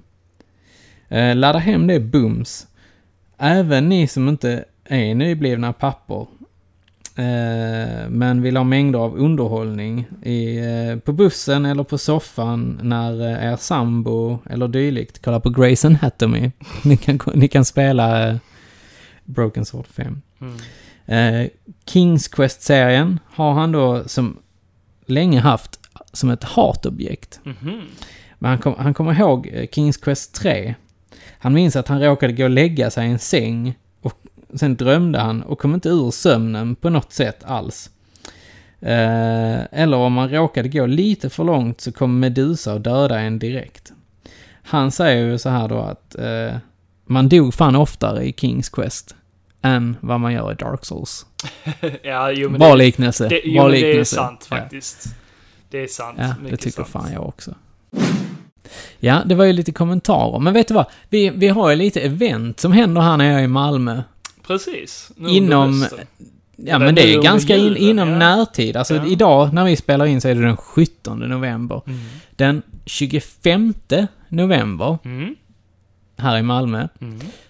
Eh, ladda hem det bums. Även ni som inte är nyblivna pappor, eh, men vill ha mängder av underhållning i, eh, på bussen eller på soffan när eh, er sambo eller dylikt kollar på Grey's Anatomy. ni, kan, gå- ni kan spela eh, Broken Sword 5.
Mm.
Eh, Kings Quest-serien har han då som länge haft som ett hatobjekt.
Mhm.
Men han, kom, han kommer ihåg eh, Kings Quest 3. Han minns att han råkade gå och lägga sig i en säng och sen drömde han och kom inte ur sömnen på något sätt alls. Eh, eller om man råkade gå lite för långt så kom Medusa och döda en direkt. Han säger ju så här då att eh, man dog fan oftare i Kings Quest än vad man gör i Dark Souls.
Ja, jo men
Bra
det,
liknelse.
det, jo,
Bra
men det är
liknelse.
sant
Ja.
faktiskt. Det är sant.
Ja, det
Mycket
tycker
sant.
fan jag också. Ja, det var ju lite kommentarer. Men vet du vad? Vi, vi har ju lite event som händer här när jag är i Malmö.
Precis. Nu under
Inom-
hösten.
Ja, men det
nu
är
under
ganska in,
julen,
inom
ja.
närtid. Alltså
Ja.
idag när vi spelar in så är det den 17 november. Den 25 november,
Mm.
här i Malmö,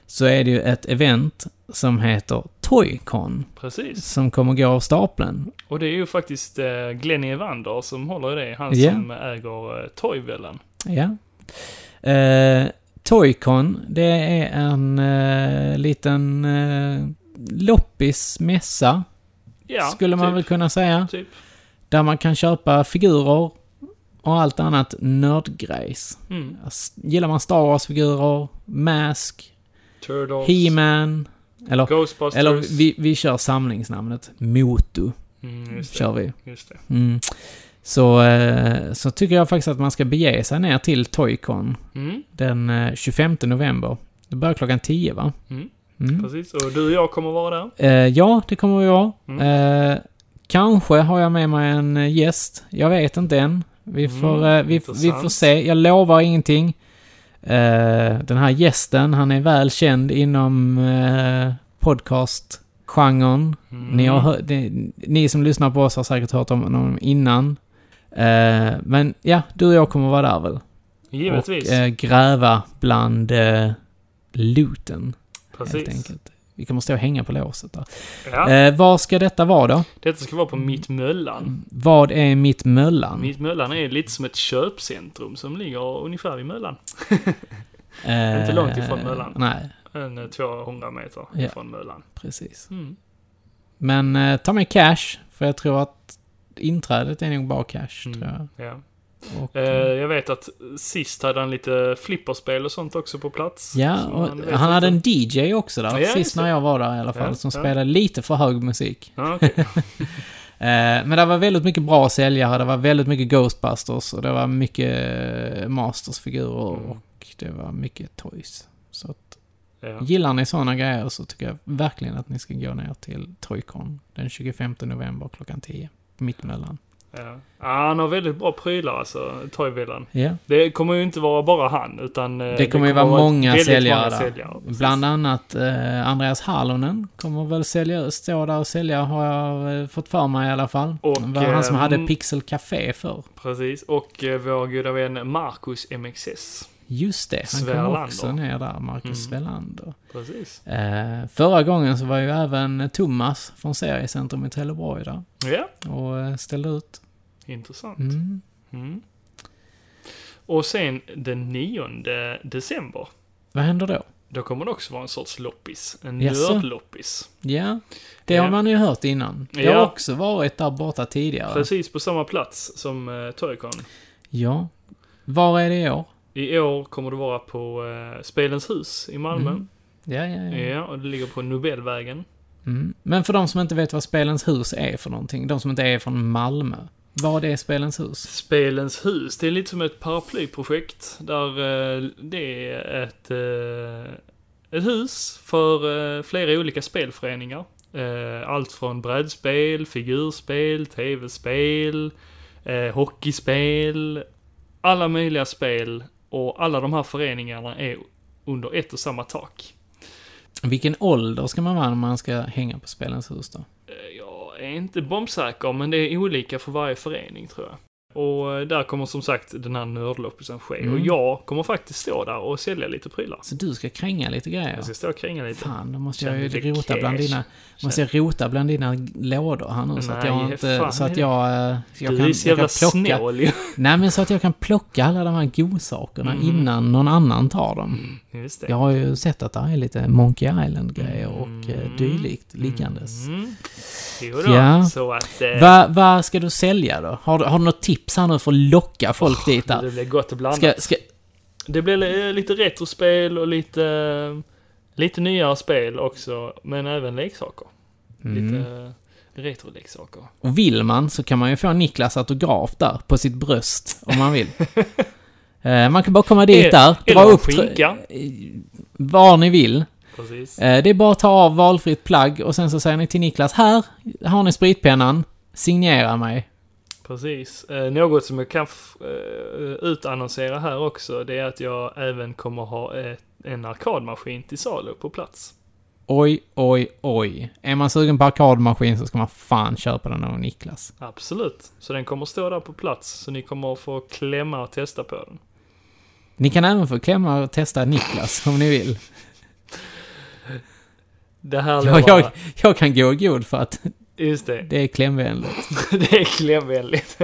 så är det ju ett event som heter Toycon.
Precis.
Som kommer gå av stapeln.
Och det är ju faktiskt eh, Glenn Evander som håller i det. Han
Ja.
som äger eh, Toyvällen.
Ja. Eh, Toycon, det är en eh, liten eh, loppismässa,
Ja,
skulle man
typ,
väl kunna säga.
Typ.
Där man kan köpa figurer och allt annat nördgrejs. Alltså,
Mm.
Gillar man Star Wars-figurer, Mask,
Turtles.
He-Man, eller,
Ghostbusters.
eller vi, vi kör samlingsnamnet Motu,
Mm, just det.
kör vi.
Just det.
Mm. Så, eh, så tycker jag faktiskt att man ska bege sig ner till Toycon
Mm,
den eh, 25 november. Det börjar klockan 10 va?
Mm.
Mm.
precis. Och du och jag kommer vara där.
Eh, ja, det kommer vi vara.
Mm.
Eh, kanske har jag med mig en eh, gäst. Jag vet inte än. Vi
Mm,
får, eh, vi, vi får
intressant.
se. Jag lovar ingenting. Eh, den här gästen, han är väl känd inom eh, podcastgenren.
Mm.
Ni, har hör, ni, ni som lyssnar på oss har säkert hört om honom innan. Eh, men ja, du och jag kommer vara där väl?
Givetvis.
Och eh, gräva bland eh, looten, helt
precis.
enkelt. Vi kommer stå och hänga på låset där.
Ja,
Eh, var ska detta vara då?
detta ska vara på Mittmöllan.
Vad är mitt möllan?
Mittmöllan är lite som ett köpcentrum som ligger ungefär vid Möllan.
Eh,
inte långt ifrån möllan.
Nej,
En eh, 200 meter
Ja.
ifrån Möllan.
precis.
Mm.
Men eh, ta med cash, för jag tror att inträdet är nog bara cash, tror jag.
Ja.
Och,
Mm. Eh, jag vet att sist hade han lite flipperspel och sånt också på plats.
ja,
Så
och
man
han,
vet
hade en
inte.
DJ också där,
Ja,
sist
just det.
när jag var där i alla fall,
Ja,
som
ja.
spelade lite för hög musik.
Ja, okej.
Eh, Men det var väldigt mycket bra säljare, det var väldigt mycket Ghostbusters och det var mycket eh, Masters-figurer
Mm.
och det var mycket Toys. Så att,
ja.
gillar ni sådana grejer så tycker jag verkligen att ni ska gå ner till Toycon den 25 november klockan 10. Mittmellan.
Ja. Ja, han har väldigt bra prylar alltså, Toyvillan.
Ja.
Det kommer ju inte vara bara han, utan... eh,
Det kommer ju vara många
väldigt
säljare där.
många precis.
Bland annat eh, Andreas Hallonen kommer väl sälja, stå där och sälja har jag eh, fått för mig i alla fall.
Och,
det var han som
eh,
hade
mm.
Pixel Café för.
Precis, och eh, vår goda vän Marcus MXS.
Just det, han kom
Sverlander.
också ner där, Marcus
Mm.
Svelander.
Precis.
Eh, förra gången så var ju även Thomas från Seriecentrum i Trelleborg där
Ja,
och eh, ställde ut.
intressant.
Mm.
Mm. Och sen den 9 december,
Vad händer då?
då kommer det också vara en sorts loppis. En
Jaså?
nördloppis.
Ja, det
Ja.
har man ju hört innan. Det har
Ja.
också varit där borta tidigare.
Precis på samma plats som eh, Toycon.
Ja. Var är det i år?
I år kommer det vara på eh, Spelens hus i Malmö.
Ja, Mm. ja, ja.
Ja, och det ligger på Nobelvägen.
Mm. Men för de som inte vet vad Spelens hus är för någonting, de som inte är från Malmö. Vad är Spelens hus?
Spelens hus, det är lite som ett paraplyprojekt. Där eh, det är ett, eh, ett hus för eh, flera olika spelföreningar. Eh, allt från brädspel, figurspel, tv-spel, eh, hockeyspel. Alla möjliga spel och alla de här föreningarna är under ett och samma tak.
Vilken ålder ska man vara när man ska hänga på Spelens hus då?
Jag är inte bombsäker, men det är olika för varje förening tror jag. Och eh, där kommer som sagt den här nördloppisen ske. Och
Mm.
jag kommer faktiskt stå där och sälja lite prylar.
Så du ska kränga lite grejer?
Jag ska stå och kränga lite.
Fan, då måste jag
Känner
ju
lite
rota bland
cash.
dina... Måste jag rota bland dina lådor här nu så att
Nej,
jag inte...
fan.
Så att jag... eh, så Jag
du är
kan,
så
jag kan
jävla
plocka...
snål ju.
Nej, men så att jag kan plocka alla de här godsakerna
Mm.
innan någon annan tar dem.
Just det.
Jag har ju sett att det är lite Monkey Island-grejer och eh, dylikt liggandes.
Mm. Jo då,
Ja.
så att... Eh,
Va- Vad ska du sälja då? Har, du- har du något tips här nu för att locka folk dit
Det
där?
blir gott och blandat.
Ska, ska,
Det blir li- eh, lite retrospel och lite... eh, Lite nyare spel också, men även leksaker.
Mm.
Lite retroleksaker.
och vill man så kan man ju få Niklas autograf där på sitt bröst om man vill. Eh, man kan bara komma dit där, dra
Eller en
upp trö-
skinka.
var ni vill.
Precis.
Eh, Det är bara att ta av valfritt plagg och sen så säger ni till Niklas, här har ni spritpennan, signera mig.
Precis. Eh, något som jag kan f- eh, utannonsera här också, det är att jag även kommer ha ett, en arkadmaskin till salu på plats.
Oj, oj, oj. Är man sugen på arkadmaskin så ska man fan köpa den av Niklas.
Absolut. Så den kommer stå där på plats, så ni kommer få klämma och testa på den.
Ni kan även få klämma och testa Niklas om ni vill.
Det här
Jag,
lovar
jag, jag kan gå i god för att
Just det.
det är klämvänligt.
Det är klämvänligt.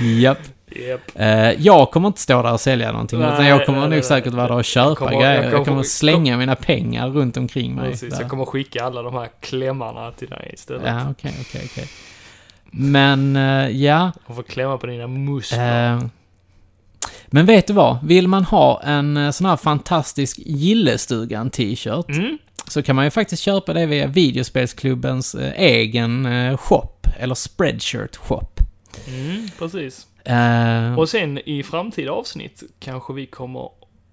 Japp.
Japp.
Eh, jag kommer inte stå där och sälja någonting,
Nej,
utan jag kommer
nej,
nog
nej,
säkert vara där och köpa
kommer- jag
grejer. Jag kommer,
kommer-
slänga mina pengar runt omkring mig.
Precis,
där.
jag kommer skicka alla de här klämmarna till dig istället.
Ja, okej, okej, okej. Men, eh, ja.
Och få klämma på dina muskler.
eh, men vet du vad? Vill man ha en eh, sån här fantastisk Gillestugan-t-shirt
Mm.
så kan man ju faktiskt köpa det via Videospelsklubbens eh, egen eh, shop, eller Spreadshirt-shop.
Mm, precis.
Eh,
Och sen i framtida avsnitt kanske vi kommer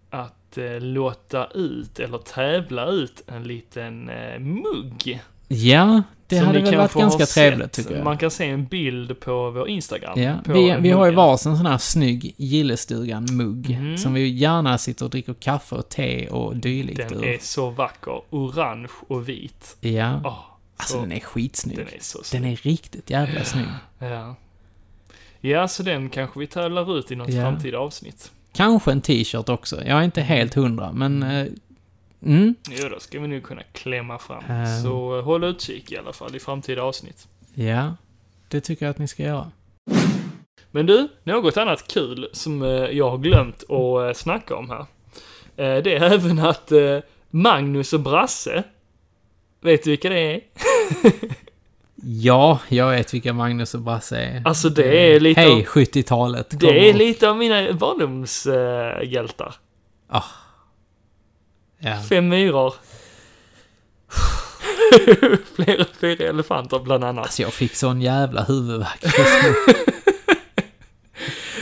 att eh, låta ut, eller tävla ut, en liten eh, mugg.
ja, det
Som
hade
ni
väl
kan
varit
få ha
ganska
sett.
trevligt tycker jag.
Man kan se en bild på vår Instagram.
Ja,
på
vi, vi har ju
muggen.
varsin sån här snygg Gillestugan-mugg
Mm.
som vi gärna sitter och dricker kaffe och te och dylikt
Den
ur.
är så vacker. Orange och vit.
Ja,
Åh,
alltså
så-
den är skitsnygg.
den är så snygg.
Den är riktigt jävla snygg.
Ja. Ja, så den kanske vi tävlar ut i något
Ja.
framtida avsnitt.
Kanske en t-shirt också. Jag är inte helt hundra, men... eh, mm,
Jo, då ska vi nog kunna klämma fram.
Ehm.
Så eh, håll utkik i alla fall i framtida avsnitt.
ja. Det tycker jag att ni ska göra.
Men du, något annat kul som eh, jag har glömt att eh, snacka om här. Eh, Det är även att eh, Magnus och Brasse, vet du vilka det är?
Ja, jag vet vilka Magnus och Brasse är.
Alltså det är lite,
Eh, Hej,
av,
70-talet. kommer
det är
upp.
lite av mina barndomshjältar.
Ja.
Fem myror. Flera fyra elefanter bland annat.
Alltså jag fick sån jävla huvudvärk.
Alltså,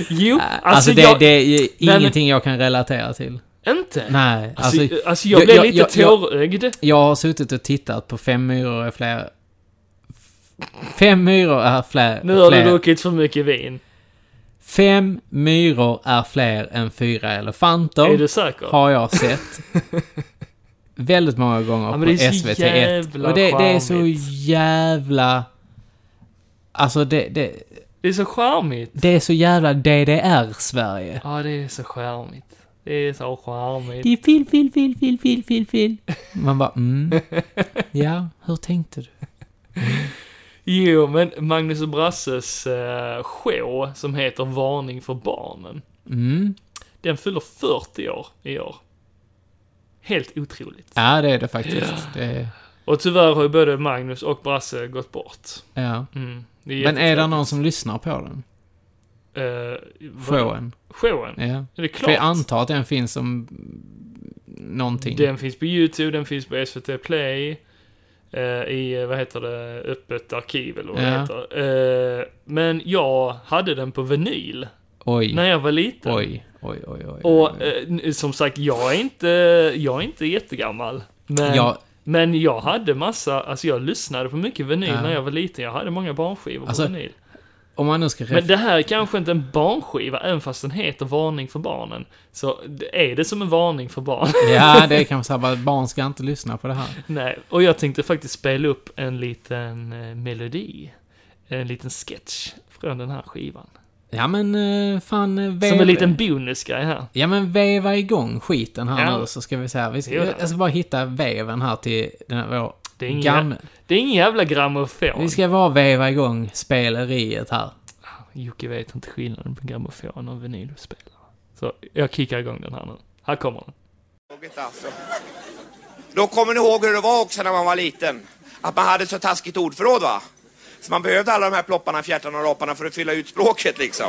Jo,
Alltså, det,
jag,
det är
men-
ingenting jag kan relatera till.
inte.
Nej,
Alltså,
alltså...
alltså, jag,
jag-
blev
jag-
lite
jag- jag-
tårögd.
Jag har suttit och tittat på fem myror är fler... Fem myror är fler...
Nu har du
fler.
druckit för mycket vin.
Fem myror är fler än fyra elefanter.
Är du säker?
Har jag sett. Väldigt många gånger
men
på
det är så
SVT1.
jävla
Och det, det är så
charmigt.
jävla... Alltså det, det,
Det är så charmigt.
det är så jävla DDR-Sverige.
Ja, det är så charmigt. Det är så charmigt.
Det är fil, fil, fil, fil, fil, fil, fil. Man bara, mm. Ja, hur tänkte du?
Jo, men Magnus och Brasses eh, show som heter Varning för barnen.
Mm.
Den fyller 40 år i år. Helt otroligt.
Ja, det är det faktiskt. Det,
Och tyvärr har ju både Magnus och Brasse gått bort.
ja.
Mm, det
Men är det någon som lyssnar på den?
Uh,
Showen?
Showen?
Ja.
Är det
För jag
klart?
antar att den finns som... Någonting.
Den finns på YouTube, den finns på SVT Play. eh, I, eh, vad heter det, öppet arkiv eller vad
Ja.
det heter. Eh, men jag hade den på vinyl
Oj,
när jag var liten.
oj, oj, oj, oj.
Och eh, n- som sagt, jag är inte, jag är inte jättegammal. Men,
Jag,
men jag hade massa, alltså jag lyssnade på mycket vinyl
Ja.
när jag var liten. Jag hade många barnskivor
Alltså,
på vinyl.
om man nu ska...
Men
Ref-
det här är kanske inte en barnskiva, även fast den heter Varning för barnen. Så det- är det som en varning för barn?
ja, det kan man säga. bara, Barn ska inte lyssna på det här.
Nej, och jag tänkte faktiskt spela upp en liten eh, melodi. En liten sketch från den här skivan.
Ja, men eh, fan... eh, Veva,
Som en liten bonusgrej här.
Ja, men veva igång skiten här
Ja.
nu så ska vi säga. Vi ska,
Gör det.
jag ska bara hitta veven här till den här, vår
Det är ingen,
gamla...
det är ingen jävla grammofon.
Vi ska bara veva igång speleriet här.
Jocke vet inte skillnaden på grammofon och vinylspelare. Så jag kickar igång den här nu. Här kommer den.
Tåget, Alltså. Då kommer ni ihåg hur det var också när man var liten. Att man hade så taskigt ordförråd va? Så man behövde alla de här plopparna, fjärtarna och raparna för att fylla ut språket liksom.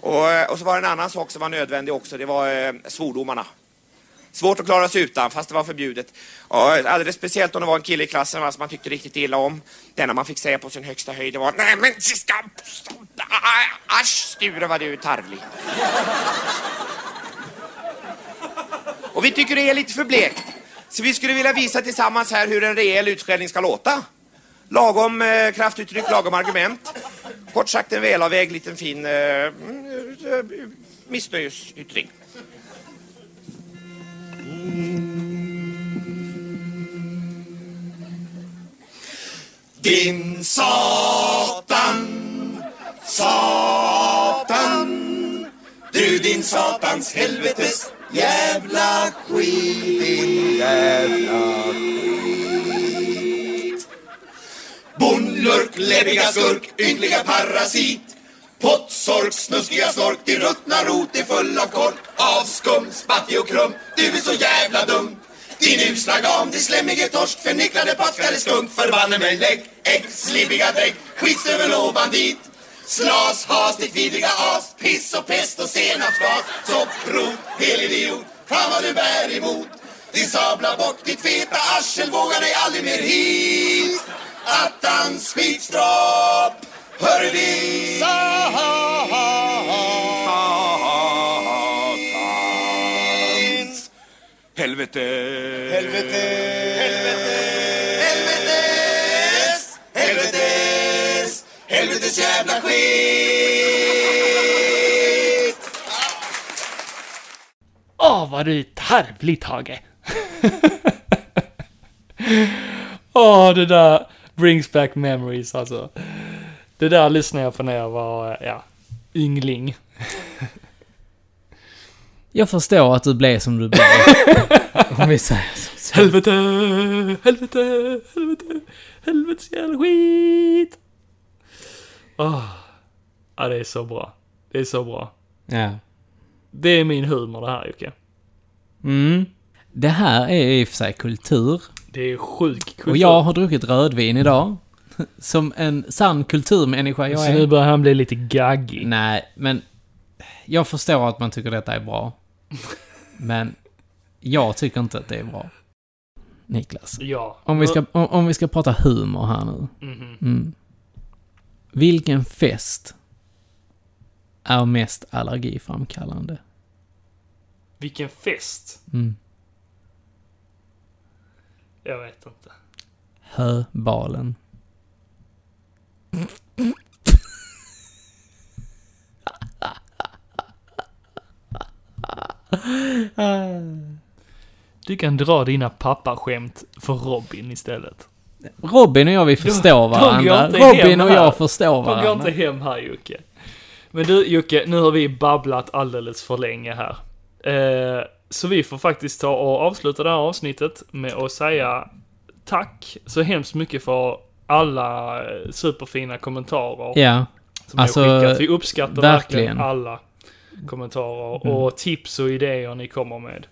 Och, eh, och så var det en annan sak som var nödvändig också, det var eh, svordomarna. Svårt att klara sig utan, fast det var förbjudet. Ja, alldeles speciellt om det var en kille i klassen va, som man tyckte riktigt illa om. Det enda man fick säga på sin högsta höjd det var Nej men ska... Ah, Asch Sture vad du är tarvlig. Och vi tycker det är lite för blekt. Så vi skulle vilja visa tillsammans här hur en rejäl utskällning ska låta. Lagom eh, kraftuttryck, lagom argument. Kort sagt en välavvägd liten fin eh, mm, eh, missnöjesyttring. Mm. Din Satan, Satan, du din Satans helvetes jävla skit, din jävla Bondlurk, läbbiga skurk, ynkliga parasit Pottsork, snuskiga snork, din ruttna rot är full av kork Av skum, spattig och krum, du är så jävla dum Din usla gam, din slemmige torsk, förnicklade paskade skunk Förbanne mig lägg, ägg, slibbiga drägg, skitstövel och bandit Slas, has, ditt vidriga as, piss och pest och senapsgas Sopprot, helidiot, fan vad du bär emot Din sabla bock, ditt feta arsel vågar dig aldrig mer hit Attans skitstråp, hör dit! Satans helvete, helvete, helvete, helvetes, helvetes, helvetes jävla skit!
Åh, vad du är tarvlig, Tage! Åh, det där brings back memories, alltså. Det där lyssnade jag på när jag var, eh, ja, yngling.
Jag förstår att du blev som du blev. Om vi säger så.
Helvete, helvete, helvete, helvetes jävla skit! Åh, ja, det är så bra. Det är så bra.
Ja.
Det är min humor det här, Jocke.
Mm. Det här är i och för sig kultur.
Det är sjuk kultur.
Och jag har druckit rödvin idag. Som en sann kulturmänniska jag
Så nu
är.
börjar han bli lite gaggig.
Nej, men jag förstår att man tycker detta är bra. Men jag tycker inte att det är bra. Niklas.
Ja.
Om vi ska, om, om vi ska prata humor här nu.
Mhm.
Mm. Vilken fest är mest allergiframkallande?
Vilken fest!
Mm.
Jag vet inte.
Höbalen.
Du kan dra dina pappaskämt för Robin istället.
Robin och jag, vi förstår
de går
varandra.
inte hem
Robin och
här.
jag förstår
De går inte
varandra.
hem här Jocke. Men du Jocke, nu har vi babblat alldeles för länge här. Eh, så vi får faktiskt ta och avsluta det här avsnittet med att säga tack så hemskt mycket för alla eh, superfina kommentarer
Ja.
som alltså,
alltså,
skickat. Vi uppskattar verkligen,
verkligen. Mm.
alla kommentarer och tips och idéer ni kommer med.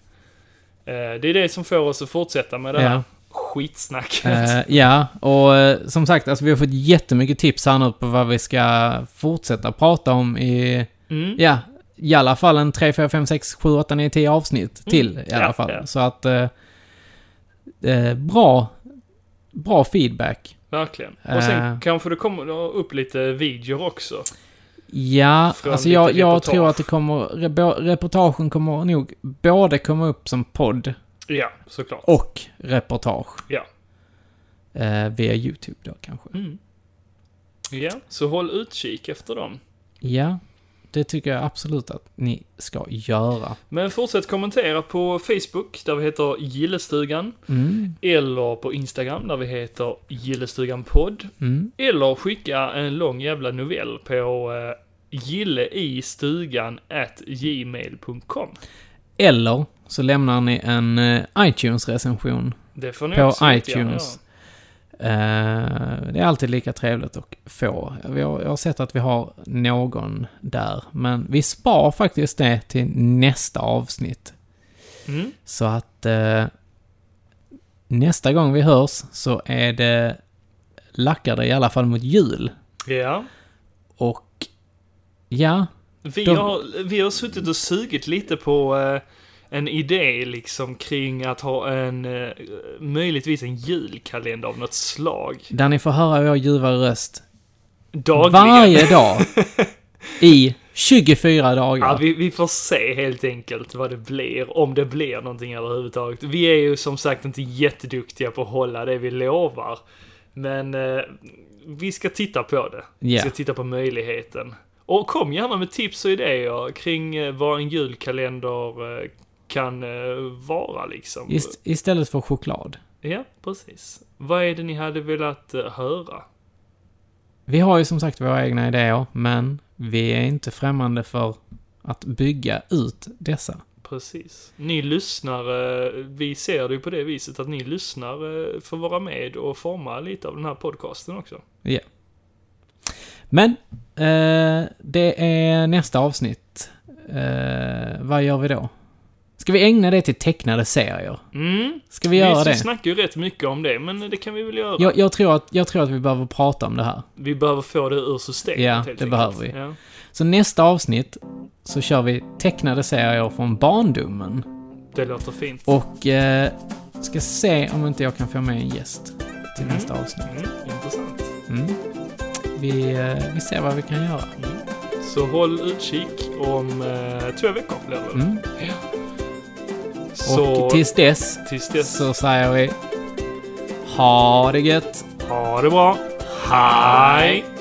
Eh, det är det som får oss att fortsätta med det här
Ja.
skitsnacket.
Eh, ja, och eh, som sagt, alltså, vi har fått jättemycket tips här nu på vad vi ska fortsätta prata om i,
Mm.
ja, i alla fall en 3, 4, 5, 6, 7, 8, 9, 10 avsnitt till i alla
Mm. Ja,
fall.
ja.
Så att, eh, eh, bra, bra feedback.
Verkligen. Och sen
Eh.
kanske det kommer upp lite videor också.
Ja,
Från
alltså jag,
lite
jag
reportage.
tror att det kommer, rebo- reportagen kommer nog både komma upp som podd
Ja, såklart.
och reportage.
Ja.
Eh, via YouTube då kanske.
ja. Så håll utkik efter dem.
Ja, det tycker jag absolut att ni ska göra.
Men fortsätt kommentera på Facebook där vi heter Gillestugan.
Mm.
Eller på Instagram där vi heter Gillestugan podd.
Mm.
Eller skicka en lång jävla novell på eh, gilleistugan at gmail.com.
Eller så lämnar ni en eh, iTunes-recension.
Det får ni
På
absolut göra,
iTunes. Eh, det är alltid lika trevligt att få. Vi har, jag har sett att vi har någon där, men vi spar faktiskt det till nästa avsnitt.
Mm.
Så att eh, nästa gång vi hörs så är det lackar det i alla fall mot jul.
Ja. ja.
Och ja,
Vi,
De-
har, vi har suttit och sugit lite på eh, en idé liksom kring att ha en, eh, möjligtvis en julkalender av något slag.
där ni får höra vår ljuva röst
Dagligen.
varje dag i 24 dagar.
Ja, vi, vi får se helt enkelt vad det blir, om det blir någonting överhuvudtaget. Vi är ju som sagt inte jätteduktiga på att hålla det vi lovar. Men eh, vi ska titta på det. Vi
Ja.
ska titta på möjligheten. Och kom gärna med tips och idéer kring eh, vad en julkalender eh, kan eh, vara liksom.
Ist- istället för choklad.
Ja, precis. Vad är det ni hade velat eh, höra?
Vi har ju som sagt våra egna idéer, men vi är inte främmande för att bygga ut dessa.
Precis. Ni lyssnare, vi ser det ju på det viset att ni lyssnare får vara med och forma lite av den här podcasten också.
Ja. Men, eh, det är nästa avsnitt. Eh, vad gör vi då? Ska vi ägna det till tecknade serier?
Mm.
Ska vi göra
vi
det?
snackar ju rätt mycket om det, men det kan vi väl göra.
Jag, jag, tror att, jag tror att vi behöver prata om det här.
Vi behöver få det ur systemet
Ja,
helt
det
enkelt.
behöver vi.
Ja.
Så nästa avsnitt så kör vi tecknade serier från barndomen.
Det låter fint.
Och eh, ska se om inte jag kan få med en gäst till
Mm.
nästa avsnitt.
Mm, intressant.
Mm. Vi, eh, vi ser vad vi kan göra.
Mm. Så håll utkik om eh, två veckor blir det väl?
Mm.
Så
Och tills dess
tills dess,
så säger vi ha det gött!
ha det bra. Hej!